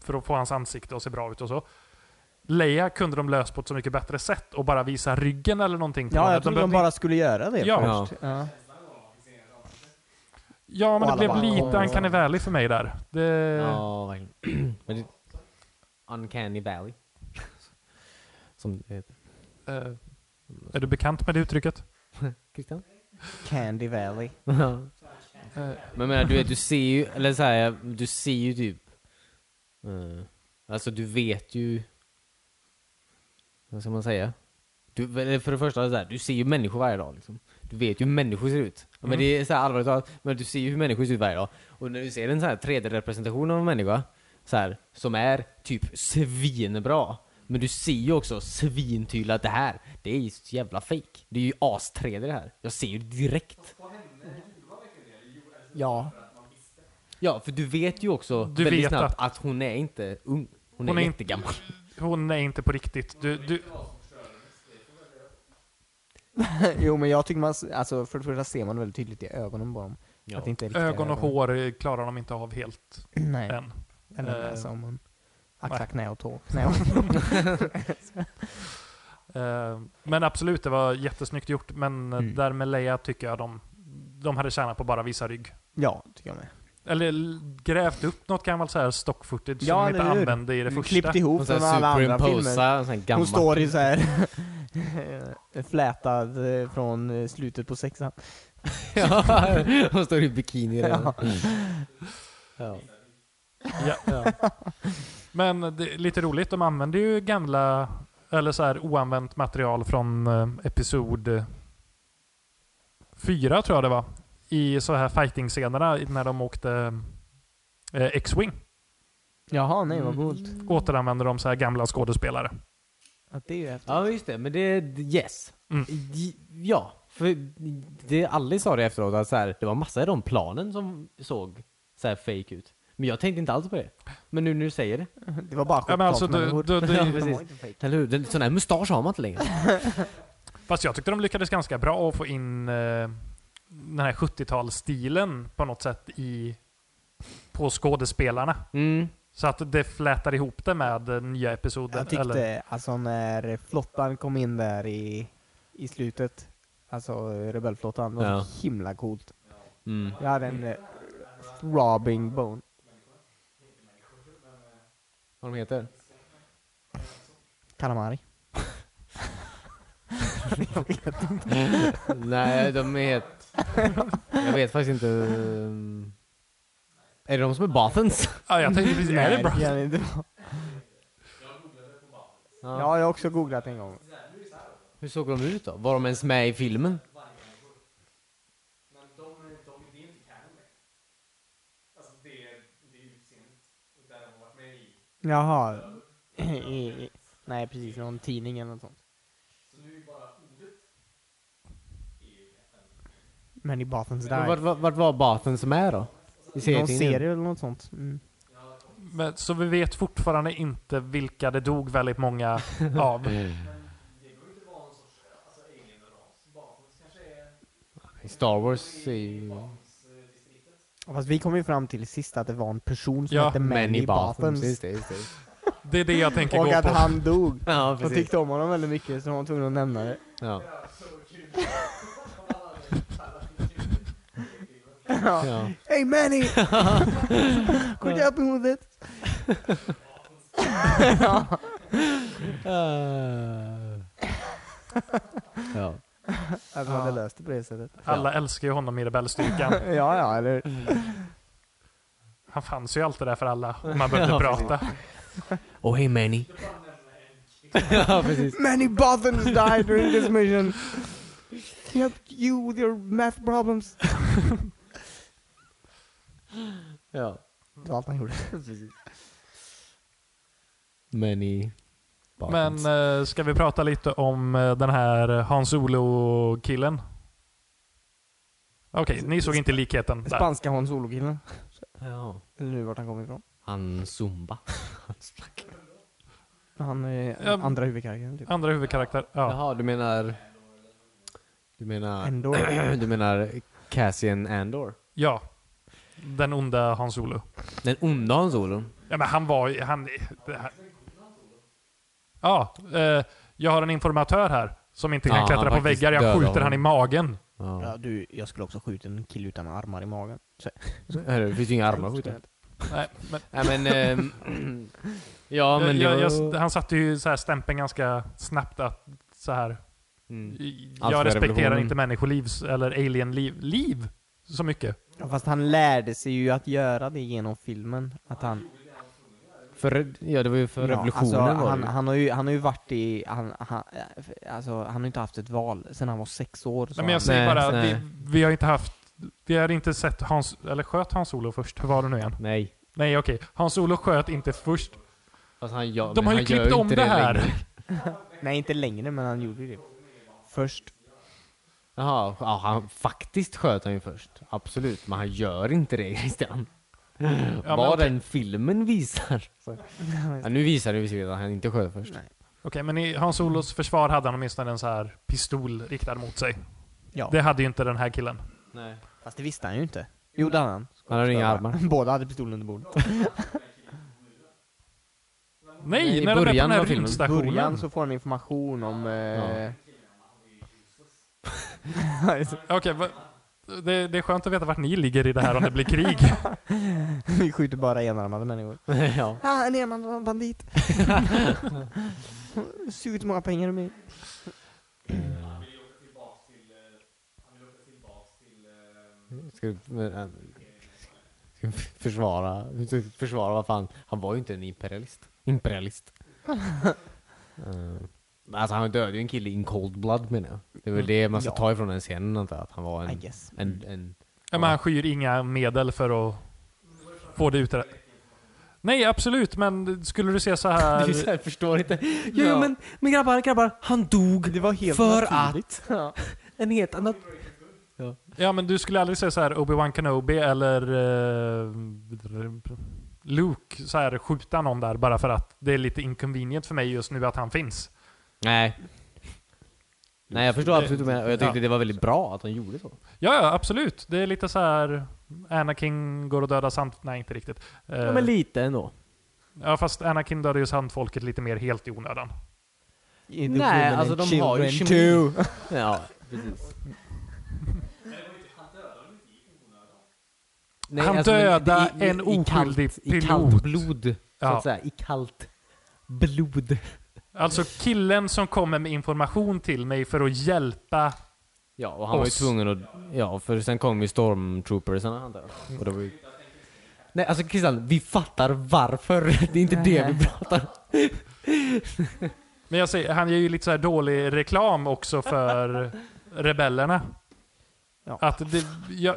Speaker 3: för att få hans ansikte att se bra ut och så. Leia kunde de löst på ett så mycket bättre sätt och bara visa ryggen eller någonting. på
Speaker 2: Ja,
Speaker 3: henne.
Speaker 2: jag trodde de
Speaker 3: behövde
Speaker 2: bara skulle göra det
Speaker 3: Ja.
Speaker 2: först. Ja.
Speaker 3: inte- ja men
Speaker 2: Och
Speaker 3: det
Speaker 2: alla
Speaker 3: blev
Speaker 2: bara,
Speaker 3: lite
Speaker 2: "Åh."
Speaker 3: uncanny valley för mig där. Det,
Speaker 4: Ja, verkligen. Men det, Uncanny Valley. *laughs* Som det heter.
Speaker 3: Eh, är du bekant med det uttrycket?
Speaker 4: Christian?
Speaker 2: Candy Valley.
Speaker 3: Eh,
Speaker 4: Men jag menar, du, vet, du ser ju, eller så här, du ser ju typ... eh, alltså du vet ju... Vad ska man säga? Du, eller för det första, så här, du ser ju människor varje dag. Liksom. Du vet ju hur människor ser ut. Ja, Men
Speaker 3: Mm.
Speaker 4: det är så här allvarligt talat, men du ser ju hur människor ser ut varje dag. Och när du ser en så här 3D-representation av en människa, så här, som är typ svinbra. Men du ser ju också svintydligt att det här, det är ju så jävla fake. Det är ju as-3D det här. Jag ser ju direkt.
Speaker 2: Ja. *laughs*
Speaker 4: Ja, för du vet ju också
Speaker 3: Du
Speaker 4: väldigt
Speaker 3: vet
Speaker 4: snabbt att... hon är inte ung. Hon,
Speaker 3: Hon
Speaker 4: är,
Speaker 3: är inte-
Speaker 4: jättegammal.
Speaker 3: hon är inte på riktigt. Du, du,
Speaker 2: jo men jag tycker man, s- alltså för det första ser man väldigt tydligt i ögonen på dem.
Speaker 4: Ja.
Speaker 2: Att det inte är riktiga
Speaker 3: ögon och hår eh, klarar de inte av helt
Speaker 2: *clears throat* Nej.
Speaker 3: än.
Speaker 2: Eller
Speaker 3: Eh.
Speaker 2: näsa om man.
Speaker 3: Nej.
Speaker 2: Axlar, knä och tå. Knä och *laughs*
Speaker 3: Eh, men absolut, det var jättesnyggt gjort. Men eh,
Speaker 2: Mm.
Speaker 3: där med Leia tycker jag de, de hade tjänat på bara visa rygg.
Speaker 2: Ja, tycker jag med.
Speaker 3: Eller l- grävt upp något gammalt så här stock footage
Speaker 2: Ja,
Speaker 3: som de inte
Speaker 2: eller hur?
Speaker 3: använde i det första.
Speaker 2: Mm, Klippt ihop
Speaker 4: Hon så
Speaker 2: från
Speaker 4: här
Speaker 2: alla andra filmer.
Speaker 4: superimposa, en sån här gammal.
Speaker 2: Hon står i så här *laughs* flätad eh, från eh, slutet på sexan.
Speaker 4: *laughs* ja, hon står i bikini redan. Ja.
Speaker 3: Ja.
Speaker 2: *laughs*
Speaker 3: Men det, är lite roligt, de använder ju gamla, eller så här oanvänt material från eh, episod eh, fyra tror jag det var. I så här fighting-scenerna i- när de åkte eh, X-Wing.
Speaker 2: Jaha, nej vad coolt.
Speaker 3: Återanvänder de så här gamla skådespelare.
Speaker 2: Att det är ju häftigt.
Speaker 4: ja, just det. Men det är yes.
Speaker 3: Mm.
Speaker 4: J- Ja, för det Alice sa det efteråt att så här, det var massa i de planen som såg så här fake ut. Men jag tänkte inte alls på det. Men nu när du säger det.
Speaker 2: Det var bara
Speaker 3: Ja, men alltså, du,
Speaker 2: chockmänniskor.
Speaker 3: du,
Speaker 2: *laughs*
Speaker 4: Ja,
Speaker 3: du,
Speaker 4: precis.
Speaker 2: var inte fake.
Speaker 4: Eller hur? Den- Sån här mustasch har man inte längre.
Speaker 3: fast jag tyckte de lyckades ganska bra att få in eh, den här 70-talsstilen på något sätt i, på skådespelarna.
Speaker 4: Mm.
Speaker 3: Så att det flätar ihop det med eh, nya episoden.
Speaker 2: Jag tyckte,
Speaker 3: eller?
Speaker 2: alltså när flottan kom in där i, i slutet, alltså rebellflottan, det var
Speaker 4: Ja.
Speaker 2: så himla coolt.
Speaker 4: Mm.
Speaker 2: Jag hade en eh, throbbing bone.
Speaker 4: Vad de heter?
Speaker 2: Kalamari.
Speaker 4: Nej, de är... Jag vet faktiskt inte... ehm, Är det de som är Bathens?
Speaker 3: Ja, jag tänkte precis, är det bra?
Speaker 2: kan inte vara. Ja, jag har också googlat en gång.
Speaker 4: Hur såg de ut då? Var de ens med i filmen?
Speaker 2: Jaha. I, i, nej, precis. Någon tidning eller något sånt. Men i Bathens
Speaker 4: Men Vart,
Speaker 2: där.
Speaker 4: vart, vart var Bathens med då? I
Speaker 2: Någon
Speaker 4: serietidningen?
Speaker 2: serie eller något sånt. Mm.
Speaker 3: Men, så vi vet fortfarande inte vilka det dog
Speaker 2: *laughs*
Speaker 3: väldigt många av.
Speaker 4: I Star Wars är ju...
Speaker 2: Fast vi kom ju fram till sist att det var en person som
Speaker 3: Ja,
Speaker 2: hette
Speaker 4: Men i Bathens.
Speaker 2: Bathens.
Speaker 4: Just det, just det.
Speaker 3: Det är det jag tänker
Speaker 2: Och
Speaker 3: gå
Speaker 2: att
Speaker 3: på.
Speaker 2: han dog.
Speaker 4: Ja,
Speaker 2: Hon
Speaker 4: precis.
Speaker 2: tyckte om honom väldigt mycket så hon var tvungen att nämna det.
Speaker 4: Ja.
Speaker 2: Ja.
Speaker 4: Ja.
Speaker 2: Hey Manny! Quit helping with it!
Speaker 4: ja.
Speaker 2: Att man Alltså, hade löst det på det sättet.
Speaker 3: Alla älskar ju honom
Speaker 2: *laughs*
Speaker 3: i rebellstyrkan.
Speaker 2: Ja, ja, eller
Speaker 3: Han fanns ju alltid där för alla
Speaker 2: *laughs*
Speaker 3: om man behövde
Speaker 4: Ja,
Speaker 3: prata.
Speaker 4: Oh hey Manny. ja, precis.
Speaker 2: Many Bothans died during this *laughs* mission! He helped you with your math problems!
Speaker 4: Ja.
Speaker 2: Det var allt han gjorde.
Speaker 4: Manny.
Speaker 3: Men eh, ska vi prata lite om eh, den här Hans Solo-killen? Okej, ni såg inte likheten där.
Speaker 2: Spanska Hans Olo-killen.
Speaker 4: Ja.
Speaker 2: Nu vart han kom ifrån.
Speaker 4: Han Zumba.
Speaker 2: Han är
Speaker 3: Ja,
Speaker 2: andra huvudkaraktären typ.
Speaker 3: Andra huvudkaraktär. Ja.
Speaker 4: *laughs* Jaha, du menar... Du menar...
Speaker 2: Ändå.
Speaker 4: *clears throat* Du menar Cassian Andor?
Speaker 3: ja. Den onda Hans Solo.
Speaker 4: Den onda Han Solo?
Speaker 3: Ja, men han var ju... Han, det här. Ja, eh, jag har en informatör här som inte kan
Speaker 4: Ja, han
Speaker 3: klättra på
Speaker 4: faktiskt
Speaker 3: väggar. Jag
Speaker 4: dödade
Speaker 3: skjuter
Speaker 4: honom.
Speaker 3: han i magen.
Speaker 4: Ja.
Speaker 2: du, jag skulle också skjuta en kille utan armar i magen.
Speaker 4: Det finns ju inga armar på det.
Speaker 3: Nej, men,
Speaker 4: Nej men... ehm, *clears throat* ja men det
Speaker 3: jag, jag,
Speaker 4: var...
Speaker 3: han satte ju så här stämpeln ganska snabbt att så här.
Speaker 4: Mm. Allt
Speaker 3: Jag
Speaker 4: med
Speaker 3: respekterar
Speaker 4: revolutionen.
Speaker 3: inte människoliv s- eller alienliv liv så mycket.
Speaker 2: Ja, Fast han lärde sig ju att göra det genom filmen. Att han,
Speaker 4: För, ja det var ju för
Speaker 2: Ja,
Speaker 4: revolutionen
Speaker 2: alltså,
Speaker 4: var det
Speaker 2: han,
Speaker 4: ju.
Speaker 2: han, har ju, han har ju varit i, han, han, eh, alltså, han har ju inte haft ett val sedan han var sex år. så
Speaker 3: Nej, men jag
Speaker 2: han,
Speaker 3: säger
Speaker 4: Nej,
Speaker 3: bara, att vi,
Speaker 4: nej.
Speaker 3: vi har inte haft vi har inte sett Hans, eller sköt Hans Olo först? Hur var det nu igen?
Speaker 4: Nej.
Speaker 3: Nej okej, Hans Olo sköt inte först.
Speaker 4: Fast Alltså, han, ja,
Speaker 3: De
Speaker 4: men
Speaker 3: har ju
Speaker 4: han gör
Speaker 3: klippt om
Speaker 4: inte
Speaker 3: det här.
Speaker 4: längre.
Speaker 2: nej inte längre, men han gjorde ju det. Först.
Speaker 4: Jaha, ja, han, faktiskt sköt han ju först. Absolut, men han gör inte det *laughs* Christian.
Speaker 3: men
Speaker 4: Vad
Speaker 3: okej.
Speaker 4: den
Speaker 3: *laughs*
Speaker 4: filmen visar. Ja, nu visar det visserligen att han inte sköt först.
Speaker 3: Okej, men i Hans Olos försvar hade han åtminstone en så här pistol riktad mot sig.
Speaker 2: Ja.
Speaker 3: Det hade ju inte den här killen.
Speaker 4: Nej.
Speaker 2: Fast det visste han ju inte. Jo, det hade han.
Speaker 4: Han har inga armar.
Speaker 2: *laughs* Båda hade pistolen under bordet.
Speaker 3: Nej,
Speaker 4: Nej, i
Speaker 3: när de är på den
Speaker 4: början
Speaker 3: här
Speaker 4: av filmen.
Speaker 2: I
Speaker 3: rymdstationen.
Speaker 2: början så får han information om... Eh,
Speaker 4: Ja.
Speaker 3: Okej, va- det, det är skönt att veta vart ni ligger i det här om det blir krig.
Speaker 2: *laughs*
Speaker 4: *laughs*
Speaker 2: Vi skjuter bara enarmade människor.
Speaker 4: *laughs* ja.
Speaker 2: *laughs* Ah, en enarmad *laughs* bandit! Sug ut hur många pengar du vill.
Speaker 4: Ska, du- men, äh, ska du *laughs* försvara, ska du försvara vad fan. Han var ju inte en imperialist. Imperialist. *laughs* Eh, men alltså han dödade ju en kille in cold blood menar jag. Det är väl det man ska
Speaker 2: Ja.
Speaker 4: ta ifrån den scenen antar jag. Att han var
Speaker 2: I
Speaker 4: en...
Speaker 2: guess.
Speaker 4: en, *laughs* en
Speaker 3: Ja, men han skyr inga medel för att få det utrett. Nej, absolut, men skulle du se så
Speaker 4: *laughs*
Speaker 3: här...
Speaker 4: Du så här, förstår inte. Jo,
Speaker 2: Ja.
Speaker 4: jo men, men grabbar, grabbar, han dog
Speaker 2: Det var helt
Speaker 4: för
Speaker 2: naturligt.
Speaker 4: att
Speaker 2: Ja.
Speaker 4: *laughs* en helt annan...
Speaker 3: Ja, men du skulle aldrig se så här Obi-Wan Kenobi eller eh, Luke så här skjuta någon där bara för att det är lite inconvenient för mig just nu att han finns.
Speaker 4: Nej. Nej, jag förstår absolut vad du menar. Och jag tyckte
Speaker 3: Ja.
Speaker 4: det var väldigt bra att han gjorde så.
Speaker 3: Ja, ja, absolut. Det är lite så här Anakin går och dödar sant... Nej, inte riktigt. Eh,
Speaker 4: Ja, men lite ändå.
Speaker 3: ja, fast Anakin dödar ju sandfolket lite mer helt i onödan.
Speaker 2: In the
Speaker 4: Nej,
Speaker 2: women
Speaker 4: alltså,
Speaker 2: and
Speaker 4: de har ju
Speaker 2: children
Speaker 4: kemi.
Speaker 2: too. *laughs*
Speaker 4: Ja, precis. Nej, alltså,
Speaker 3: Han
Speaker 4: men
Speaker 3: dödade
Speaker 4: det- i- i-
Speaker 3: en
Speaker 4: i kallt-
Speaker 3: oskyldig
Speaker 4: I
Speaker 3: pilot.
Speaker 4: kallt blod, så
Speaker 3: Ja.
Speaker 4: att säga. I kallt blod.
Speaker 3: Alltså killen som kommer med information till mig för att hjälpa.
Speaker 4: Ja, och han var ju
Speaker 3: Oss.
Speaker 4: tvungen att... Ja, för sen kom ju stormtroopersarna antar jag. Och det var ju... Nej, alltså Christian, vi fattar varför. *laughs* Det är inte det vi pratar om.
Speaker 3: Men jag säger, han gör ju lite så här dålig reklam också för rebellerna.
Speaker 2: Ja.
Speaker 3: Att det, jag,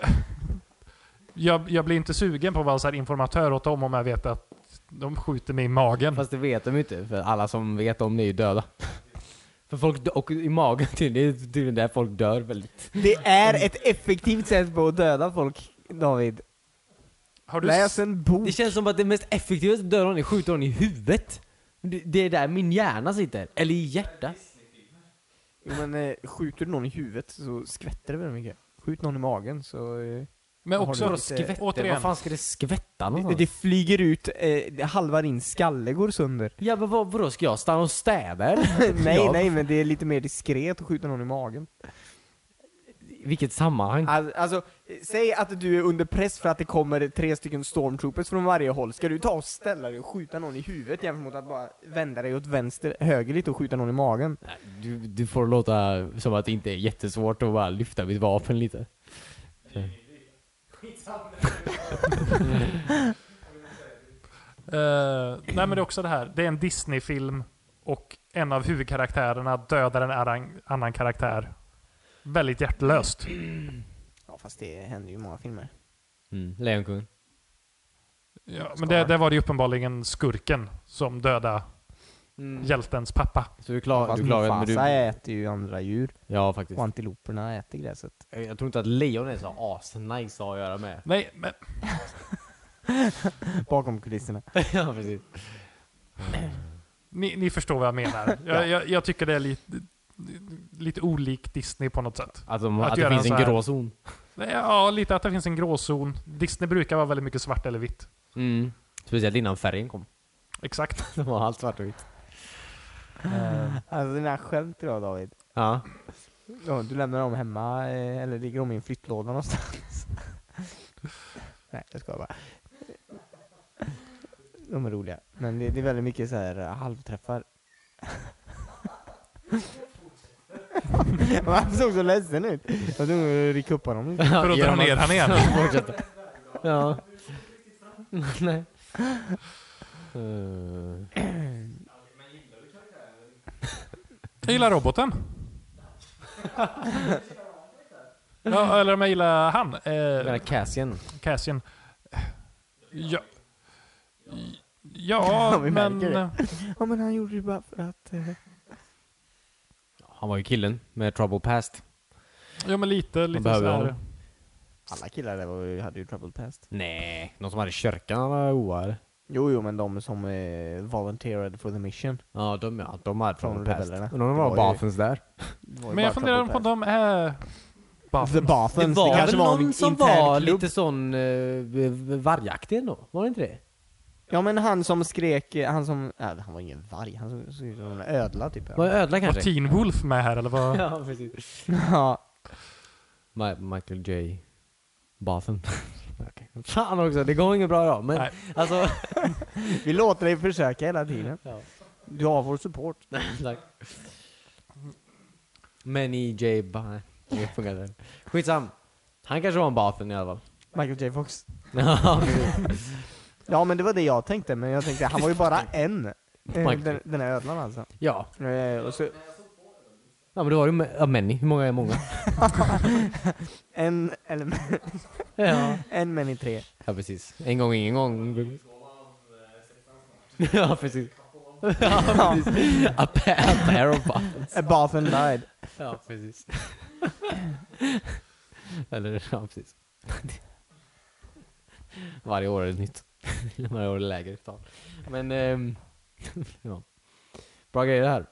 Speaker 3: jag, jag blir inte sugen på att vara så här informatör åt dem om jag vet att de skjuter mig i magen.
Speaker 4: Fast det vet de ju inte, för alla som vet om det är ju döda. *laughs* För folk dö- och i magen till, det är tydligen där folk dör väldigt.
Speaker 2: Det är ett effektivt sätt på att döda folk, David.
Speaker 3: Har du
Speaker 2: Läs en bok.
Speaker 4: Det känns som att det mest effektiva sättet att döda någon är att skjuta någon i huvudet. Det, det är där min hjärna sitter. Eller i hjärtat.
Speaker 2: Jo, Men eh, skjuter du någon i huvudet så skvätter det väldigt mycket. Skjut någon i magen så... Eh,
Speaker 3: men
Speaker 2: har
Speaker 3: också
Speaker 2: du-
Speaker 4: Vadå
Speaker 2: lite-
Speaker 4: skvätter?
Speaker 3: återigen.
Speaker 4: Vad fan ska det skvätta
Speaker 2: det,
Speaker 4: någonstans?
Speaker 2: det flyger ut, eh, det- halva din skalle går sönder.
Speaker 4: Ja men vad, vadå, ska jag stanna och städa eller?
Speaker 2: *laughs* nej,
Speaker 4: Ja,
Speaker 2: nej, men det är lite mer diskret att skjuta någon i magen.
Speaker 4: i *laughs* Vilket sammanhang?
Speaker 2: Alltså, alltså, eh, säg att du är under press för att det kommer tre stycken stormtroopers från varje håll. Ska du ta och ställa dig och skjuta någon i huvudet jämfört mot att bara vända dig åt vänster, höger lite och skjuta någon i magen?
Speaker 4: Du, du får låta som att det inte är jättesvårt att bara lyfta mitt vapen lite.
Speaker 3: Eh, nej men det är också det här. Det är en Disney-film och en av huvudkaraktärerna dödar en annan, annan karaktär. Väldigt hjärtlöst.
Speaker 2: Ja, fast det händer ju i många filmer.
Speaker 4: Mm, Lejonkungen.
Speaker 3: Ja, men det, det var det ju uppenbarligen skurken som dödade
Speaker 2: Mm.
Speaker 3: hjältens pappa.
Speaker 4: Så du klarar
Speaker 2: Fast
Speaker 4: du klarar det, men
Speaker 2: Mufasa
Speaker 4: du...
Speaker 2: äter ju andra djur
Speaker 4: Ja faktiskt.
Speaker 2: och antiloperna äter gräset.
Speaker 4: Jag tror inte att lejon är så asnice att ha att göra med.
Speaker 3: Nej, men
Speaker 2: Bakom *laughs* kulisserna.
Speaker 4: *laughs* ja, precis.
Speaker 3: ni, ni förstår vad jag *laughs* menar. Jag, jag, jag tycker det är lite, lite olikt Disney på något sätt.
Speaker 4: Att, de,
Speaker 3: Att
Speaker 4: att,
Speaker 3: göra
Speaker 4: det finns
Speaker 3: en
Speaker 4: en
Speaker 3: så här-
Speaker 4: gråzon.
Speaker 3: Det är- Ja, lite att det finns en gråzon. Disney brukar vara väldigt mycket svart eller vitt.
Speaker 4: Mm. Speciellt innan färgen *laughs* kom.
Speaker 3: Exakt.
Speaker 4: Det var allt svart och vitt.
Speaker 2: Alltså dina skämt idag David.
Speaker 4: Ja.
Speaker 2: Ja, du lämnar dem hemma, eh, eller ligger de i en flyttlåda någonstans? Nej, jag skojar bara. de är roliga. Men det, det är väldigt mycket så här eh, halvträffar. *laughs* Han såg så ledsen ut. Jag var tvungen att rycka upp honom lite.
Speaker 3: *laughs* För att dra
Speaker 4: Genom
Speaker 3: ner han *laughs* igen.
Speaker 4: *laughs* Fortsätta. *laughs* Ja. Nej. Eh,
Speaker 3: Jag gillar roboten. ja, eller om jag gillar han.
Speaker 4: den här
Speaker 3: Eh,
Speaker 4: Cassian.
Speaker 3: Cassian. Ja, *laughs* ja
Speaker 2: vi
Speaker 3: men... eh,
Speaker 2: märker det. Ja men han gjorde det bara för att... eh,
Speaker 4: Han var ju killen med trouble past.
Speaker 3: Ja, men lite, lite
Speaker 4: behöver
Speaker 3: sådär.
Speaker 4: honom.
Speaker 2: Alla killar där var, ju- hade ju trouble past.
Speaker 4: Nej, någon som hade kyrkan var oar.
Speaker 2: Jo jo men de som eh, volunteerade for the mission.
Speaker 4: Ja, de, ja, de hade
Speaker 2: Från
Speaker 4: trouble past.
Speaker 2: rebellerna.
Speaker 4: Undrar om
Speaker 2: Det
Speaker 4: det var
Speaker 2: var ju-
Speaker 4: Bafens där.
Speaker 2: Det var ju
Speaker 3: Men jag
Speaker 2: bara
Speaker 3: funderar
Speaker 2: trouble
Speaker 3: på om de är...
Speaker 2: past. The
Speaker 3: Buffens.
Speaker 4: Det
Speaker 2: Bathens, det,
Speaker 4: var
Speaker 2: kanske
Speaker 4: väl
Speaker 2: var
Speaker 4: någon
Speaker 2: en
Speaker 4: som
Speaker 2: intern
Speaker 4: var
Speaker 2: klubb.
Speaker 4: lite sån uh, vargaktig ändå? Var det inte det?
Speaker 2: Ja men han som skrek, eh, han som, nej han var ingen varg, han såg- såg ut som en ödla typ.
Speaker 4: Var det ödla
Speaker 3: Var
Speaker 4: kanske?
Speaker 3: Teen Wolf med här eller vad?
Speaker 4: *laughs*
Speaker 3: Eh,
Speaker 4: ja, precis.
Speaker 2: Ja,
Speaker 4: Ma- Michael J. *laughs* Bathen. okay. Fan också, det går inget bra idag. Men
Speaker 3: Nej.
Speaker 4: *laughs* alltså...
Speaker 2: vi låter dig försöka hela tiden. Du har vår support.
Speaker 4: Tack. Men i J. Ba- Det funkar inte. Skitsam. Han kanske var en Bathen i alla fall. *laughs*
Speaker 2: Michael J Fox.
Speaker 4: Ja, precis.
Speaker 2: Ja men det var det jag tänkte, men jag tänkte han var ju bara en. Eh,
Speaker 4: Michael.
Speaker 2: Den, den här ödlan alltså.
Speaker 4: ja.
Speaker 2: Eh, Och så, *laughs*
Speaker 4: ja, men då var det ju ja, Many. Hur många är många?
Speaker 2: en, eller,
Speaker 4: *laughs* ja.
Speaker 2: en men i tre.
Speaker 4: ja, precis. En gång, ingen gång. *laughs* ja, precis. *laughs* ja, precis. A pair, a pair of Bathens.
Speaker 2: A Bathen died.
Speaker 4: Ja, *laughs* precis. Eller, ja precis. *laughs* Varje år är det nytt. *laughs* Varje år är det lägre tal. Men, ehm, *laughs* ja. Bra grejer det här.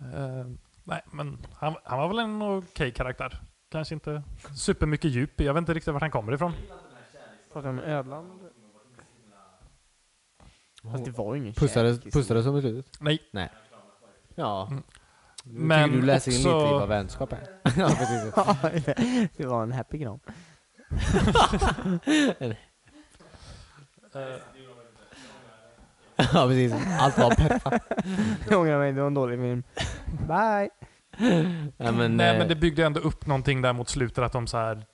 Speaker 3: Eh, nej, men han, han var väl en okej karaktär. Kanske inte supermycket djup. Jag vet inte riktigt vart han kommer ifrån.
Speaker 2: Pratar om ödlan? Fast det var ju ingen
Speaker 4: Pussades,
Speaker 2: kärlek i *laughs*
Speaker 4: pussades som i slutet?
Speaker 3: Nej.
Speaker 4: Nej. Ja.
Speaker 3: Mm.
Speaker 4: Nu tycker
Speaker 3: Men
Speaker 4: du läser in
Speaker 3: också-
Speaker 4: lite i vad vänskap är. *laughs* ja, precis.
Speaker 2: sig. det var en happy gran.
Speaker 3: Eh,
Speaker 4: ja, precis. Allt var perfekt.
Speaker 2: Jag ångrar mig, det var en dålig film. Bye!
Speaker 4: *laughs* Nej, men,
Speaker 3: nej,
Speaker 4: eh,
Speaker 3: men det byggde ändå upp någonting där mot slutet att de så här.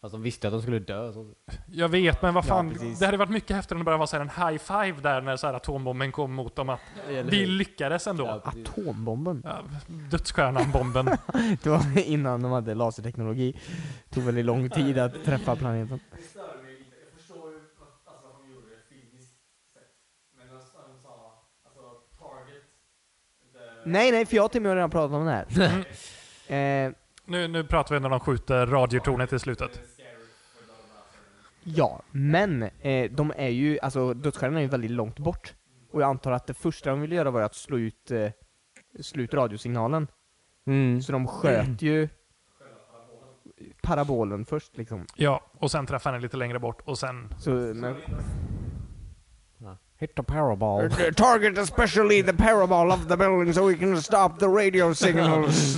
Speaker 4: Fast de visste att de skulle dö. Så.
Speaker 3: Jag vet, men vad
Speaker 2: Ja,
Speaker 3: fan.
Speaker 2: precis.
Speaker 3: det hade varit mycket häftigare om det bara var så här en high five där när så här atombomben kom mot dem. Att vi lyckades ändå.
Speaker 4: Ja.
Speaker 2: Atombomben.
Speaker 3: Ja, dödsstjärnan, bomben.
Speaker 4: *laughs*
Speaker 2: Det var *laughs* innan de hade laserteknologi. Det tog väldigt lång tid att träffa planeten. Nej, nej, för jag och Timmy har redan pratat om det här. eh,
Speaker 3: Nu, nu pratar vi när de skjuter radiotornet i slutet.
Speaker 2: ja, men eh, de är ju, alltså dödsstjärnan är ju väldigt långt bort. Och jag antar att det första de ville göra var ju att slå ut, eh, slå ut radiosignalen.
Speaker 4: Mm.
Speaker 2: Så de sköt ju parabolen först liksom.
Speaker 3: Ja, och sen träffar han lite längre bort och sen...
Speaker 2: Så, men,
Speaker 4: Hit the powerball.
Speaker 2: Target especially the parabol of the building so we can stop the radio signals.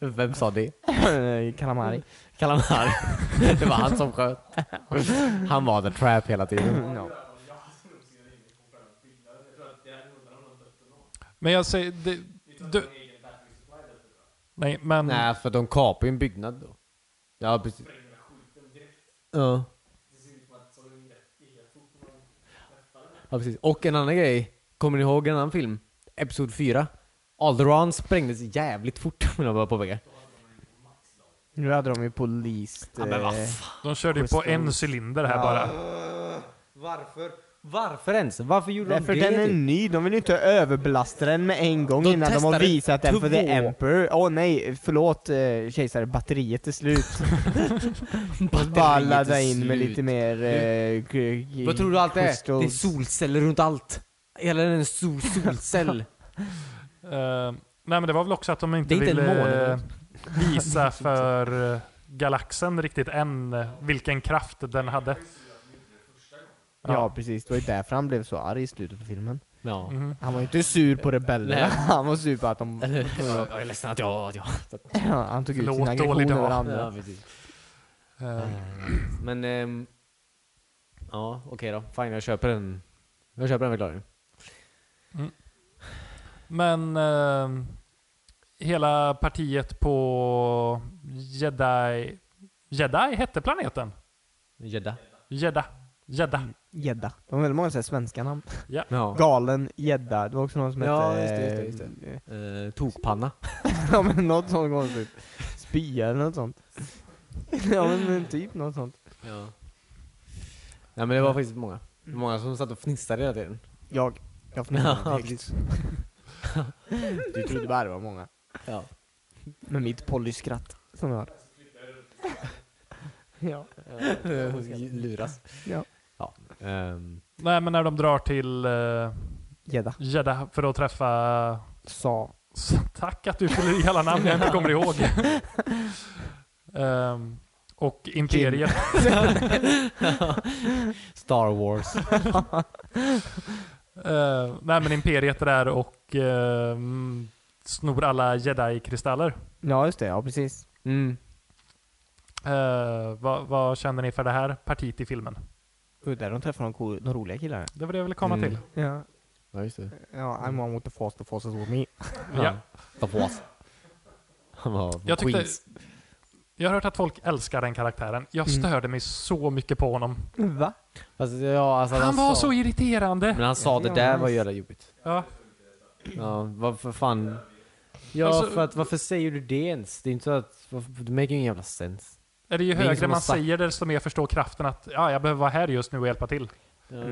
Speaker 4: Vem sa det?
Speaker 2: *laughs* Kalamari.
Speaker 4: Kalamari. *laughs* Det var han som sköt. Han var the trap hela tiden.
Speaker 2: No.
Speaker 3: Men jag säger... Det, du... Nej, men...
Speaker 4: Nej, för de kapade ju en byggnad då. Ja, precis. Ja. Ja, precis. Och en annan grej. Kommer ni ihåg en annan film? Episod 4. Alderan sprängdes jävligt fort, *laughs* vill jag bara påpeka.
Speaker 2: Nu hade de ju polis...
Speaker 4: Ja, men vad
Speaker 2: eh,
Speaker 3: De körde ju på en cylinder här bara.
Speaker 4: Eh, Varför? Varför ens? Varför gjorde
Speaker 2: Därför
Speaker 4: de
Speaker 2: den är
Speaker 4: det? typ?
Speaker 2: ny, de vill ju inte överbelasta den med en gång
Speaker 4: De
Speaker 2: innan de har
Speaker 4: testade
Speaker 2: visat den för
Speaker 4: två.
Speaker 2: the emperor. Åh nej, förlåt eh, kejsare, batteriet är
Speaker 4: *laughs*
Speaker 2: slut. Bara
Speaker 4: Batteriet är
Speaker 2: ladda in med
Speaker 4: slut.
Speaker 2: lite mer... Eh, g- g-
Speaker 4: Vad tror du allt är? Det är
Speaker 2: crystals.
Speaker 4: solceller runt allt. Hela den är en *laughs* stor solcell.
Speaker 3: Eh, nej, men det var väl också att de inte
Speaker 4: Det är inte en måne,
Speaker 3: ville
Speaker 4: eller?
Speaker 3: eh,
Speaker 4: *laughs*
Speaker 3: visa för eh, galaxen riktigt än eh, vilken kraft den hade. Eh,
Speaker 2: Ja precis, det var ju därför han blev så arg i slutet på filmen.
Speaker 4: ja.
Speaker 3: Mhm.
Speaker 2: Han var ju inte sur på rebellerna, *laughs*
Speaker 4: Nej.
Speaker 2: han var sur på att de... *clears throat*
Speaker 4: *laughs* Jag är ledsen att jag... Att jag
Speaker 2: Han tog ut
Speaker 3: Förlåt,
Speaker 2: sin
Speaker 3: dålig
Speaker 2: aggression
Speaker 3: dag.
Speaker 2: över andra.
Speaker 4: ja, precis.
Speaker 3: Eh,
Speaker 4: Men... ehm, ja, okej då. Fine, jag köper den. Jag köper den förklaringen.
Speaker 3: Men eh, hela partiet på Jedi... Jedi hette planeten?
Speaker 4: Gädda.
Speaker 3: Jedda. Jedda.
Speaker 4: Mm.
Speaker 2: Gädda. De har väldigt många så här svenska namn.
Speaker 4: Ja.
Speaker 2: Galen gädda. Det var också någon som
Speaker 4: Ja,
Speaker 2: hette...
Speaker 4: just det, just det, just
Speaker 2: eh,
Speaker 4: Eh, tokpanna.
Speaker 2: *laughs* ja men något sånt konstigt. Spya eller något *laughs* sånt. ja men, men typ något sånt.
Speaker 4: Ja. Nej men det var faktiskt många. Det var Många som satt och fnissade hela tiden.
Speaker 2: Jag. Jag
Speaker 4: Ja,
Speaker 2: förnekar *laughs* det. Du trodde bara det var många.
Speaker 4: Ja.
Speaker 2: Med mitt pollyskratt som jag har. *laughs* ja.
Speaker 4: *laughs* Luras.
Speaker 2: Ja.
Speaker 4: ja. ehm,
Speaker 3: Nej, men när de drar till eh,
Speaker 2: Gädda.
Speaker 3: Jeddah för att träffa...
Speaker 2: Sa.
Speaker 3: Så, *laughs* tack att du fyller i alla namn jag inte kommer
Speaker 4: *laughs*
Speaker 3: ihåg. Ehm, och Imperiet.
Speaker 4: Star Wars.
Speaker 3: Eh, nej, men Imperiet är där och eh, mm, snor alla Jedi-kristaller.
Speaker 2: Ja just det, ja precis.
Speaker 4: *laughs* Mm.
Speaker 3: Eh, vad, vad känner ni för det här partiet i filmen?
Speaker 2: Och där de träffar de, cool, de roliga killarna.
Speaker 3: Det var det jag ville komma
Speaker 4: Mm.
Speaker 3: till.
Speaker 2: Ja.
Speaker 4: Ja just det.
Speaker 2: Ja, I'm one with the force, the force is with me.
Speaker 3: Ja.
Speaker 4: Ta på oss. Han var
Speaker 3: Jag tyckte-
Speaker 4: Queens.
Speaker 3: Jag har hört att folk älskar den karaktären. Jag
Speaker 2: Mm.
Speaker 3: störde mig så mycket på honom.
Speaker 2: Va?
Speaker 4: Alltså, ja, alltså,
Speaker 3: Han var
Speaker 4: sa,
Speaker 3: så
Speaker 4: Men
Speaker 3: irriterande!
Speaker 4: han sa det
Speaker 2: Ja,
Speaker 4: där
Speaker 2: nice.
Speaker 4: var jävla jobbigt.
Speaker 3: Ja,
Speaker 4: Ja, varför fan. Ja,
Speaker 3: Alltså-
Speaker 4: för att, varför säger du det ens? Det är inte så att, varför, det make ingen jävla sens.
Speaker 3: är det ju
Speaker 4: Det är ingen
Speaker 3: högre
Speaker 4: som har
Speaker 3: man
Speaker 4: sagt-
Speaker 3: säger det, desto mer förstår kraften att ja, jag behöver vara här just nu och hjälpa till.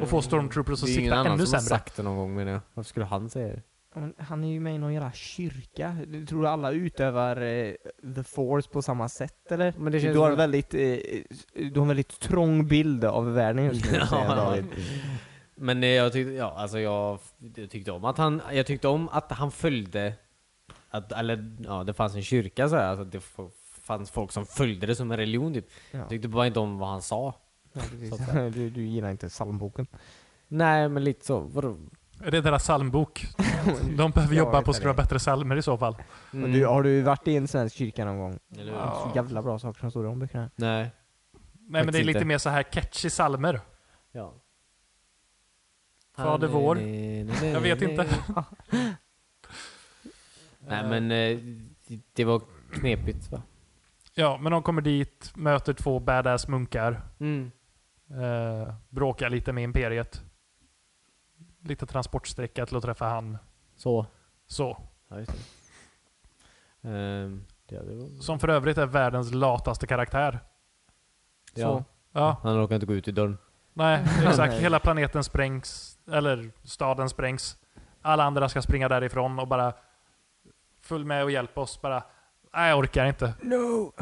Speaker 3: Och få stormtroopers
Speaker 4: Det
Speaker 3: att
Speaker 4: är ingen
Speaker 3: sikta
Speaker 4: annan
Speaker 3: ännu
Speaker 4: som har
Speaker 3: sämre.
Speaker 4: sagt det någon gång menar jag. Varför skulle han säga
Speaker 3: *laughs*
Speaker 4: det?
Speaker 2: Men Han är ju med i någon jävla kyrka. Du tror alla utövar eh, the force på samma sätt eller?
Speaker 4: Men det
Speaker 2: Du
Speaker 4: känns
Speaker 2: har,
Speaker 4: som
Speaker 2: en
Speaker 4: att-
Speaker 2: väldigt, eh, du har en väldigt trång bild av världen just
Speaker 4: *laughs*
Speaker 2: nu,
Speaker 4: Ja.
Speaker 2: säger David.
Speaker 4: Men eh, jag tyckte, ja, alltså jag, jag tyckte om att han, jag tyckte om att han följde, att, eller ja, det fanns en kyrka så här, alltså det f- fanns folk som följde det som en religion typ.
Speaker 2: Ja.
Speaker 4: Jag tyckte bara inte om vad han sa.
Speaker 2: Ja, precis. *laughs*
Speaker 4: Så att säga.
Speaker 2: du, du gillar inte
Speaker 4: *laughs*
Speaker 2: psalmboken.
Speaker 4: Nej, men lite så, vadå?
Speaker 3: Det är deras psalmbok. De behöver
Speaker 2: Ja,
Speaker 3: jobba
Speaker 2: det
Speaker 3: på
Speaker 2: är
Speaker 3: att skriva bättre psalmer i så fall.
Speaker 2: Och Du, har du varit i en svensk kyrka någon gång?
Speaker 4: Mm. Eller,
Speaker 2: Det är
Speaker 3: Ja.
Speaker 2: så jävla bra saker som står i de böckerna.
Speaker 4: Nej.
Speaker 3: Nej, men det är
Speaker 4: Faktiskt
Speaker 3: lite
Speaker 4: inte.
Speaker 3: mer så här catchy psalmer.
Speaker 4: Ja. eh,
Speaker 3: Fader vår. Jag vet inte. *laughs*
Speaker 4: Nej, men eh, det- det var knepigt va?
Speaker 3: Ja, men de kommer dit, möter två badass munkar,
Speaker 4: Mm.
Speaker 3: eh, bråkar lite med Imperiet. Lite transportsträcka till att träffa han.
Speaker 4: Så.
Speaker 3: Så.
Speaker 4: Ja, just det. Ehm, ja, det var...
Speaker 3: Som för övrigt är världens lataste karaktär.
Speaker 4: ja.
Speaker 3: Ja,
Speaker 4: Han råkade inte gå ut i dörren.
Speaker 3: nej, exakt.
Speaker 2: Nej.
Speaker 3: Hela planeten sprängs, eller staden sprängs. Alla andra ska springa därifrån och bara följ med och hjälp oss. Bara, nej jag orkar inte.
Speaker 2: No!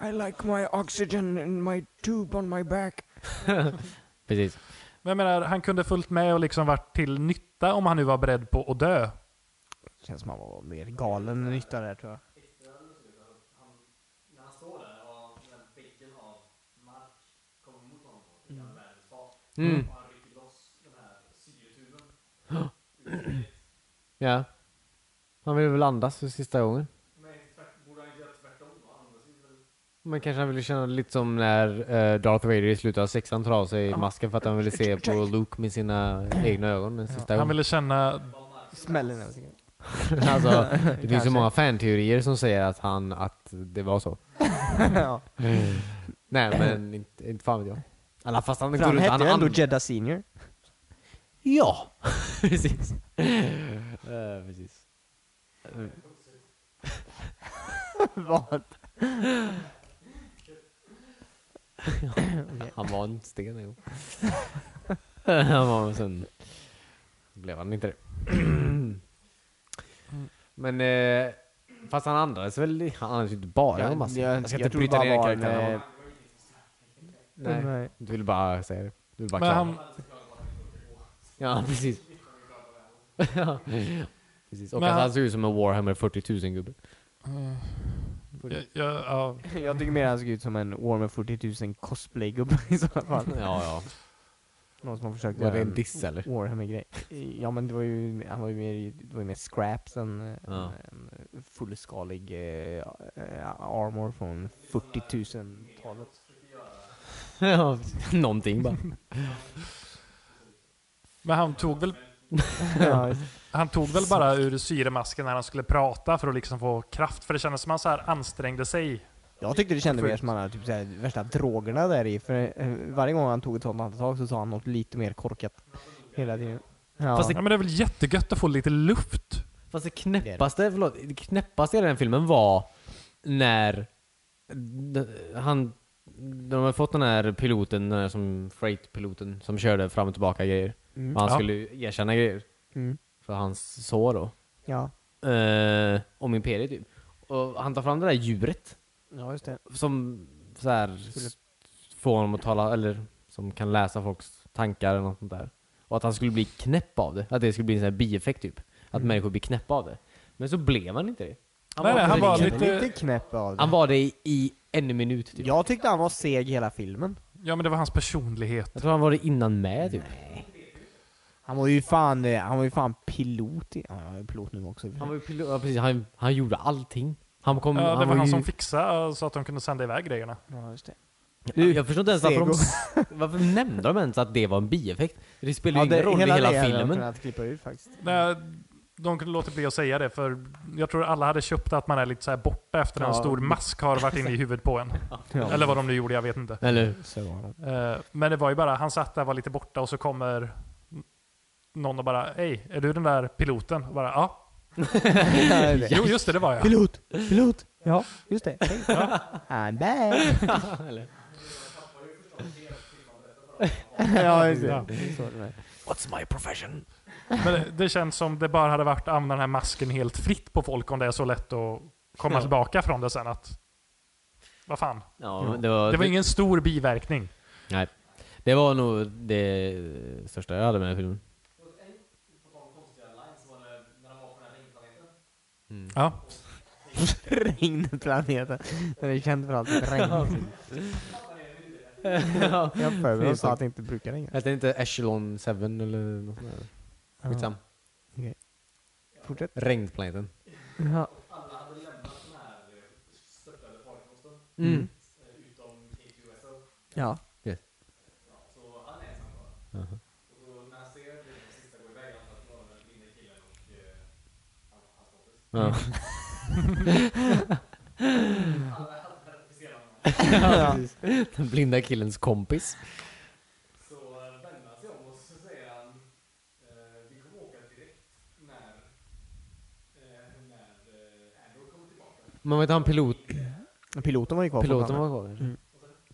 Speaker 2: I like my oxygen and my tube on my back.
Speaker 4: Precis.
Speaker 3: Men jag menar, han kunde följt med och liksom varit till nytta om han nu var beredd på att dö.
Speaker 2: Känns som han var mer galen än nytta där tror jag.
Speaker 4: Mm.
Speaker 2: Mm.
Speaker 4: Ja. Han ville väl andas för sista gången. Men kanske han ville känna lite som när eh, Darth Vader i slutet av sexan tar av sig masken för att han ville se på Luke med sina egna ögon den sista
Speaker 3: Han
Speaker 4: gången.
Speaker 3: ville känna
Speaker 2: Smällen *laughs* eller någonting.
Speaker 4: *laughs*
Speaker 2: *laughs*
Speaker 4: alltså, det finns
Speaker 2: Kanske.
Speaker 4: så många fanteorier som säger att han, att det var så.
Speaker 2: ja.
Speaker 4: Nej men inte, inte fan vet jag. Alla fast han
Speaker 2: För han
Speaker 4: går runt,
Speaker 2: hette
Speaker 4: han
Speaker 2: ju ändå
Speaker 4: and-
Speaker 2: Jedda Senior. *laughs*
Speaker 4: Ja, precis. Eh, precis.
Speaker 2: Vad?
Speaker 4: Han var en sten en gång. han var sen blev han inte det. Men eh, fast han andades väl, han andades ju inte bara
Speaker 2: Ja,
Speaker 4: en massa.
Speaker 2: jag-
Speaker 4: jag ska
Speaker 2: jag
Speaker 4: inte
Speaker 2: tror det
Speaker 4: bryta
Speaker 2: bara
Speaker 4: ner
Speaker 2: var en,
Speaker 4: karaktären. Mm,
Speaker 2: eh, Mm.
Speaker 4: Nej.
Speaker 2: Nej.
Speaker 4: Du ville bara säga det. Du ville bara
Speaker 3: Men han,
Speaker 4: klaga. Ja, precis. Ja, precis. Och
Speaker 3: Men
Speaker 4: att
Speaker 3: han-
Speaker 4: han såg ut som en Warhammer 40 000 gubbe.
Speaker 3: jag, jag, ja,
Speaker 2: *laughs* Jag tycker mer han såg ut som en Warhammer 40 000 cosplaygubbe *laughs* i så fall.
Speaker 4: *laughs* Ja, ja.
Speaker 2: Någon som har försökt
Speaker 4: Var
Speaker 2: göra
Speaker 4: det en
Speaker 2: en
Speaker 4: diss eller?
Speaker 2: Warhammer-grej. Ja men det var ju, han var ju mer, det var ju mer scraps än eh,
Speaker 4: Ja.
Speaker 2: en
Speaker 4: *laughs*
Speaker 2: fullskalig eh, eh, armor från 40 000-talet.
Speaker 4: *laughs* Ja, Någonting bara.
Speaker 3: Men han tog väl,
Speaker 2: ja,
Speaker 3: han tog väl bara ur syremasken när han skulle prata för att liksom få kraft. För det kändes som han så här ansträngde sig.
Speaker 2: jag tyckte det kändes mer som att han hade typ så här, värsta drogerna där i. För eh, varje gång han tog ett sånt andetag så sa han något lite mer korkat. Hela tiden. Ja.
Speaker 4: Fast det-
Speaker 3: Ja, men det är väl jättegött att få lite luft.
Speaker 4: Fast det knäppaste, förlåt, det knäppaste i den filmen var när d- han, de har fått den här piloten, den här som freight-piloten som körde fram och tillbaka grejer.
Speaker 2: Mm.
Speaker 4: Och han
Speaker 3: Ja.
Speaker 4: skulle ju erkänna grejer
Speaker 2: Mm.
Speaker 4: för hans sår då.
Speaker 2: Ja.
Speaker 4: Eh, om imperiet typ. Och han tar fram det där djuret
Speaker 2: ja, just det.
Speaker 4: som så här,
Speaker 2: Skulle-
Speaker 4: s- får honom att tala, eller som kan läsa folks tankar eller något sånt där. Och att han skulle bli knäpp av det. Att det skulle bli en sån här bieffekt typ. Att människor blir knäppa av det. Men så blev han inte det.
Speaker 3: Mm. Nej, nej, han
Speaker 4: för-
Speaker 3: var
Speaker 2: Jag blev
Speaker 3: lite-
Speaker 2: lite knäpp av det.
Speaker 4: han var det i, i en minut typ.
Speaker 2: Jag tyckte han var seg hela filmen.
Speaker 3: Ja, men det var hans personlighet.
Speaker 4: Jag tror han var det innan med typ.
Speaker 2: Han var ju fan, eh, han var ju fan pilot i... Ja, han är pilot nu också.
Speaker 4: Han var ju pilot, ja, precis, han, han gjorde allting. Han kom,
Speaker 3: Ja, det
Speaker 4: han
Speaker 3: var, han
Speaker 4: ju,
Speaker 3: som fixade så att de kunde sända iväg grejerna.
Speaker 2: Ja, just det.
Speaker 4: Ja, Jag förstår inte ens varför de,
Speaker 2: Sego.
Speaker 4: varför nämnde de ens att det var en bieffekt? Det spelar
Speaker 2: Ja,
Speaker 4: ju ingen roll i hela
Speaker 2: det hade jag
Speaker 4: filmen.
Speaker 2: kunnat klippa ut faktiskt.
Speaker 3: Nej, de kunde låta bli att säga det för jag tror alla hade köpt att man är lite så här borta efter
Speaker 2: Ja.
Speaker 3: en stor mask har varit inne i huvudet på en.
Speaker 2: Ja.
Speaker 3: Eller vad de nu gjorde, jag vet inte.
Speaker 4: Eller
Speaker 2: Så var det.
Speaker 3: Eh, Men det var ju bara, han satt där var lite borta och så kommer någon och bara Hej, är du den där piloten? Och bara
Speaker 4: *laughs*
Speaker 3: ja. Jo, just det, det var jag.
Speaker 2: Pilot!
Speaker 4: *laughs*
Speaker 2: Pilot! Ja, just det. Hej. *laughs* I'm back! *laughs* ja, just det. Så var det *laughs* med.
Speaker 4: What's my profession?
Speaker 3: Men det, det känns som det bara hade varit att använda den här masken helt fritt på folk om det är så lätt att komma
Speaker 4: Ja.
Speaker 3: tillbaka från det sen att vad fan.
Speaker 4: Ja, men det var,
Speaker 3: Det var ingen stor biverkning.
Speaker 4: Nej. Det var nog det största jag hade med den
Speaker 1: *laughs*
Speaker 4: här filmen.
Speaker 3: Ja.
Speaker 2: Regnplaneten. Den är känd för allt sitt regn. Jag har för mig att de sa att det inte brukar regna.
Speaker 4: Hette inte Echelon 7 eller något sånt där? Skitsam.
Speaker 2: Fortsätt.
Speaker 4: Regnplaneten.
Speaker 2: Ja.
Speaker 4: Mm.
Speaker 2: ja.
Speaker 4: Ja.
Speaker 2: *laughs* Ja.
Speaker 4: Den blinda killens kompis.
Speaker 1: Så vänder han sig om och så säger han eh, vi kommer åka direkt när, eh, när eh, Andor kommer tillbaka.
Speaker 4: Man vet han pilot,
Speaker 2: Men Piloten var ju kvar
Speaker 4: piloten
Speaker 2: fortfarande.
Speaker 4: var kvar kanske?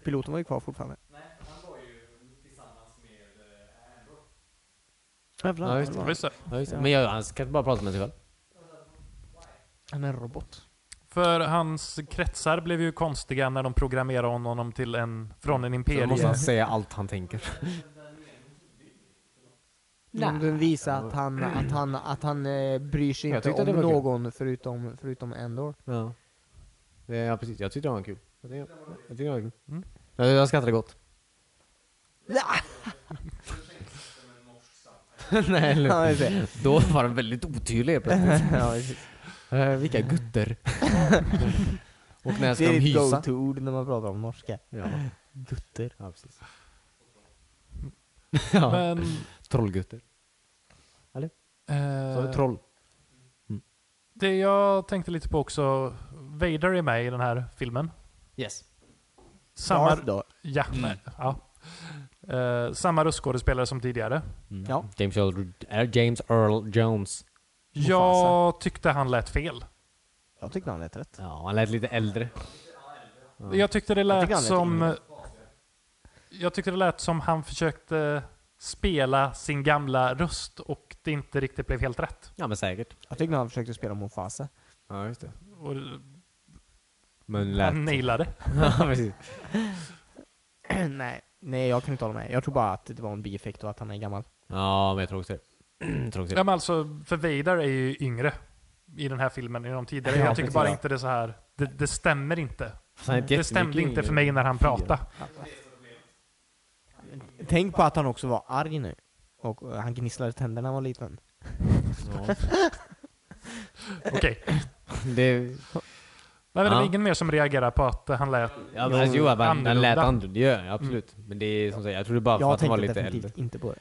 Speaker 2: Piloten var ju kvar fortfarande.
Speaker 1: Nej, han var ju tillsammans med eh, Andor.
Speaker 2: Jävlar.
Speaker 4: Ja, just det.
Speaker 2: han var-
Speaker 3: Just det.
Speaker 4: Ja, just det. Men jag, han ska inte bara prata med sig själv.
Speaker 2: Han är en robot.
Speaker 3: För hans kretsar blev ju konstiga när de programmerade honom till en, från en
Speaker 4: Så då måste
Speaker 3: imperie.
Speaker 4: han säga allt han tänker. Nej.
Speaker 2: Om den visar att han, att han, att han eh, bryr sig
Speaker 4: Jag
Speaker 2: inte
Speaker 4: tyckte
Speaker 2: om
Speaker 4: det var kul.
Speaker 2: någon förutom, förutom Endor.
Speaker 4: Ja. Det- Ja, precis. Jag tyckte det var kul. Jag tyckte, jag tyckte det var kul.
Speaker 3: Mm.
Speaker 4: Jag, jag skrattade gott. *laughs* Nej, eller hur?
Speaker 2: Ja,
Speaker 4: *laughs*
Speaker 2: just det.
Speaker 4: Då var den väldigt otydlig helt plötsligt.
Speaker 2: *laughs* Ja, precis.
Speaker 4: Eh, *laughs* vilka gutter. Och när ska
Speaker 2: det
Speaker 4: de
Speaker 2: är ditt
Speaker 4: hysa?
Speaker 2: go-to-ord när man pratar om norska.
Speaker 4: Ja,
Speaker 2: Gutter.
Speaker 4: ja precis. *laughs* ja,
Speaker 3: Men,
Speaker 4: *laughs*
Speaker 3: eh,
Speaker 4: trollgutter. Så
Speaker 3: eh,
Speaker 4: det troll.
Speaker 3: det jag tänkte lite på också, Vader är med i den här filmen.
Speaker 4: Yes.
Speaker 3: Samma,
Speaker 2: Darth då.
Speaker 3: ja,
Speaker 4: Mm.
Speaker 3: nej, ja. Eh, samma röstskådespelare som tidigare.
Speaker 4: Mm.
Speaker 2: Ja.
Speaker 4: James, Earl, eh, James Earl Jones.
Speaker 3: Jag tyckte han lät fel.
Speaker 2: Jag tyckte han lät rätt.
Speaker 4: Ja, han lät lite äldre. Ja.
Speaker 3: Jag tyckte det lät
Speaker 2: tycker han lät
Speaker 3: som...
Speaker 2: yngre.
Speaker 3: Jag tyckte det lät som han försökte spela sin gamla röst och det inte riktigt blev helt rätt.
Speaker 4: Ja, men säkert.
Speaker 2: Jag tyckte han försökte spela Mufasa.
Speaker 4: Ja, just det.
Speaker 3: Och
Speaker 4: Men lät...
Speaker 3: han nailade.
Speaker 4: *laughs* ja, precis.
Speaker 2: *clears throat* Nej. Nej, jag kan inte hålla med. Jag tror bara att det var en bieffekt och att han är gammal.
Speaker 4: Ja, men jag tror också det. Jag tror också
Speaker 3: Ja
Speaker 4: det. *clears throat*
Speaker 3: men alltså, för Vader är ju yngre i den här filmen än de tidigare.
Speaker 2: Ja,
Speaker 3: jag tycker
Speaker 2: precis.
Speaker 3: bara inte det är så här. Det, det stämmer inte.
Speaker 4: Fast han är
Speaker 3: Det
Speaker 4: jättemycket
Speaker 3: stämde inte
Speaker 4: yngre.
Speaker 3: för mig när han pratade.
Speaker 2: Mm. Tänk på att han också var arg nu. Och eh, han gnisslade tänderna när han var liten.
Speaker 4: Ja.
Speaker 3: Okej.
Speaker 4: Det,
Speaker 3: Nej, men det
Speaker 4: Ja.
Speaker 3: var ingen mer som reagerade på att han lät
Speaker 4: Ja, men alltså, jo, jo, han den lät
Speaker 3: annorlunda.
Speaker 4: annorlunda. Ja, absolut. Men det är som sagt, jag tror det är bara för
Speaker 2: Jag
Speaker 4: att han var
Speaker 2: tänkte
Speaker 4: lite
Speaker 2: definitivt
Speaker 4: äldre.
Speaker 2: inte på det.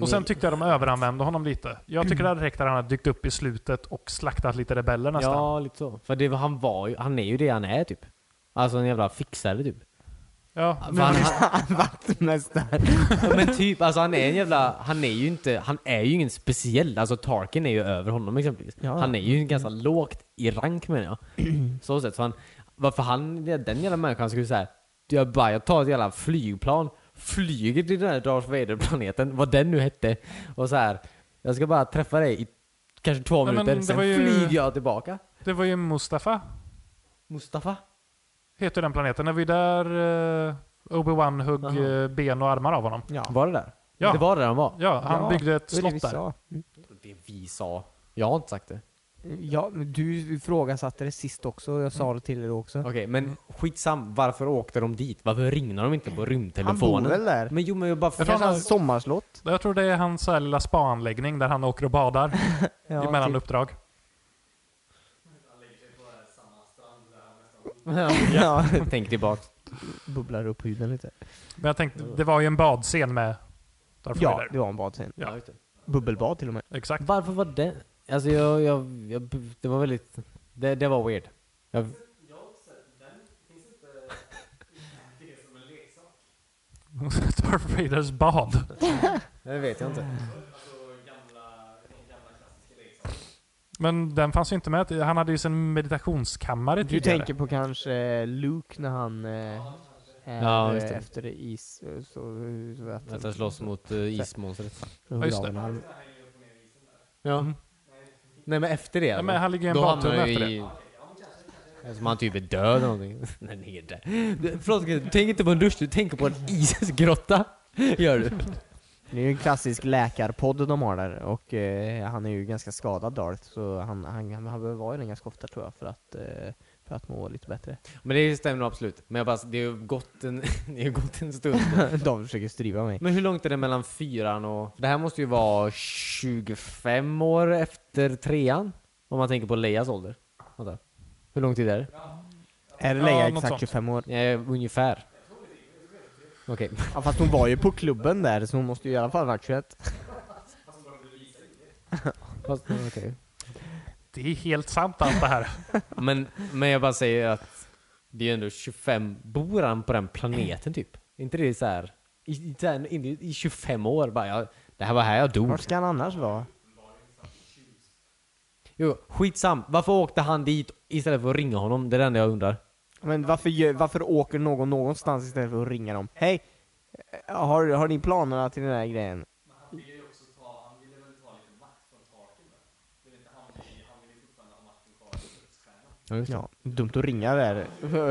Speaker 3: Och sen tyckte jag de överanvände honom lite. Jag tycker det hade räckt att han hade dykt upp i slutet och slaktat lite rebeller nästan. Ja,
Speaker 4: Ja, lite så. För det, var- han var ju, han är ju det han är typ. Alltså en jävla fixare
Speaker 3: *laughs*
Speaker 4: typ.
Speaker 3: nu,
Speaker 2: *laughs*
Speaker 4: För han,
Speaker 2: Vaktmästare.
Speaker 4: Ja, Men typ, alltså han är en jävla, han är ju inte, han är ju ingen speciell, alltså Tarkin är ju över honom exempelvis.
Speaker 2: Ja.
Speaker 4: Han är ju ganska lågt i rank menar jag.
Speaker 3: *clears throat*
Speaker 4: Så sätt, så han, varför han, den jävla människan skulle säga jag bara, jag tar ett jävla flygplan, flyger till den här Darth Vader-planeten, vad den nu hette, och så här. jag ska bara träffa dig i kanske två
Speaker 3: Nej, men
Speaker 4: minuter,
Speaker 3: det
Speaker 4: sen
Speaker 3: var ju-
Speaker 4: flyger jag tillbaka.
Speaker 3: det var ju Mustafa,
Speaker 4: Mustafa?
Speaker 3: heter den planeten. När vi där eh, Obi-Wan högg
Speaker 4: Aha.
Speaker 3: eh, ben och armar av honom.
Speaker 2: Ja.
Speaker 4: Var det där?
Speaker 3: Ja.
Speaker 4: Det var där han var?
Speaker 3: Ja, han
Speaker 2: Ja,
Speaker 3: byggde ett
Speaker 2: Det är det vi
Speaker 3: slott där.
Speaker 2: sa.
Speaker 4: Det vi sa. Jag har inte sagt det.
Speaker 2: Ja, men du ifrågasatte det sist också. Jag sa det till er också.
Speaker 4: Mm. Okej, men skitsam. Varför åkte de dit? Varför ringde de inte på
Speaker 2: Han bor
Speaker 4: rymdtelefonen?
Speaker 2: väl där?
Speaker 4: Men jo, men jag bara...
Speaker 3: Jag tror han har- *laughs*
Speaker 2: Hans sommarslott.
Speaker 3: Jag tror det är hans så här lilla spa-anläggning där han åker och badar
Speaker 2: *laughs* Ja,
Speaker 3: mellan
Speaker 2: typ.
Speaker 3: uppdrag.
Speaker 2: Ja,
Speaker 4: Tänk tillbaka.
Speaker 2: bubblar upp huden lite.
Speaker 3: Men jag tänkte, det var ju en badscen med Darth
Speaker 2: Ja,
Speaker 3: Vader.
Speaker 2: det var en badscen.
Speaker 3: Ja,
Speaker 2: Bubbelbad till och med.
Speaker 3: Exakt. *laughs*
Speaker 4: Varför var det... Alltså jag, jag, jag det var väldigt... Det, det var weird. Jag,
Speaker 3: Darth Vaders bad.
Speaker 4: det vet jag inte.
Speaker 1: liksom.
Speaker 3: Men den fanns ju inte med. Han hade ju sin meditationskammare
Speaker 2: Du
Speaker 3: tidigare.
Speaker 2: tänker på kanske eh, Luke när han eh, är
Speaker 4: Ja,
Speaker 2: eh,
Speaker 4: just det.
Speaker 2: efter is... eh, Så, så att,
Speaker 4: Att jag slåss mot uh, ismonstret.
Speaker 3: Ja, just det.
Speaker 4: Ja. Mm. Nej men efter det.
Speaker 3: Nej, men han ligger i en
Speaker 4: då hamnar
Speaker 3: badtunna
Speaker 4: han ju
Speaker 3: efter
Speaker 4: i... Eftersom han typ är död eller någonting. *laughs* Nej, han är död. Du- Förlåt, du tänker inte på en dusch, du tänker på en isgrotta. Gör du?
Speaker 2: Det är ju en klassisk läkarpodd de har där och eh, han är ju ganska skadad Darth så han, han, han behöver vara i den ganska ofta tror jag för att, eh, för att må lite bättre. *laughs*
Speaker 4: Men det stämmer nog absolut. Men jag bara, det har ju gått en, *laughs* det har ju gått en stund.
Speaker 2: de försöker striva mig.
Speaker 4: Men hur långt är det mellan fyran och... Det här måste ju vara 25 år efter trean. Om man tänker på Leias ålder. Vänta. Hur lång tid är det?
Speaker 2: Är det
Speaker 3: Ja,
Speaker 2: Leia
Speaker 3: något
Speaker 2: exakt
Speaker 3: sånt.
Speaker 2: 25 år?
Speaker 4: Ja, ungefär. Okej. *laughs*
Speaker 2: Ja, fast hon var ju på klubben där så hon måste ju i alla fall vara 21. *laughs*
Speaker 4: Fast, okej.
Speaker 3: Det är helt sant allt det
Speaker 4: *laughs*
Speaker 3: här.
Speaker 4: Men, men jag bara säger att det är ju ändå 25... Bor han på den planeten typ? Är inte det så här... I, i, så här- in- i 25 år bara, jag, det här var här jag dog.
Speaker 2: Vart ska han annars vara?
Speaker 4: Jo, skitsam. Varför åkte han dit istället för att ringa honom? Det är det enda jag undrar.
Speaker 2: Men varför, gör- varför åker någon någonstans istället för att ringa dem? Hej! eh, Har, har ni planerna till den här grejen?
Speaker 4: Ja, just det.
Speaker 2: Ja, dumt att ringa där.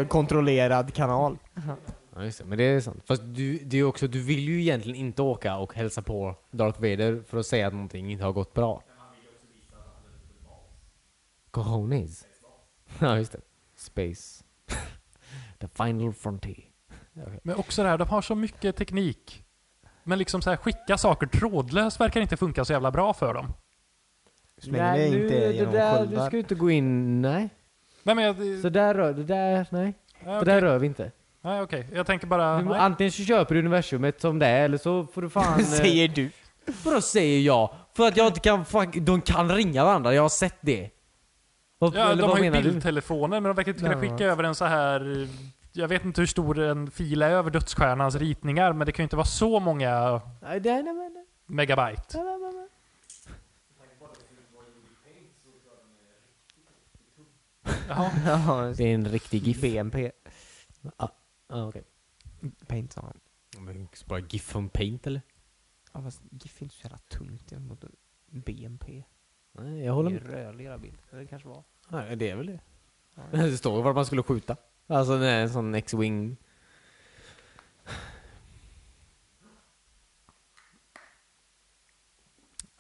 Speaker 2: *laughs* Kontrollerad kanal.
Speaker 4: Ja, just det. Men det är sant. Fast du, det är också, du vill ju egentligen inte åka och hälsa på Darth Vader för att säga att någonting inte har gått bra. Cojones. *laughs* Ja, just det. Space. *laughs* The final frontier.
Speaker 3: Men också det här, de har så mycket teknik. Men liksom så här, skicka saker trådlöst verkar inte funka så jävla bra för dem.
Speaker 2: Så länge det inte är genom
Speaker 4: Du ska
Speaker 2: sköldar.
Speaker 4: ju inte gå in, nej.
Speaker 3: Nej men jag...
Speaker 4: Så där rör, det där, nej.
Speaker 3: nej,
Speaker 4: Det
Speaker 3: okej.
Speaker 4: där rör vi inte.
Speaker 3: Nej okej, jag tänker bara...
Speaker 4: Du, må-
Speaker 3: Nej.
Speaker 4: antingen så köper du universumet som det är, eller så får du fan... *laughs*
Speaker 2: *laughs*
Speaker 4: eh,
Speaker 2: Säger du.
Speaker 4: Vadå säger jag? För att jag inte kan fuck, De kan ringa varandra, jag har sett det. Vad,
Speaker 3: Ja,
Speaker 4: eller
Speaker 3: de
Speaker 4: vad
Speaker 3: har ju
Speaker 4: menar du?
Speaker 3: bildtelefoner men de verkar inte kunna
Speaker 2: Nej.
Speaker 3: skicka över en så här... Jag vet inte hur stor en fil är över dödsstjärnans ritningar men det kan ju inte vara så många
Speaker 4: Nej, det- nej, men-
Speaker 3: megabyte. Jaha.
Speaker 2: Ja,
Speaker 4: Det är en riktig GIF.
Speaker 2: BNP.
Speaker 4: Ah, okay.
Speaker 2: Paint sa han.
Speaker 4: Bara GIF från Paint eller?
Speaker 2: Ja fast GIF är inte så jävla tungt mot BNP.
Speaker 4: Nej, jag håller
Speaker 2: Det är
Speaker 4: med.
Speaker 2: rörligare bild. Eller det kanske var.
Speaker 4: Ja, det är väl det. *laughs* Det står ju vart man skulle skjuta. Alltså det är en sån X-Wing.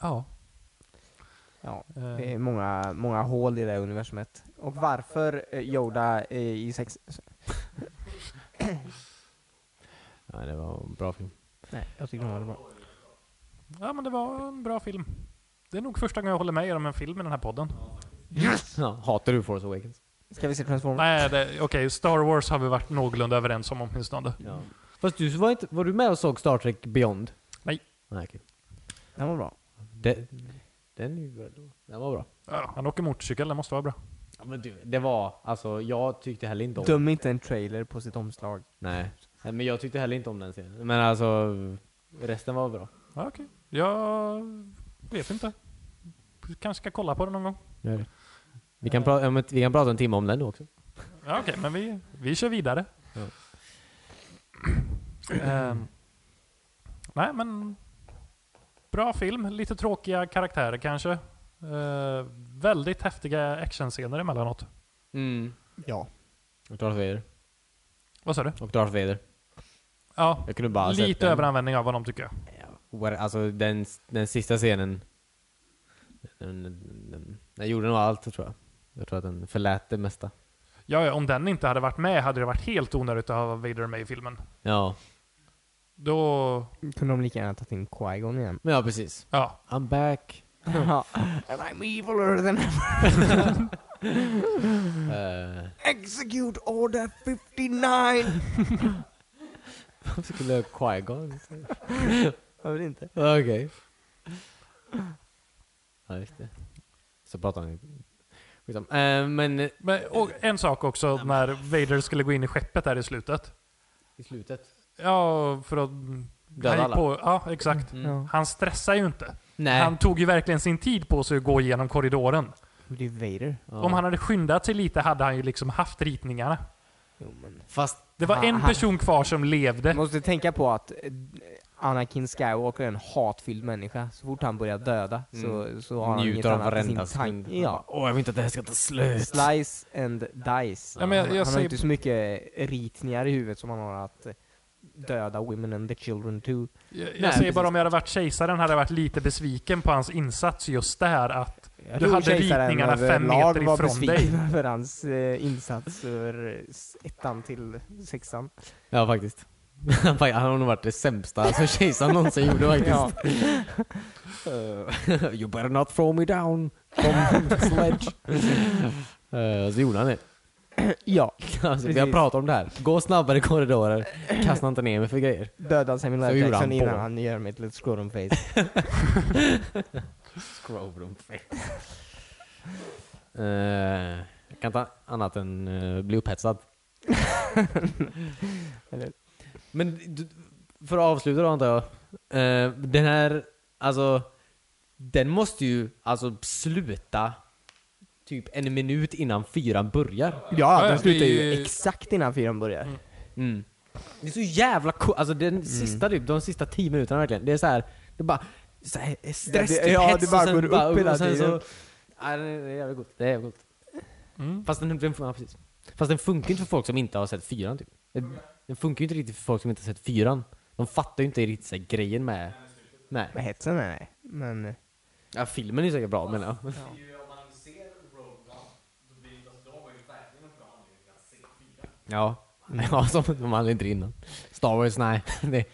Speaker 3: Ja.
Speaker 2: Ja.
Speaker 3: eh,
Speaker 2: Det är många, många hål i det här universumet. Och varför eh, Yoda eh, i sex...
Speaker 4: Ja, det var en bra film.
Speaker 2: Nej, jag tycker de var bra.
Speaker 3: Ja men det var en bra film. Det är nog första gången jag håller med er om en film i den här podden.
Speaker 4: Ja, hatar du Force Awakens?
Speaker 2: Ska vi se Transformers?
Speaker 3: Nej, det- okej. Star Wars har vi varit någorlunda överens om åtminstone.
Speaker 4: Ja. Fast du var, inte, var du med och såg Star Trek Beyond?
Speaker 3: Nej.
Speaker 4: Nej okej.
Speaker 2: Den var bra.
Speaker 4: Den, den, är ju bra då. den var bra.
Speaker 3: Ja, han åker motorcykel, det måste vara bra.
Speaker 4: Ja, men du, det var, alltså jag tyckte heller inte om
Speaker 2: Döm inte en trailer på sitt omslag.
Speaker 4: Nej. Nej, men jag tyckte heller inte om den scenen. Men alltså, resten var bra.
Speaker 3: Ja, okej. Jag vet inte. Kanske ska kolla på det någon gång.
Speaker 4: Gör det. Vi kan, pra- om ett- vi kan prata en timme om den nu också.
Speaker 3: Ja, okej, men vi, vi kör vidare.
Speaker 4: Ja.
Speaker 3: *clears throat* Ehm, nej, men bra film. Lite tråkiga karaktärer kanske. Eh, väldigt häftiga actionscener emellanåt.
Speaker 4: Mm.
Speaker 2: Ja.
Speaker 4: Och Darth Vader.
Speaker 3: Vad sa du?
Speaker 4: Och Darth Vader.
Speaker 3: Ja,
Speaker 4: Jag kunde bara ha sett
Speaker 3: lite
Speaker 4: den.
Speaker 3: överanvändning av honom tycker jag.
Speaker 4: What- Alltså den, den sista scenen. Den, den, den, den gjorde nog allt tror jag. Jag tror att den förlät det mesta.
Speaker 3: Ja, ja, om den inte hade varit med hade det varit helt onödigt att ha Vader med i filmen.
Speaker 4: Ja,
Speaker 3: Då...
Speaker 2: Kunde de lika gärna tagit in Qui-Gon
Speaker 4: *laughs*
Speaker 2: igen?
Speaker 4: men ja precis.
Speaker 3: Ja.
Speaker 4: I'm back.
Speaker 2: Ja. And I'm eviler than
Speaker 4: Eh,
Speaker 2: execute order 59!
Speaker 4: Varför *laughs* skulle jag Qui-Gon?
Speaker 2: Jag vet inte.
Speaker 4: Okej. *laughs* Ja, just det. Så pratar han ju. Skitsamma. Eh, men eh,
Speaker 3: Men, och en sak också när Vader skulle gå in i skeppet där i slutet.
Speaker 4: i slutet.
Speaker 3: Ja, för att... han
Speaker 4: Döda
Speaker 3: gick
Speaker 4: alla.
Speaker 3: På, ja, exakt.
Speaker 4: Mm.
Speaker 2: Ja.
Speaker 3: Han stressar ju inte.
Speaker 4: Nej.
Speaker 3: Han tog ju verkligen sin tid på sig att gå igenom korridoren.
Speaker 2: Men det är Vader.
Speaker 4: Ja.
Speaker 3: Om han hade skyndat sig lite hade han ju liksom haft ritningarna.
Speaker 2: Jo, men.
Speaker 4: Fast
Speaker 3: Det var
Speaker 2: Han-
Speaker 3: en
Speaker 2: han-
Speaker 3: person kvar som
Speaker 2: Du
Speaker 3: levde.
Speaker 2: måste tänka på att eh, Anakin Skywalker är en hatfylld människa. Så fort han börjar döda så, så har han inget
Speaker 4: Mm. njuter av
Speaker 2: annat i sin
Speaker 4: varenda
Speaker 2: tank.
Speaker 4: sekund.
Speaker 2: Ja.
Speaker 4: Åh, jag vill inte att det här ska ta slut.
Speaker 2: Slice and dice.
Speaker 3: Ja, men jag- jag
Speaker 2: han har
Speaker 3: säger-
Speaker 2: inte så mycket ritningar i huvudet som han har att eh, döda women and the children too.
Speaker 3: Jag, jag
Speaker 4: Nej,
Speaker 3: säger bara
Speaker 4: precis.
Speaker 3: om jag hade varit kejsaren hade jag varit lite besviken på hans insats just där att...
Speaker 2: Jag
Speaker 3: Du
Speaker 2: tror
Speaker 3: hade
Speaker 2: kejsaren
Speaker 3: ritningarna fem
Speaker 2: överlag
Speaker 3: meter
Speaker 2: var
Speaker 3: ifrån
Speaker 2: besviken *laughs* över hans eh, insats ur eh, ettan till sexan.
Speaker 4: Ja, faktiskt. *laughs* Han fak- han har nog varit det sämsta
Speaker 2: *laughs*
Speaker 4: som kejsaren någonsin gjorde faktiskt.
Speaker 2: Ja.
Speaker 3: *laughs*
Speaker 4: Eh, you better not throw me down from
Speaker 2: *laughs*
Speaker 4: the sledge. Eh, så gjorde han det. *laughs*
Speaker 2: ja,
Speaker 4: Alltså, vi har
Speaker 2: Precis.
Speaker 4: pratat om det här. Gå snabbare i korridorer. Kasta inte ner mig för grejer.
Speaker 2: döda Samuel
Speaker 4: Så
Speaker 2: L.
Speaker 4: gjorde
Speaker 2: Jackson
Speaker 4: han
Speaker 2: innan
Speaker 4: på.
Speaker 2: han gör mig till ett scrotum
Speaker 3: *laughs*
Speaker 2: face.
Speaker 4: Scrotum face. Eh, jag kan inte annat än eh, bli upphetsad.
Speaker 2: Eller-
Speaker 4: Men du, för att avsluta då antar jag. Eh, den här, alltså. Den måste ju alltså sluta typ en minut innan fyran börjar.
Speaker 2: Ja,
Speaker 3: ja,
Speaker 2: den
Speaker 3: det
Speaker 2: slutar
Speaker 3: är
Speaker 2: ju
Speaker 3: ju-
Speaker 2: exakt innan fyran börjar.
Speaker 4: Mm. Det är så jävla coolt, alltså den
Speaker 2: Mm.
Speaker 4: sista typ, de sista tio minuterna verkligen. Det är så här, det är bara så här stress,
Speaker 2: Ja, det- ja,
Speaker 4: typ, hets
Speaker 2: det bara
Speaker 4: och sen
Speaker 2: går upp
Speaker 4: bara,
Speaker 2: hela
Speaker 4: och sen
Speaker 2: tiden.
Speaker 4: Så, nej, det är jävligt gott. Det är jävligt gott.
Speaker 3: Mm.
Speaker 4: Fast den, den, ja, precis. Fast den funkar ju inte för folk som inte har sett fyran typ. Den, den funkar ju inte riktigt för folk som inte har sett fyran. De fattar ju inte riktigt så här, grejen med... Nej.
Speaker 2: Med hetsen, nej, nej. Men eh,
Speaker 4: Ja, filmen är säkert bra menar jag.
Speaker 2: *laughs*
Speaker 1: alltså,
Speaker 4: Ja. Mm. Ja, som de hade inte innan. Star Wars, nej. *laughs* Det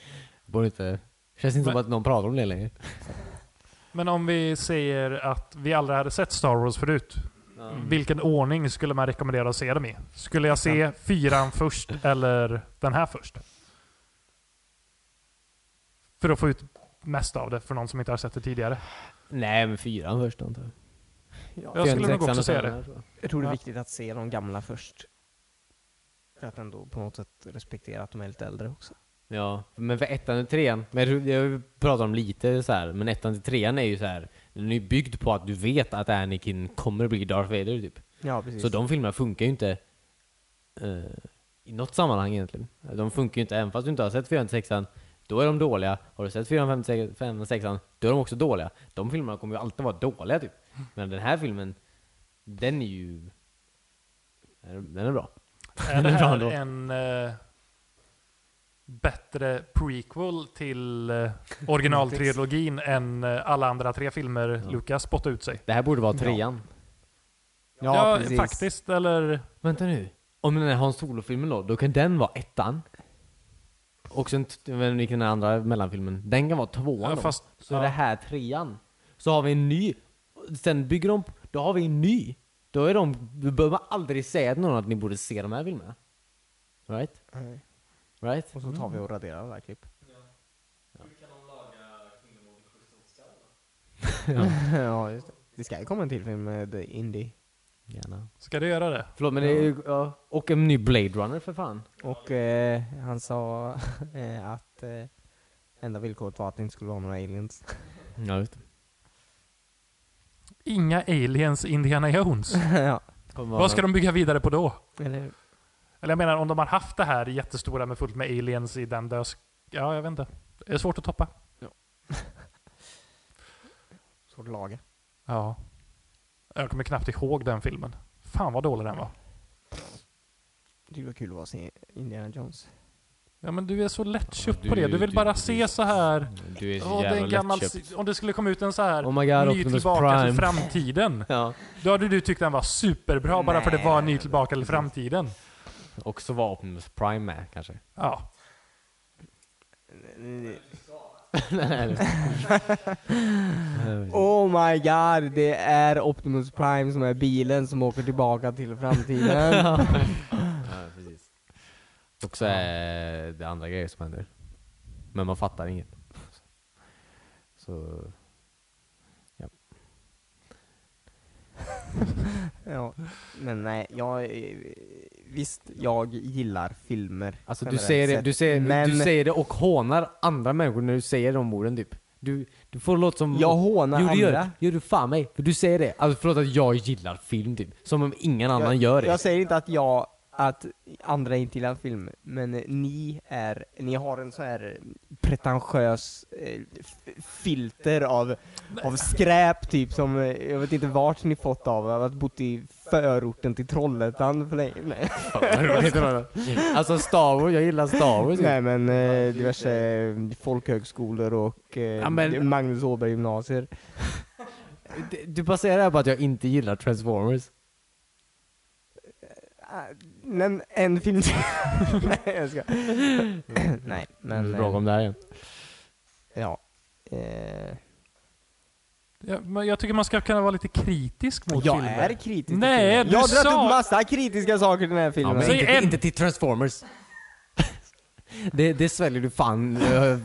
Speaker 4: borde inte... Känns inte som
Speaker 3: Men-
Speaker 4: att någon pratar om det längre.
Speaker 3: Men om vi säger att vi aldrig hade sett Star Wars förut.
Speaker 4: Mm.
Speaker 3: Vilken ordning skulle man rekommendera att se dem i? Skulle jag se fyran först eller den här först? För att få ut mest av det för någon som inte har sett det tidigare.
Speaker 4: Nej, men fyran först antar jag.
Speaker 3: Jag skulle nog
Speaker 4: Fyran, sexan
Speaker 3: också
Speaker 4: och
Speaker 3: säga det.
Speaker 4: femman här, tror jag.
Speaker 2: jag tror det är
Speaker 3: Ja.
Speaker 2: viktigt att se de gamla först. För att ändå på något sätt respektera att de är lite äldre också.
Speaker 4: Ja, men för ettan och trean, men jag tror- jag pratar om lite så här, men ettan till trean är ju så här. den är ju byggd på att du vet att Anakin kommer att bli Darth Vader typ.
Speaker 2: Ja, precis.
Speaker 4: Så de filmerna funkar ju inte eh, i något sammanhang egentligen. De funkar ju inte, även fast du inte har sett 4 6 då är de dåliga. Har du sett 4 5 6 då är de också dåliga. De filmerna kommer ju alltid vara dåliga typ. Men den här filmen, den är ju... Den är bra.
Speaker 3: Är det
Speaker 4: Bra
Speaker 3: här
Speaker 4: ändå.
Speaker 3: en eh, bättre prequel till eh, originaltrilogin än eh, alla andra tre filmer
Speaker 4: Ja.
Speaker 3: Lucas spottade ut sig?
Speaker 4: Det här borde vara trean.
Speaker 3: Ja, faktiskt. Eller...
Speaker 4: Vänta nu. Om den här Hans Solo-filmen då, då kan den vara ettan. Och sen, t- vem- vilken är den andra mellanfilmen? Den kan vara tvåan
Speaker 3: Ja,
Speaker 4: då.
Speaker 3: fast-
Speaker 4: Så
Speaker 3: ja.
Speaker 4: är det här trean. Så har vi en ny. Sen bygger de, då har vi en ny. Då Då är de, då behöver man aldrig säga till någon att ni borde se de här filmerna. Right? Right?
Speaker 2: Och så tar vi och raderar alla klipp. *laughs* ja, just det. Det ska ju komma en till film med Indie.
Speaker 4: Gärna.
Speaker 3: Ska du göra det?
Speaker 4: Förlåt men det är ju, ja. Och en ny Blade Runner för fan.
Speaker 2: Och eh, han sa *laughs* eh, att eh, enda villkoret var att det inte skulle vara några aliens. *laughs*
Speaker 4: Ja, just
Speaker 3: Inga aliens i Indiana Jones.
Speaker 2: ja,
Speaker 3: Vad ska de bygga vidare på då?
Speaker 2: eller hur?
Speaker 3: Eller jag menar om de har haft det här jättestora med fullt med aliens i den dös... Ja, jag vet inte. Det är svårt att toppa.
Speaker 2: Svårt att laga.
Speaker 3: Ja. Jag kommer knappt ihåg den filmen. Fan vad dålig den var.
Speaker 2: Det var kul att vara se Indiana Jones.
Speaker 3: Ja men du är så lättköpt
Speaker 4: Ja,
Speaker 3: på det. Du
Speaker 4: du-
Speaker 3: vill
Speaker 4: du-
Speaker 3: bara
Speaker 4: du-
Speaker 3: se så här.
Speaker 4: Du är så
Speaker 3: Åh, det är en
Speaker 4: jävla
Speaker 3: gammal,
Speaker 4: lättköpt.
Speaker 3: om det skulle komma ut en så här
Speaker 4: Oh my god,
Speaker 3: ny
Speaker 4: Optimus
Speaker 3: tillbaka
Speaker 4: Prime.
Speaker 3: till framtiden.
Speaker 4: *laughs* Ja.
Speaker 3: Då hade du tyckt den var superbra bara för det var en ny tillbaka till framtiden.
Speaker 4: Också var Optimus Prime med kanske.
Speaker 3: Ja.
Speaker 2: *laughs* Oh my god, det är Optimus Prime som är bilen som åker tillbaka till *laughs* framtiden.
Speaker 4: Ja, *laughs* precis. Och så är det andra grejer som händer. Men man fattar inget. Så...
Speaker 2: ja. Men nej, jag... eh, Visst, jag gillar filmer.
Speaker 4: Alltså du
Speaker 2: generellt
Speaker 4: säger, det,
Speaker 2: sett,
Speaker 4: du, säger,
Speaker 2: men
Speaker 4: du säger det och hånar andra människor när du säger de orden typ. Du, du får låta som...
Speaker 2: Jag hånar
Speaker 4: jo, det gör,
Speaker 2: andra.
Speaker 4: Gör du fan mig. För du säger det. Alltså förlåt att jag gillar film typ. Som om ingen annan gör det. *laughs*
Speaker 2: Jag säger inte att jag, att andra inte gillar film, men eh, ni är, ni har en så här pretentiös eh, f- filter av, av skräp typ som, eh, jag vet inte vart ni fått av, av att bott i förorten till Trollhättan för länge. Nej,
Speaker 4: alltså Star Wars, jag gillar Star Wars. typ.
Speaker 2: Nej men eh, diverse eh, folkhögskolor och eh,
Speaker 4: Ja, men-
Speaker 2: Magnus Åberg gymnasier.
Speaker 4: Du- Du baserar det här på att jag inte gillar Transformers.
Speaker 2: Men en film *laughs* Nej jag ska. *clears throat* Nej men,
Speaker 4: Bra
Speaker 2: eh,
Speaker 4: om det här igen.
Speaker 2: ja. Eh,
Speaker 3: Ja, men jag tycker man ska kunna vara lite kritisk mot
Speaker 2: jag
Speaker 3: filmer.
Speaker 2: är kritisk till
Speaker 3: Nej,
Speaker 2: filmen.
Speaker 3: du
Speaker 2: Jag har dragit
Speaker 3: sa-
Speaker 2: upp massa kritiska saker till den här
Speaker 4: Ja,
Speaker 2: filmen.
Speaker 4: men
Speaker 3: Säg
Speaker 4: inte,
Speaker 3: en.
Speaker 4: inte till Transformers. *laughs* det, det sväljer du fan. Eh,
Speaker 2: Alltså,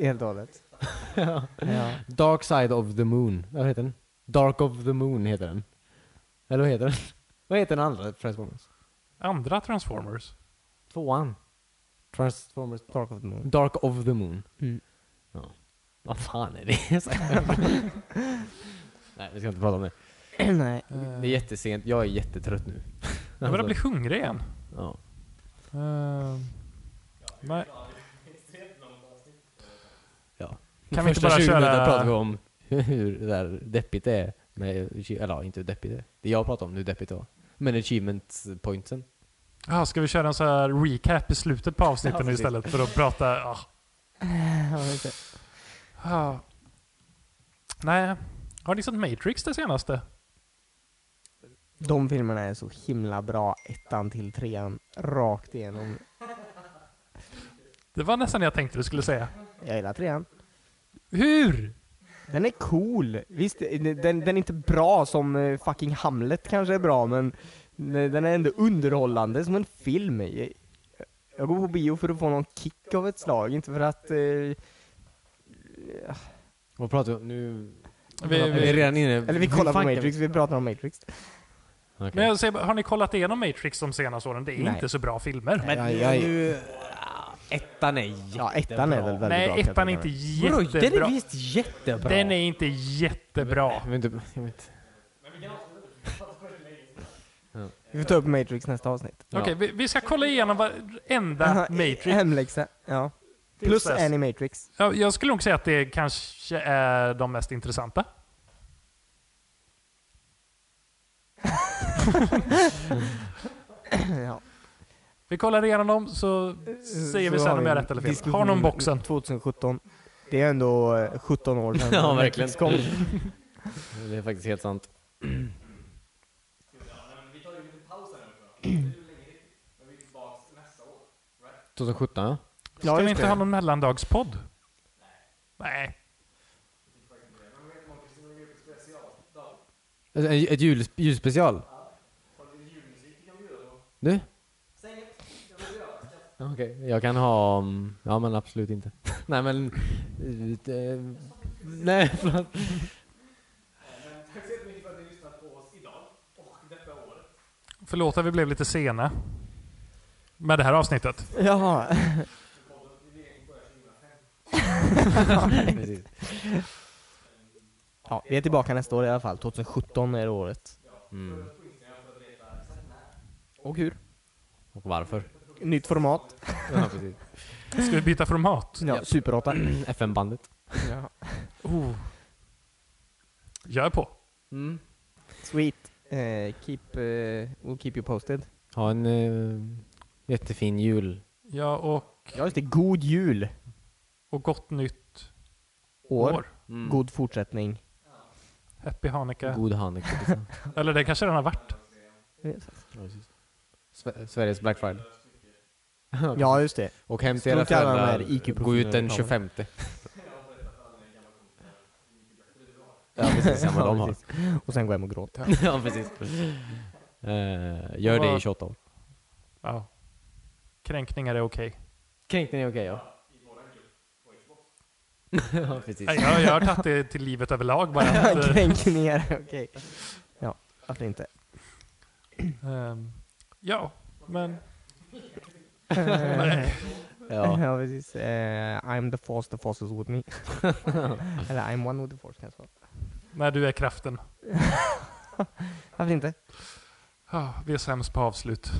Speaker 2: Helt och
Speaker 4: *laughs*
Speaker 2: hållet. ja.
Speaker 4: Dark Side of the Moon. Vad heter den? Dark of the Moon heter den. Eller vad heter den? *laughs* Vad heter den andra Transformers?
Speaker 3: Andra Transformers.
Speaker 4: Tvåan. Transformers Dark,
Speaker 2: Dark of the Moon. *clears throat*
Speaker 4: Dark of the Moon.
Speaker 2: Mm.
Speaker 4: Ja. Vad fan är det? *laughs* Nej, vi ska inte prata om det.
Speaker 2: Nej.
Speaker 4: Det är jättesent. Jag är jättetrött nu.
Speaker 3: Jag
Speaker 4: Alltså.
Speaker 3: börjar bli hungrig igen.
Speaker 4: Ja.
Speaker 3: Eh, nej.
Speaker 4: Ja.
Speaker 3: Kan vi inte
Speaker 4: Första
Speaker 3: bara
Speaker 4: 20
Speaker 3: köra-
Speaker 4: minuterna pratar vi om *laughs* hur det där deppigt det är. Med, eller ja, inte hur deppigt det är. Det jag pratar om hur deppigt det var. Men achievement pointsen.
Speaker 3: Ah, ska vi köra en så här recap i slutet på avsnitten
Speaker 4: Ja,
Speaker 3: nu
Speaker 4: precis.
Speaker 3: istället för att prata... ah.
Speaker 2: Jag vet inte.
Speaker 3: Ah. Nej. Har ni sett Matrix det senaste?
Speaker 2: De filmerna är så himla bra, ettan till trean, rakt igenom.
Speaker 3: Det var nästan det jag tänkte du skulle säga.
Speaker 2: Jag gillar trean.
Speaker 3: Hur?
Speaker 2: Den är cool. Visst, den, den är inte bra som eh, fucking Hamlet kanske är bra, men den är ändå underhållande som en film. Jag, jag går på bio för att få någon kick av ett slag, inte för att... Eh,
Speaker 4: Vad pratar vi om nu?
Speaker 3: Vi-
Speaker 4: är
Speaker 3: vi-
Speaker 4: redan inne?
Speaker 2: Eller vi kollar på Matrix, vi pratar om Matrix.
Speaker 3: Men jag säger, bara, har ni kollat igenom Matrix de senaste åren? Det är
Speaker 2: Nej.
Speaker 3: inte så bra filmer.
Speaker 4: Men
Speaker 2: jag- jag-
Speaker 4: nu... Ettan är jättebra.
Speaker 2: Ja, ettan är väl väldigt bra.
Speaker 3: Nej,
Speaker 2: kan jag
Speaker 3: ettan är
Speaker 2: tänka
Speaker 3: inte
Speaker 2: mig.
Speaker 4: Vadå, Den är
Speaker 3: jättebra.
Speaker 4: visst jättebra.
Speaker 3: Den är inte jättebra.
Speaker 4: Jag vet inte... Jag vet.
Speaker 3: *laughs*
Speaker 2: Vi får ta upp Matrix nästa avsnitt.
Speaker 4: Ja.
Speaker 3: Okej, vi, vi ska kolla igenom varenda
Speaker 2: *laughs*
Speaker 3: Matrix.
Speaker 2: Hemläxa. Ja. Plus
Speaker 3: dess.
Speaker 2: Animatrix.
Speaker 3: Ja, Jag skulle nog säga att det kanske är de mest intressanta.
Speaker 2: *laughs* Ja.
Speaker 3: Vi kollar igenom dem så säger vi
Speaker 2: Så
Speaker 3: sen
Speaker 2: har
Speaker 3: om
Speaker 2: vi
Speaker 3: jag har
Speaker 2: en
Speaker 3: rätt eller fel.
Speaker 2: diskussion
Speaker 3: Har någon boxen?
Speaker 2: 2017. Det är ändå eh, 17 år sedan.
Speaker 4: *laughs* Ja, verkligen.
Speaker 2: Matrix Kom.
Speaker 4: Det är faktiskt helt sant. Vi tar ju en liten paus här nu. 2017 ja.
Speaker 2: Ja,
Speaker 3: Ska vi
Speaker 2: just
Speaker 3: inte
Speaker 2: det.
Speaker 3: ha någon mellandagspodd? Nej.
Speaker 4: Alltså, en- Ett jul, julspecial? Nu? Okej, jag kan ha... mm, Ja men absolut inte.
Speaker 2: *laughs*
Speaker 4: nej men... eh, eh, nej, förlåt.
Speaker 1: Tack så jättemycket för att ni lyssnat på oss idag och detta året.
Speaker 3: Förlåt att vi blev lite sena med det här avsnittet.
Speaker 2: Jaha.
Speaker 4: Precis.
Speaker 2: Ja, vi är tillbaka nästa år i alla fall. 2017 är det året.
Speaker 4: Mm.
Speaker 2: Och hur?
Speaker 4: Och varför?
Speaker 2: Nytt format.
Speaker 4: Ja, *clears throat* precis.
Speaker 3: Ska vi byta format?
Speaker 2: Ja, Super 8.
Speaker 4: FN-bandet.
Speaker 2: Ja.
Speaker 3: Oh. Jag är på.
Speaker 4: Mm.
Speaker 2: Sweet. Eh, keep, eh, we'll keep you posted.
Speaker 4: Ha en eh, jättefin jul.
Speaker 3: Ja, och,
Speaker 2: Ja, just det. God jul.
Speaker 3: och gott nytt
Speaker 2: År.
Speaker 3: år.
Speaker 4: Mm.
Speaker 2: God fortsättning.
Speaker 3: Happy Hanukkah.
Speaker 4: God Hanukkah. *laughs* liksom.
Speaker 3: Eller det kanske redan har varit.
Speaker 4: Mm. Sve- Sveriges Black Friday.
Speaker 2: Ja, just det.
Speaker 4: Och hem till
Speaker 2: Strunta
Speaker 4: era
Speaker 2: i alla de här
Speaker 4: föräldrar.
Speaker 2: IQ-profilerna
Speaker 4: Gå ut den
Speaker 2: du
Speaker 4: 25. *laughs* Ja precis, samma
Speaker 2: *laughs*
Speaker 4: de
Speaker 2: Ja,
Speaker 4: har.
Speaker 2: precis. Och sen gå hem och gråta.
Speaker 4: ja precis. Eh, gör det i 28 år.
Speaker 3: Ja. Kränkningar är okej.
Speaker 4: Kränkning är
Speaker 2: *laughs*
Speaker 4: okej ja. *laughs* ja precis.
Speaker 3: Nej, Jag, jag har tagit det till livet överlag
Speaker 2: *laughs*
Speaker 3: bara. Att, eh,
Speaker 2: Kränkningar, okej. Ja, varför
Speaker 3: *laughs*
Speaker 2: inte?
Speaker 3: ehm, ja, men...
Speaker 2: Eh,
Speaker 3: Nej.
Speaker 4: Ja.
Speaker 2: *laughs* Ja, precis. Eh, I'm the force, the force is with
Speaker 4: *laughs*
Speaker 2: me. Eller I'm one with the force kanske.
Speaker 3: När du är kraften.
Speaker 2: Varför inte? *laughs*
Speaker 3: Ah, vi är sämst på avslut.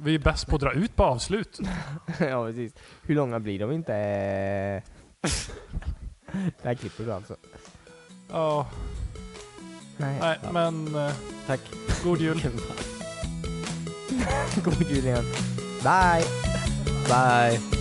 Speaker 3: Vi är bäst på att dra ut på avslut.
Speaker 2: ja, precis. Hur långa blir de inte? *laughs* Eh, Det här klipper du alltså?
Speaker 3: Ja,
Speaker 2: *laughs* Nej.
Speaker 3: nej, men eh,
Speaker 4: Tack.
Speaker 3: god jul.
Speaker 2: God jul igen. Bye!
Speaker 4: Bye.